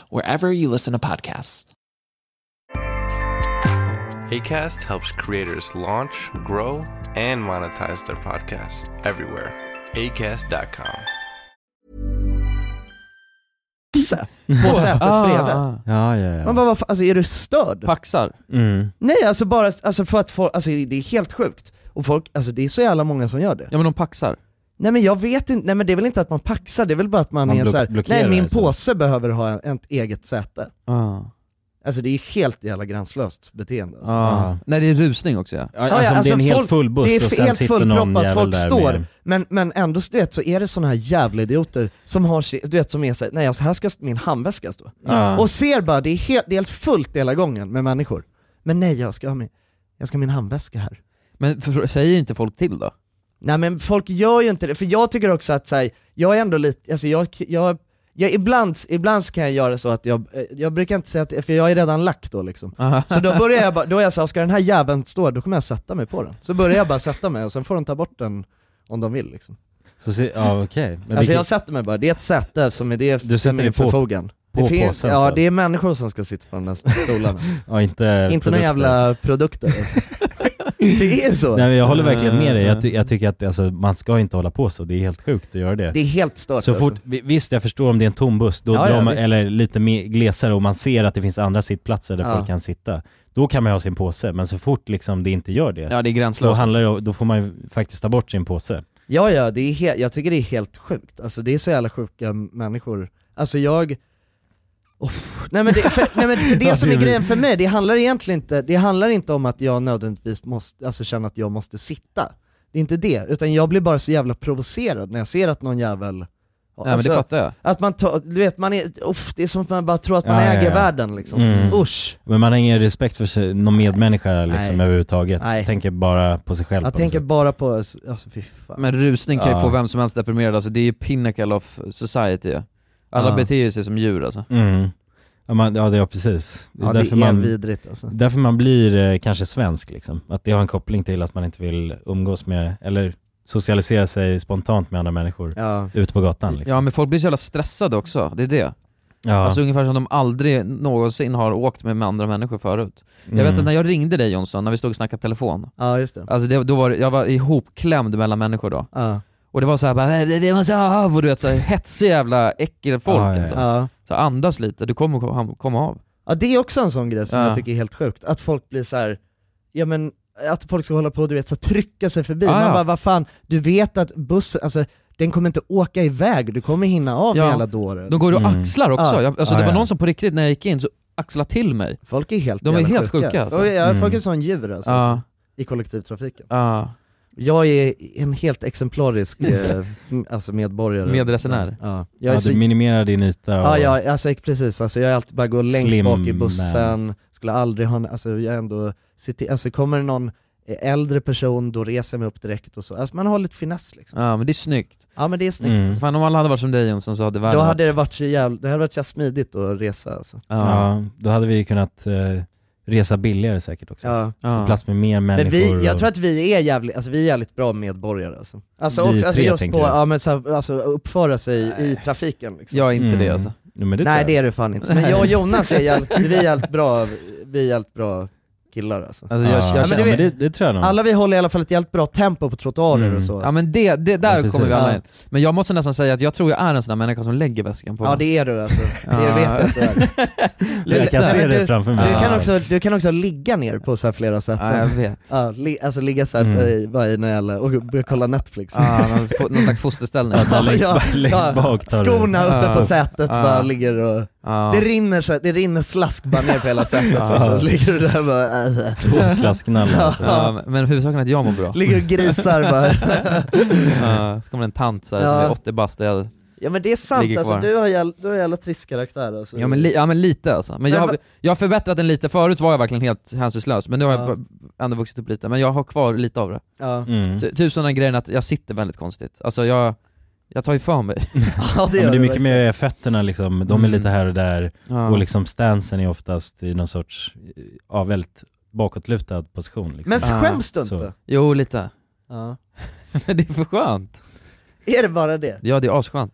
[SPEAKER 13] wherever you listen to podcasts.
[SPEAKER 14] ACAST helps creators launch, grow, and monetize their podcasts everywhere. ACAST.com.
[SPEAKER 2] på sätet
[SPEAKER 1] Ah.
[SPEAKER 2] bredvid.
[SPEAKER 3] Ja, ja, ja.
[SPEAKER 2] Man bara, vad fan, alltså är du störd?
[SPEAKER 1] Paxar?
[SPEAKER 3] Mm.
[SPEAKER 2] Nej alltså bara, alltså för att folk, alltså det är helt sjukt. Och folk, alltså det är så jävla många som gör det.
[SPEAKER 1] Ja men de paxar.
[SPEAKER 2] Nej men jag vet inte, nej men det är väl inte att man paxar, det är väl bara att man,
[SPEAKER 1] Man
[SPEAKER 2] är
[SPEAKER 1] block-
[SPEAKER 2] såhär,
[SPEAKER 1] blockerar
[SPEAKER 2] nej min
[SPEAKER 1] alltså.
[SPEAKER 2] påse behöver ha ett eget säte. Alltså det är helt jävla gränslöst beteende alltså.
[SPEAKER 1] Ah. Nej det är rusning också ja.
[SPEAKER 2] Ja, ja,
[SPEAKER 3] alltså,
[SPEAKER 2] folk- det är helt fullproppat, folk står, men, men ändå du vet, så är det såna här jävla idioter som har, si- du vet som är såhär, nej alltså här ska min handväska stå.
[SPEAKER 3] Ja.
[SPEAKER 2] Och ser bara, det är helt, det är helt fullt hela gången med människor. Men nej jag ska ha min, jag ska ha min handväska här.
[SPEAKER 1] Men för, säger inte folk till då?
[SPEAKER 2] Nej men folk gör ju inte det, för jag tycker också att så här, jag är ändå lite, alltså jag, jag, jag ibland, ibland så kan jag göra så att jag, eh, jag brukar inte säga att, för jag är redan lack då liksom.
[SPEAKER 1] Ah.
[SPEAKER 2] Så då börjar jag bara, då är jag såhär, ska den här jäveln stå då kommer jag sätta mig på den. Så börjar jag bara sätta mig och sen får de ta bort den om de vill liksom.
[SPEAKER 3] Så se, ja okej. Men
[SPEAKER 2] alltså
[SPEAKER 3] vilket-
[SPEAKER 2] jag sätter mig bara, det är ett säte som är det
[SPEAKER 3] Du sätter
[SPEAKER 2] som är
[SPEAKER 3] dig på-
[SPEAKER 2] förfogan.
[SPEAKER 3] på
[SPEAKER 2] det finns,
[SPEAKER 3] påsen,
[SPEAKER 2] ja
[SPEAKER 3] så.
[SPEAKER 2] det är människor som ska sitta på de där stolarna.
[SPEAKER 3] Ja, inte
[SPEAKER 2] inte
[SPEAKER 3] produkter.
[SPEAKER 2] några jävla produkter alltså. Det är så.
[SPEAKER 3] Nej men jag håller verkligen med dig. Jag, ty- jag tycker att alltså, man ska inte hålla på så. Det är helt sjukt att göra det.
[SPEAKER 2] Det är helt stört
[SPEAKER 3] så fort,
[SPEAKER 2] alltså.
[SPEAKER 3] vi- Visst, jag förstår om det är en tom buss, då
[SPEAKER 2] Ja,
[SPEAKER 3] drar
[SPEAKER 2] ja,
[SPEAKER 3] man,
[SPEAKER 2] visst.
[SPEAKER 3] eller lite mer glesare och man ser att det finns andra sittplatser där
[SPEAKER 2] Ja.
[SPEAKER 3] folk kan sitta. Då kan man ju ha sin påse, men så fort liksom det inte gör det,
[SPEAKER 1] Ja, det är gränslöst.
[SPEAKER 2] alltså.
[SPEAKER 3] Då, handlar det, om- då får man ju faktiskt ta bort sin påse.
[SPEAKER 2] Ja ja, det är he- jag tycker det är helt sjukt, alltså det är så jävla sjuka människor, alltså jag Oh, nej men det, för, nej men för
[SPEAKER 3] Ja,
[SPEAKER 2] det som
[SPEAKER 3] det
[SPEAKER 2] är
[SPEAKER 3] är-
[SPEAKER 2] grejen för mig, det handlar egentligen inte, det handlar inte om att jag nödvändigtvis måste, alltså känner att jag måste sitta. Det är inte det, utan jag blir bara så jävla provocerad när jag ser att någon jävel alltså,
[SPEAKER 1] Nej, men det fattar jag.
[SPEAKER 2] Att man tar, du vet man är, uff, det är som att man bara tror att man
[SPEAKER 3] Ja, ja,
[SPEAKER 2] äger
[SPEAKER 3] ja.
[SPEAKER 2] världen liksom.
[SPEAKER 3] Mm.
[SPEAKER 2] Usch!
[SPEAKER 3] Men man har ingen respekt för sig, någon medmänniska liksom
[SPEAKER 2] Nej.
[SPEAKER 3] överhuvudtaget.
[SPEAKER 2] Nej.
[SPEAKER 3] Tänker bara på sig själv
[SPEAKER 2] Jag
[SPEAKER 3] på något
[SPEAKER 2] tänker
[SPEAKER 3] sätt.
[SPEAKER 2] bara på, alltså fy fan.
[SPEAKER 1] Men rusning kan ju
[SPEAKER 3] Ja.
[SPEAKER 1] få vem som helst deprimerad, alltså det är ju pinnacle of society ja. Alla
[SPEAKER 3] Ja.
[SPEAKER 1] beter sig som djur alltså.
[SPEAKER 3] Mm. Ja, man, ja, det, ja precis.
[SPEAKER 2] Ja, det är
[SPEAKER 3] man,
[SPEAKER 2] vidrigt, alltså.
[SPEAKER 3] Därför man blir eh, kanske svensk liksom. Att det har en koppling till att man inte vill umgås med, eller socialisera sig spontant med andra människor
[SPEAKER 2] ja.
[SPEAKER 3] ute på gatan liksom.
[SPEAKER 1] Ja men folk blir så jävla stressade också, det är det.
[SPEAKER 3] Ja.
[SPEAKER 1] Alltså ungefär som de aldrig någonsin har åkt med, med andra människor förut. Jag vet
[SPEAKER 3] Mm.
[SPEAKER 1] att när jag ringde dig Jonsson, när vi stod och snackade telefon,
[SPEAKER 2] Ja just det.
[SPEAKER 1] Alltså det, då var det, jag var ihopklämd mellan människor då.
[SPEAKER 2] Ja.
[SPEAKER 1] Och det var såhär bara, "Äh, "Det- det måste jag av, och du vet såhär hetsig jävla äckelfolk
[SPEAKER 2] Ja, ja,
[SPEAKER 1] alltså.
[SPEAKER 2] ja.
[SPEAKER 1] Så andas lite, du kommer kom- komma av.
[SPEAKER 2] Ja det är också en sån grej som
[SPEAKER 1] Ja.
[SPEAKER 2] jag tycker är helt sjukt, att folk blir så här. ja men att folk ska hålla på och du vet så här, trycka sig förbi,
[SPEAKER 1] Ja,
[SPEAKER 2] man
[SPEAKER 1] ja.
[SPEAKER 2] bara vad fan, du vet att bussen, alltså den kommer inte åka iväg, du kommer hinna av
[SPEAKER 1] Ja.
[SPEAKER 2] med alla dårar.
[SPEAKER 1] De går och axlar också.
[SPEAKER 2] Mm. Ja. Alltså.
[SPEAKER 1] Jag, alltså, det var någon som på riktigt när jag gick in så axlade till mig.
[SPEAKER 2] Folk är helt
[SPEAKER 1] De är
[SPEAKER 2] jävla
[SPEAKER 1] helt sjuka,
[SPEAKER 2] sjuka
[SPEAKER 1] alltså.
[SPEAKER 2] Och, ja,
[SPEAKER 1] Mm.
[SPEAKER 2] Folk är sån djur alltså,
[SPEAKER 1] Ja.
[SPEAKER 2] i kollektivtrafiken.
[SPEAKER 1] Ja.
[SPEAKER 2] Jag är en helt exemplarisk eh, m- alltså medborgare.
[SPEAKER 1] Medresenär.
[SPEAKER 2] Ja. Jag
[SPEAKER 3] Ja,
[SPEAKER 2] är
[SPEAKER 3] du
[SPEAKER 2] så,
[SPEAKER 3] minimerar din yta
[SPEAKER 2] ja,
[SPEAKER 3] och...
[SPEAKER 2] ja, alltså ex- precis, alltså jag är alltid bara går längst
[SPEAKER 3] Slim
[SPEAKER 2] bak i bussen,
[SPEAKER 3] man.
[SPEAKER 2] skulle aldrig ha, en- alltså jag är ändå, ser till- alltså kommer någon äldre person då reser jag mig upp direkt och så, alltså man har lite finess liksom.
[SPEAKER 1] Ja men det är snyggt.
[SPEAKER 2] Ja men det är
[SPEAKER 3] Mm.
[SPEAKER 2] snyggt. alltså.
[SPEAKER 1] Fan om alla hade varit som dig Jonsson så hade världen
[SPEAKER 2] Då hade det varit så jävla, det hade varit så jävla smidigt att resa alltså.
[SPEAKER 3] Ja, då hade vi ju kunnat eh, resa billigare säkert också.
[SPEAKER 2] Ja.
[SPEAKER 3] Få plats med mer
[SPEAKER 2] Men
[SPEAKER 3] människor.
[SPEAKER 2] vi, jag
[SPEAKER 3] och-
[SPEAKER 2] tror att vi är jävligt, alltså vi är jävligt bra medborgare alltså. Alltså,
[SPEAKER 3] Vi
[SPEAKER 2] och, alltså
[SPEAKER 3] tre,
[SPEAKER 2] just
[SPEAKER 3] tänker
[SPEAKER 2] på,
[SPEAKER 3] du?
[SPEAKER 2] ja, men så här, alltså, uppföra sig i trafiken liksom.
[SPEAKER 1] Jag är inte det alltså.
[SPEAKER 3] Jo, men det tror
[SPEAKER 2] Nej
[SPEAKER 3] jag.
[SPEAKER 2] det är du fan inte, men jag och Jonas är jävligt, vi är jävligt bra, vi är jävligt bra killar alltså.
[SPEAKER 1] Alltså, jag- jag känner-
[SPEAKER 2] du
[SPEAKER 1] men
[SPEAKER 2] vet,
[SPEAKER 1] det- det tror jag nog.
[SPEAKER 2] Alla vi håller i alla fall ett jävligt bra tempo på trottoarer
[SPEAKER 1] Mm.
[SPEAKER 2] och så.
[SPEAKER 1] Ja men det, det där
[SPEAKER 2] precis.
[SPEAKER 1] kommer vi alla
[SPEAKER 2] Ja.
[SPEAKER 1] in. Men jag måste nästan säga att jag tror jag är en sån där människa som lägger väskan på
[SPEAKER 2] Ja det är du alltså, det
[SPEAKER 1] Ja.
[SPEAKER 2] vet jag att du är.
[SPEAKER 1] Jag kan
[SPEAKER 2] Nej,
[SPEAKER 1] se
[SPEAKER 2] men
[SPEAKER 1] det
[SPEAKER 2] du-
[SPEAKER 1] framför mig.
[SPEAKER 2] Du kan,
[SPEAKER 1] Ja.
[SPEAKER 2] också, du kan också ligga ner på så här flera sätt.
[SPEAKER 1] Ja, jag vet.
[SPEAKER 2] Ja, li, alltså ligga såhär
[SPEAKER 1] Mm.
[SPEAKER 2] mm. bara i någon jävla, och börja kolla Netflix.
[SPEAKER 1] Ja, någon fo- någon slags fosterställning.
[SPEAKER 2] Ja,
[SPEAKER 1] Ja, längst ba- längst bak tar du.
[SPEAKER 2] Skorna uppe
[SPEAKER 1] Ja.
[SPEAKER 2] på sätet
[SPEAKER 1] Ja.
[SPEAKER 2] bara ligger och,
[SPEAKER 1] Ja.
[SPEAKER 2] det rinner så här, det rinner slask bara ner på hela sätet. liksom. Ligger du där och bara, äh.
[SPEAKER 1] Ja, men- men huvudsaken är att jag mår bra.
[SPEAKER 2] Ligger och grisar bara.
[SPEAKER 1] ja, så kommer en tant så här, som
[SPEAKER 2] Ja.
[SPEAKER 1] är 80 bast. Jag...
[SPEAKER 2] Ja men det är sant
[SPEAKER 1] Ligger
[SPEAKER 2] alltså,
[SPEAKER 1] kvar.
[SPEAKER 2] du har jävla, du har jävla trist karaktär alltså.
[SPEAKER 1] Ja men, li- ja men lite alltså. Men
[SPEAKER 2] Men
[SPEAKER 1] jag, har,
[SPEAKER 2] vad-
[SPEAKER 1] jag har förbättrat den lite, förut var jag verkligen helt hänsynslös men nu har jag ändå vuxit upp lite, men jag har kvar lite av det.
[SPEAKER 2] Ja.
[SPEAKER 3] Mm.
[SPEAKER 1] Ty- Typ sådana grejer att jag sitter väldigt konstigt, alltså jag, jag tar ju för mig.
[SPEAKER 2] ja,
[SPEAKER 3] Ja, men det är mycket mer fötterna liksom,
[SPEAKER 2] Mm.
[SPEAKER 3] de är lite här och där
[SPEAKER 1] Ja.
[SPEAKER 3] och liksom stansen är oftast i någon sorts, eh, ja väldigt bakåtlutad position liksom.
[SPEAKER 2] Men skäms du
[SPEAKER 3] Så.
[SPEAKER 2] inte?
[SPEAKER 1] Jo lite.
[SPEAKER 2] Ja.
[SPEAKER 1] Men det är för skönt.
[SPEAKER 2] Är det bara det?
[SPEAKER 1] Ja det är asskönt.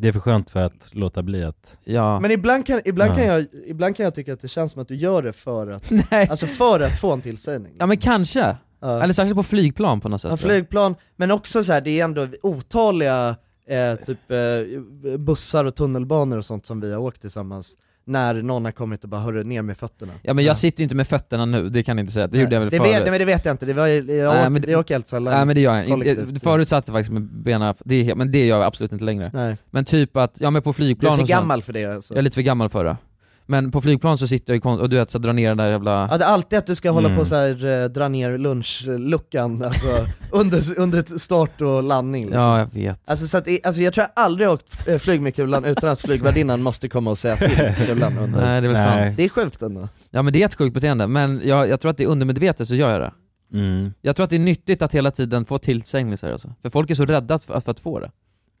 [SPEAKER 3] Det är för skönt för att låta bli att...
[SPEAKER 1] Ja.
[SPEAKER 2] Men ibland kan, ibland,
[SPEAKER 3] Ja.
[SPEAKER 2] kan jag, ibland kan jag tycka att det känns som att du gör det för att,
[SPEAKER 1] Nej.
[SPEAKER 2] alltså för att få en tillsägning.
[SPEAKER 1] Ja men kanske.
[SPEAKER 2] Ja.
[SPEAKER 1] Eller särskilt på flygplan på något sätt.
[SPEAKER 2] Ja, flygplan, men också så här, det är ändå otaliga eh, typ eh, bussar och tunnelbanor och sånt som vi har åkt tillsammans, när någon har kommit och bara 'hörru, ner med fötterna'
[SPEAKER 1] Ja men jag sitter ju inte med fötterna nu, det kan jag inte säga, det gjorde jag väl
[SPEAKER 2] det
[SPEAKER 1] förut.
[SPEAKER 2] vet, nej, men det vet jag inte, det var, ju- jag
[SPEAKER 1] Nej,
[SPEAKER 2] åker,
[SPEAKER 1] men det-
[SPEAKER 2] vi åker helt sällan
[SPEAKER 1] Nej men det gör jag inte.
[SPEAKER 2] kollektivt.
[SPEAKER 1] Förut satt jag faktiskt med benen, det är, he- men det gör jag absolut inte längre.
[SPEAKER 2] Nej.
[SPEAKER 1] Men typ att, ja men på flygplan
[SPEAKER 2] Du är för
[SPEAKER 1] och sånt.
[SPEAKER 2] gammal för det, alltså.
[SPEAKER 1] Jag är lite för gammal för det. Men på flygplan så sitter jag ju kon- och du vet så drar ner den där jävla...
[SPEAKER 2] Ja, det är alltid att du ska hålla
[SPEAKER 1] Mm.
[SPEAKER 2] på så här, eh, dra ner lunchluckan alltså, under, under start och landning liksom.
[SPEAKER 1] Ja, jag vet.
[SPEAKER 2] Alltså, så att, det- alltså jag tror jag aldrig har åkt eh, flyg med kulan utan att flygvärdinnan måste komma och säga till kulan under.
[SPEAKER 1] Nej, det är väl sant.
[SPEAKER 2] Det är sjukt ändå.
[SPEAKER 1] Ja men det är ett sjukt beteende, men jag, jag tror att det är undermedvetet så gör jag det.
[SPEAKER 3] Mm.
[SPEAKER 1] Jag tror att det är nyttigt att hela tiden få tillsägelser alltså. För folk är så rädda för, för att få det.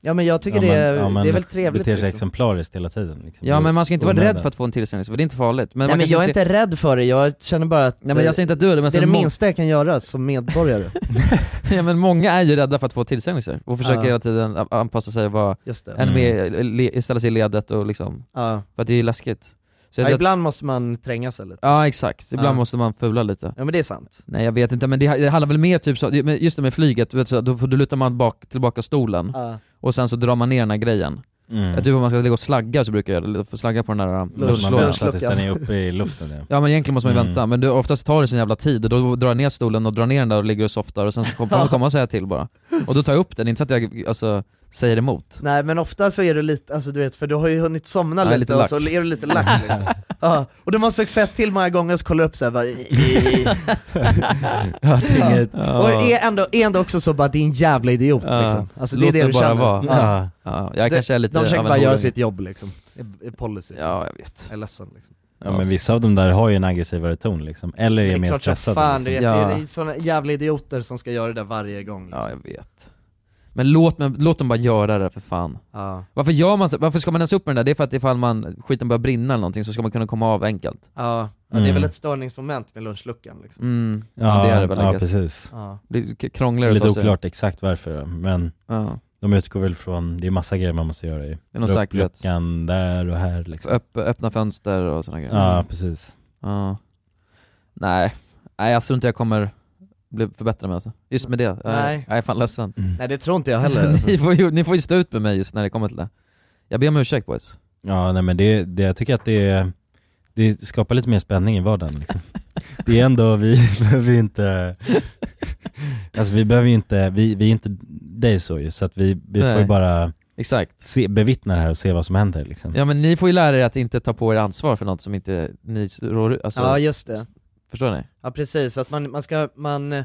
[SPEAKER 2] Ja men jag tycker det, är, det är väl trevligt
[SPEAKER 3] beter sig
[SPEAKER 2] liksom.
[SPEAKER 3] exemplariskt hela tiden liksom.
[SPEAKER 1] Ja men man ska inte vara
[SPEAKER 3] Onödan.
[SPEAKER 1] rädd för att få en tillsägelse, för det är inte farligt. Men
[SPEAKER 2] Nej
[SPEAKER 1] man
[SPEAKER 2] men
[SPEAKER 1] kanske
[SPEAKER 2] jag är inte rädd för det, Alltså, jag känner bara att
[SPEAKER 1] Nej, men jag säger inte att du är det, men
[SPEAKER 2] det är
[SPEAKER 1] sen
[SPEAKER 2] det
[SPEAKER 1] må-
[SPEAKER 2] minsta jag kan göra som medborgare.
[SPEAKER 1] ja men många är ju rädda för att få tillsägelser och försöker
[SPEAKER 2] Ja.
[SPEAKER 1] hela tiden a- anpassa sig och vara
[SPEAKER 2] Just det.
[SPEAKER 3] Mm.
[SPEAKER 1] ännu mer, eh, le, ställa sig i ledet och liksom,
[SPEAKER 2] Ja.
[SPEAKER 1] för att det är ju läskigt. Så
[SPEAKER 2] ja,
[SPEAKER 1] jag-
[SPEAKER 2] ibland måste man tränga sig lite.
[SPEAKER 1] Ja exakt, ibland
[SPEAKER 2] Ja.
[SPEAKER 1] måste man fula lite.
[SPEAKER 2] Ja men det är sant.
[SPEAKER 1] Nej jag vet inte, men det, det handlar väl mer typ så, men just det med flyget, du vet, så, då, får- då lutar man bak, tillbaka stolen
[SPEAKER 2] Ja.
[SPEAKER 1] och sen så drar man ner den här grejen.
[SPEAKER 3] Mm.
[SPEAKER 1] Jag typ om man ska ligga och slagga så brukar jag göra det, få slagga på den här eh,
[SPEAKER 3] Man
[SPEAKER 1] lunchlådan.
[SPEAKER 3] väntar tills den är uppe i luften ja.
[SPEAKER 1] Ja men egentligen måste man ju
[SPEAKER 3] Mm.
[SPEAKER 1] vänta, men det, oftast tar det sin jävla tid och då drar jag ner stolen och drar ner den där och ligger och softar och sen så kommer de komma och säga till bara. Och då tar jag upp den, inte så att jag alltså, säger emot.
[SPEAKER 2] Nej men ofta så är du lite, alltså du vet, för du har ju hunnit somna
[SPEAKER 1] Ja,
[SPEAKER 2] lite,
[SPEAKER 1] lite
[SPEAKER 2] och
[SPEAKER 1] lack.
[SPEAKER 2] så är du lite lack liksom. ja. Och du måste också säga till många gånger och så kollar du upp såhär bara
[SPEAKER 3] Ja, det är inget-
[SPEAKER 2] Ja. Och är ändå, är ändå också så bara din jävla idiot
[SPEAKER 1] Ja.
[SPEAKER 2] liksom. Alltså det är
[SPEAKER 1] Låt
[SPEAKER 2] det
[SPEAKER 1] mig
[SPEAKER 2] du
[SPEAKER 1] bara
[SPEAKER 2] känner.
[SPEAKER 1] vara.
[SPEAKER 2] Ja.
[SPEAKER 1] Ja. Jag
[SPEAKER 2] Det-
[SPEAKER 1] kanske är lite
[SPEAKER 2] De försöker
[SPEAKER 1] av en
[SPEAKER 2] bara göra
[SPEAKER 1] horunge.
[SPEAKER 2] sitt jobb liksom, I- i policy.
[SPEAKER 1] Ja jag vet.
[SPEAKER 2] Jag är ledsen liksom.
[SPEAKER 3] Ja men vissa av dem där har ju en aggressivare ton liksom, eller
[SPEAKER 2] Det
[SPEAKER 3] är
[SPEAKER 2] är
[SPEAKER 3] mer
[SPEAKER 2] klart som
[SPEAKER 3] stressade
[SPEAKER 2] fan, du
[SPEAKER 3] liksom.
[SPEAKER 2] vet, det är sådana jävla idioter som ska göra det där varje gång liksom.
[SPEAKER 1] Ja jag vet. Men låt, men låt dem bara göra det för fan.
[SPEAKER 2] Ja.
[SPEAKER 1] Varför, gör man så, varför ska man ens upp med den där? Det är för att ifall man, skiten börjar brinna eller någonting så ska man kunna komma av enkelt.
[SPEAKER 2] Ja, ja det är
[SPEAKER 1] Mm.
[SPEAKER 2] väl ett störningsmoment med lunchluckan liksom.
[SPEAKER 1] Mm.
[SPEAKER 3] Ja,
[SPEAKER 1] Ja, det är det väl I
[SPEAKER 3] ja
[SPEAKER 1] guess.
[SPEAKER 3] precis.
[SPEAKER 2] Ja.
[SPEAKER 1] Det är k- krångligare att
[SPEAKER 3] Lite
[SPEAKER 1] ta sig-
[SPEAKER 3] oklart exakt varför men
[SPEAKER 1] Ja.
[SPEAKER 3] de utgår väl från, det är massa grejer man måste göra i.
[SPEAKER 1] Det är någon
[SPEAKER 3] Dra upp
[SPEAKER 1] säkerhet.
[SPEAKER 3] luckan där och här liksom.
[SPEAKER 1] Öpp, öppna fönster och sådana grejer.
[SPEAKER 3] Ja precis.
[SPEAKER 1] Ja. Nej. Nej jag tror inte jag kommer bli förbättrad med alltså. Just med det. Jag,
[SPEAKER 2] Nej.
[SPEAKER 1] Jag är fan ledsen.
[SPEAKER 3] Mm.
[SPEAKER 2] Nej det tror inte jag heller alltså.
[SPEAKER 1] ni, får ju, ni får ju stå ut med mig just när det kommer till det. Jag ber om ursäkt boys.
[SPEAKER 3] Ja nej men det, det jag tycker att det, det skapar lite mer spänning i vardagen liksom. Det är ändå, vi behöver ju inte, alltså vi behöver ju inte, vi, vi är inte dig så ju, så att vi, vi får
[SPEAKER 1] Nej.
[SPEAKER 3] ju bara
[SPEAKER 1] Exakt.
[SPEAKER 3] Se, bevittna det här och se vad som händer liksom.
[SPEAKER 1] Ja men ni får ju lära er att inte ta på er ansvar för något som inte ni rår alltså,
[SPEAKER 2] Ja, just det.
[SPEAKER 1] Förstår ni?
[SPEAKER 2] Ja precis, att man, man ska, man, eh,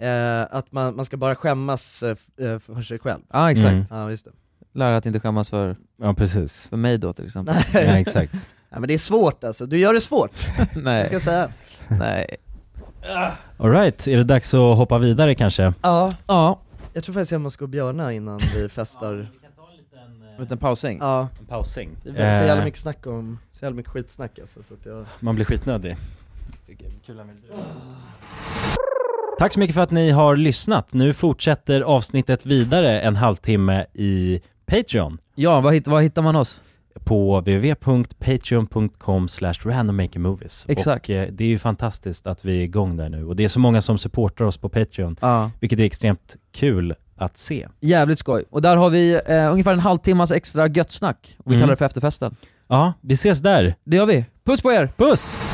[SPEAKER 2] eh, att man, man ska bara skämmas eh, f- eh, för sig själv.
[SPEAKER 1] Ja ah, exakt.
[SPEAKER 3] Mm.
[SPEAKER 2] Ja, just det.
[SPEAKER 1] Lära att inte skämmas för,
[SPEAKER 3] Ja, precis.
[SPEAKER 1] för mig då till exempel.
[SPEAKER 3] Ja, exakt.
[SPEAKER 2] Nej men det är svårt alltså, du gör det svårt,
[SPEAKER 1] Nej.
[SPEAKER 2] ska jag säga.
[SPEAKER 1] Nej.
[SPEAKER 3] Alright, är det dags att hoppa vidare kanske?
[SPEAKER 2] Ja.
[SPEAKER 1] ja.
[SPEAKER 2] Jag tror faktiskt jag måste gå och björna innan vi festar.
[SPEAKER 1] En liten pausing.
[SPEAKER 2] Ja.
[SPEAKER 12] En pausing.
[SPEAKER 2] Det är så jävla
[SPEAKER 3] Eh.
[SPEAKER 2] mycket snack om, så jävla mycket skitsnack alltså, så att jag...
[SPEAKER 3] Man blir skitnödig. Tack så mycket för att ni har lyssnat. Nu fortsätter avsnittet vidare en halvtimme i Patreon.
[SPEAKER 1] Ja, vad, hitt, vad hittar man oss?
[SPEAKER 3] På www.patreon.com randommakermovies.
[SPEAKER 1] Exakt.
[SPEAKER 3] Och eh, det är ju fantastiskt att vi är igång där nu. Och det är så många som supportar oss på Patreon. Vilket är extremt kul att se.
[SPEAKER 1] Jävligt skoj. Och där har vi eh, ungefär en halvtimmas extra gött snack. Och vi
[SPEAKER 3] Mm.
[SPEAKER 1] kallar det för efterfesten.
[SPEAKER 3] Ja, vi ses där.
[SPEAKER 1] Det gör vi. Puss på er!
[SPEAKER 3] Puss!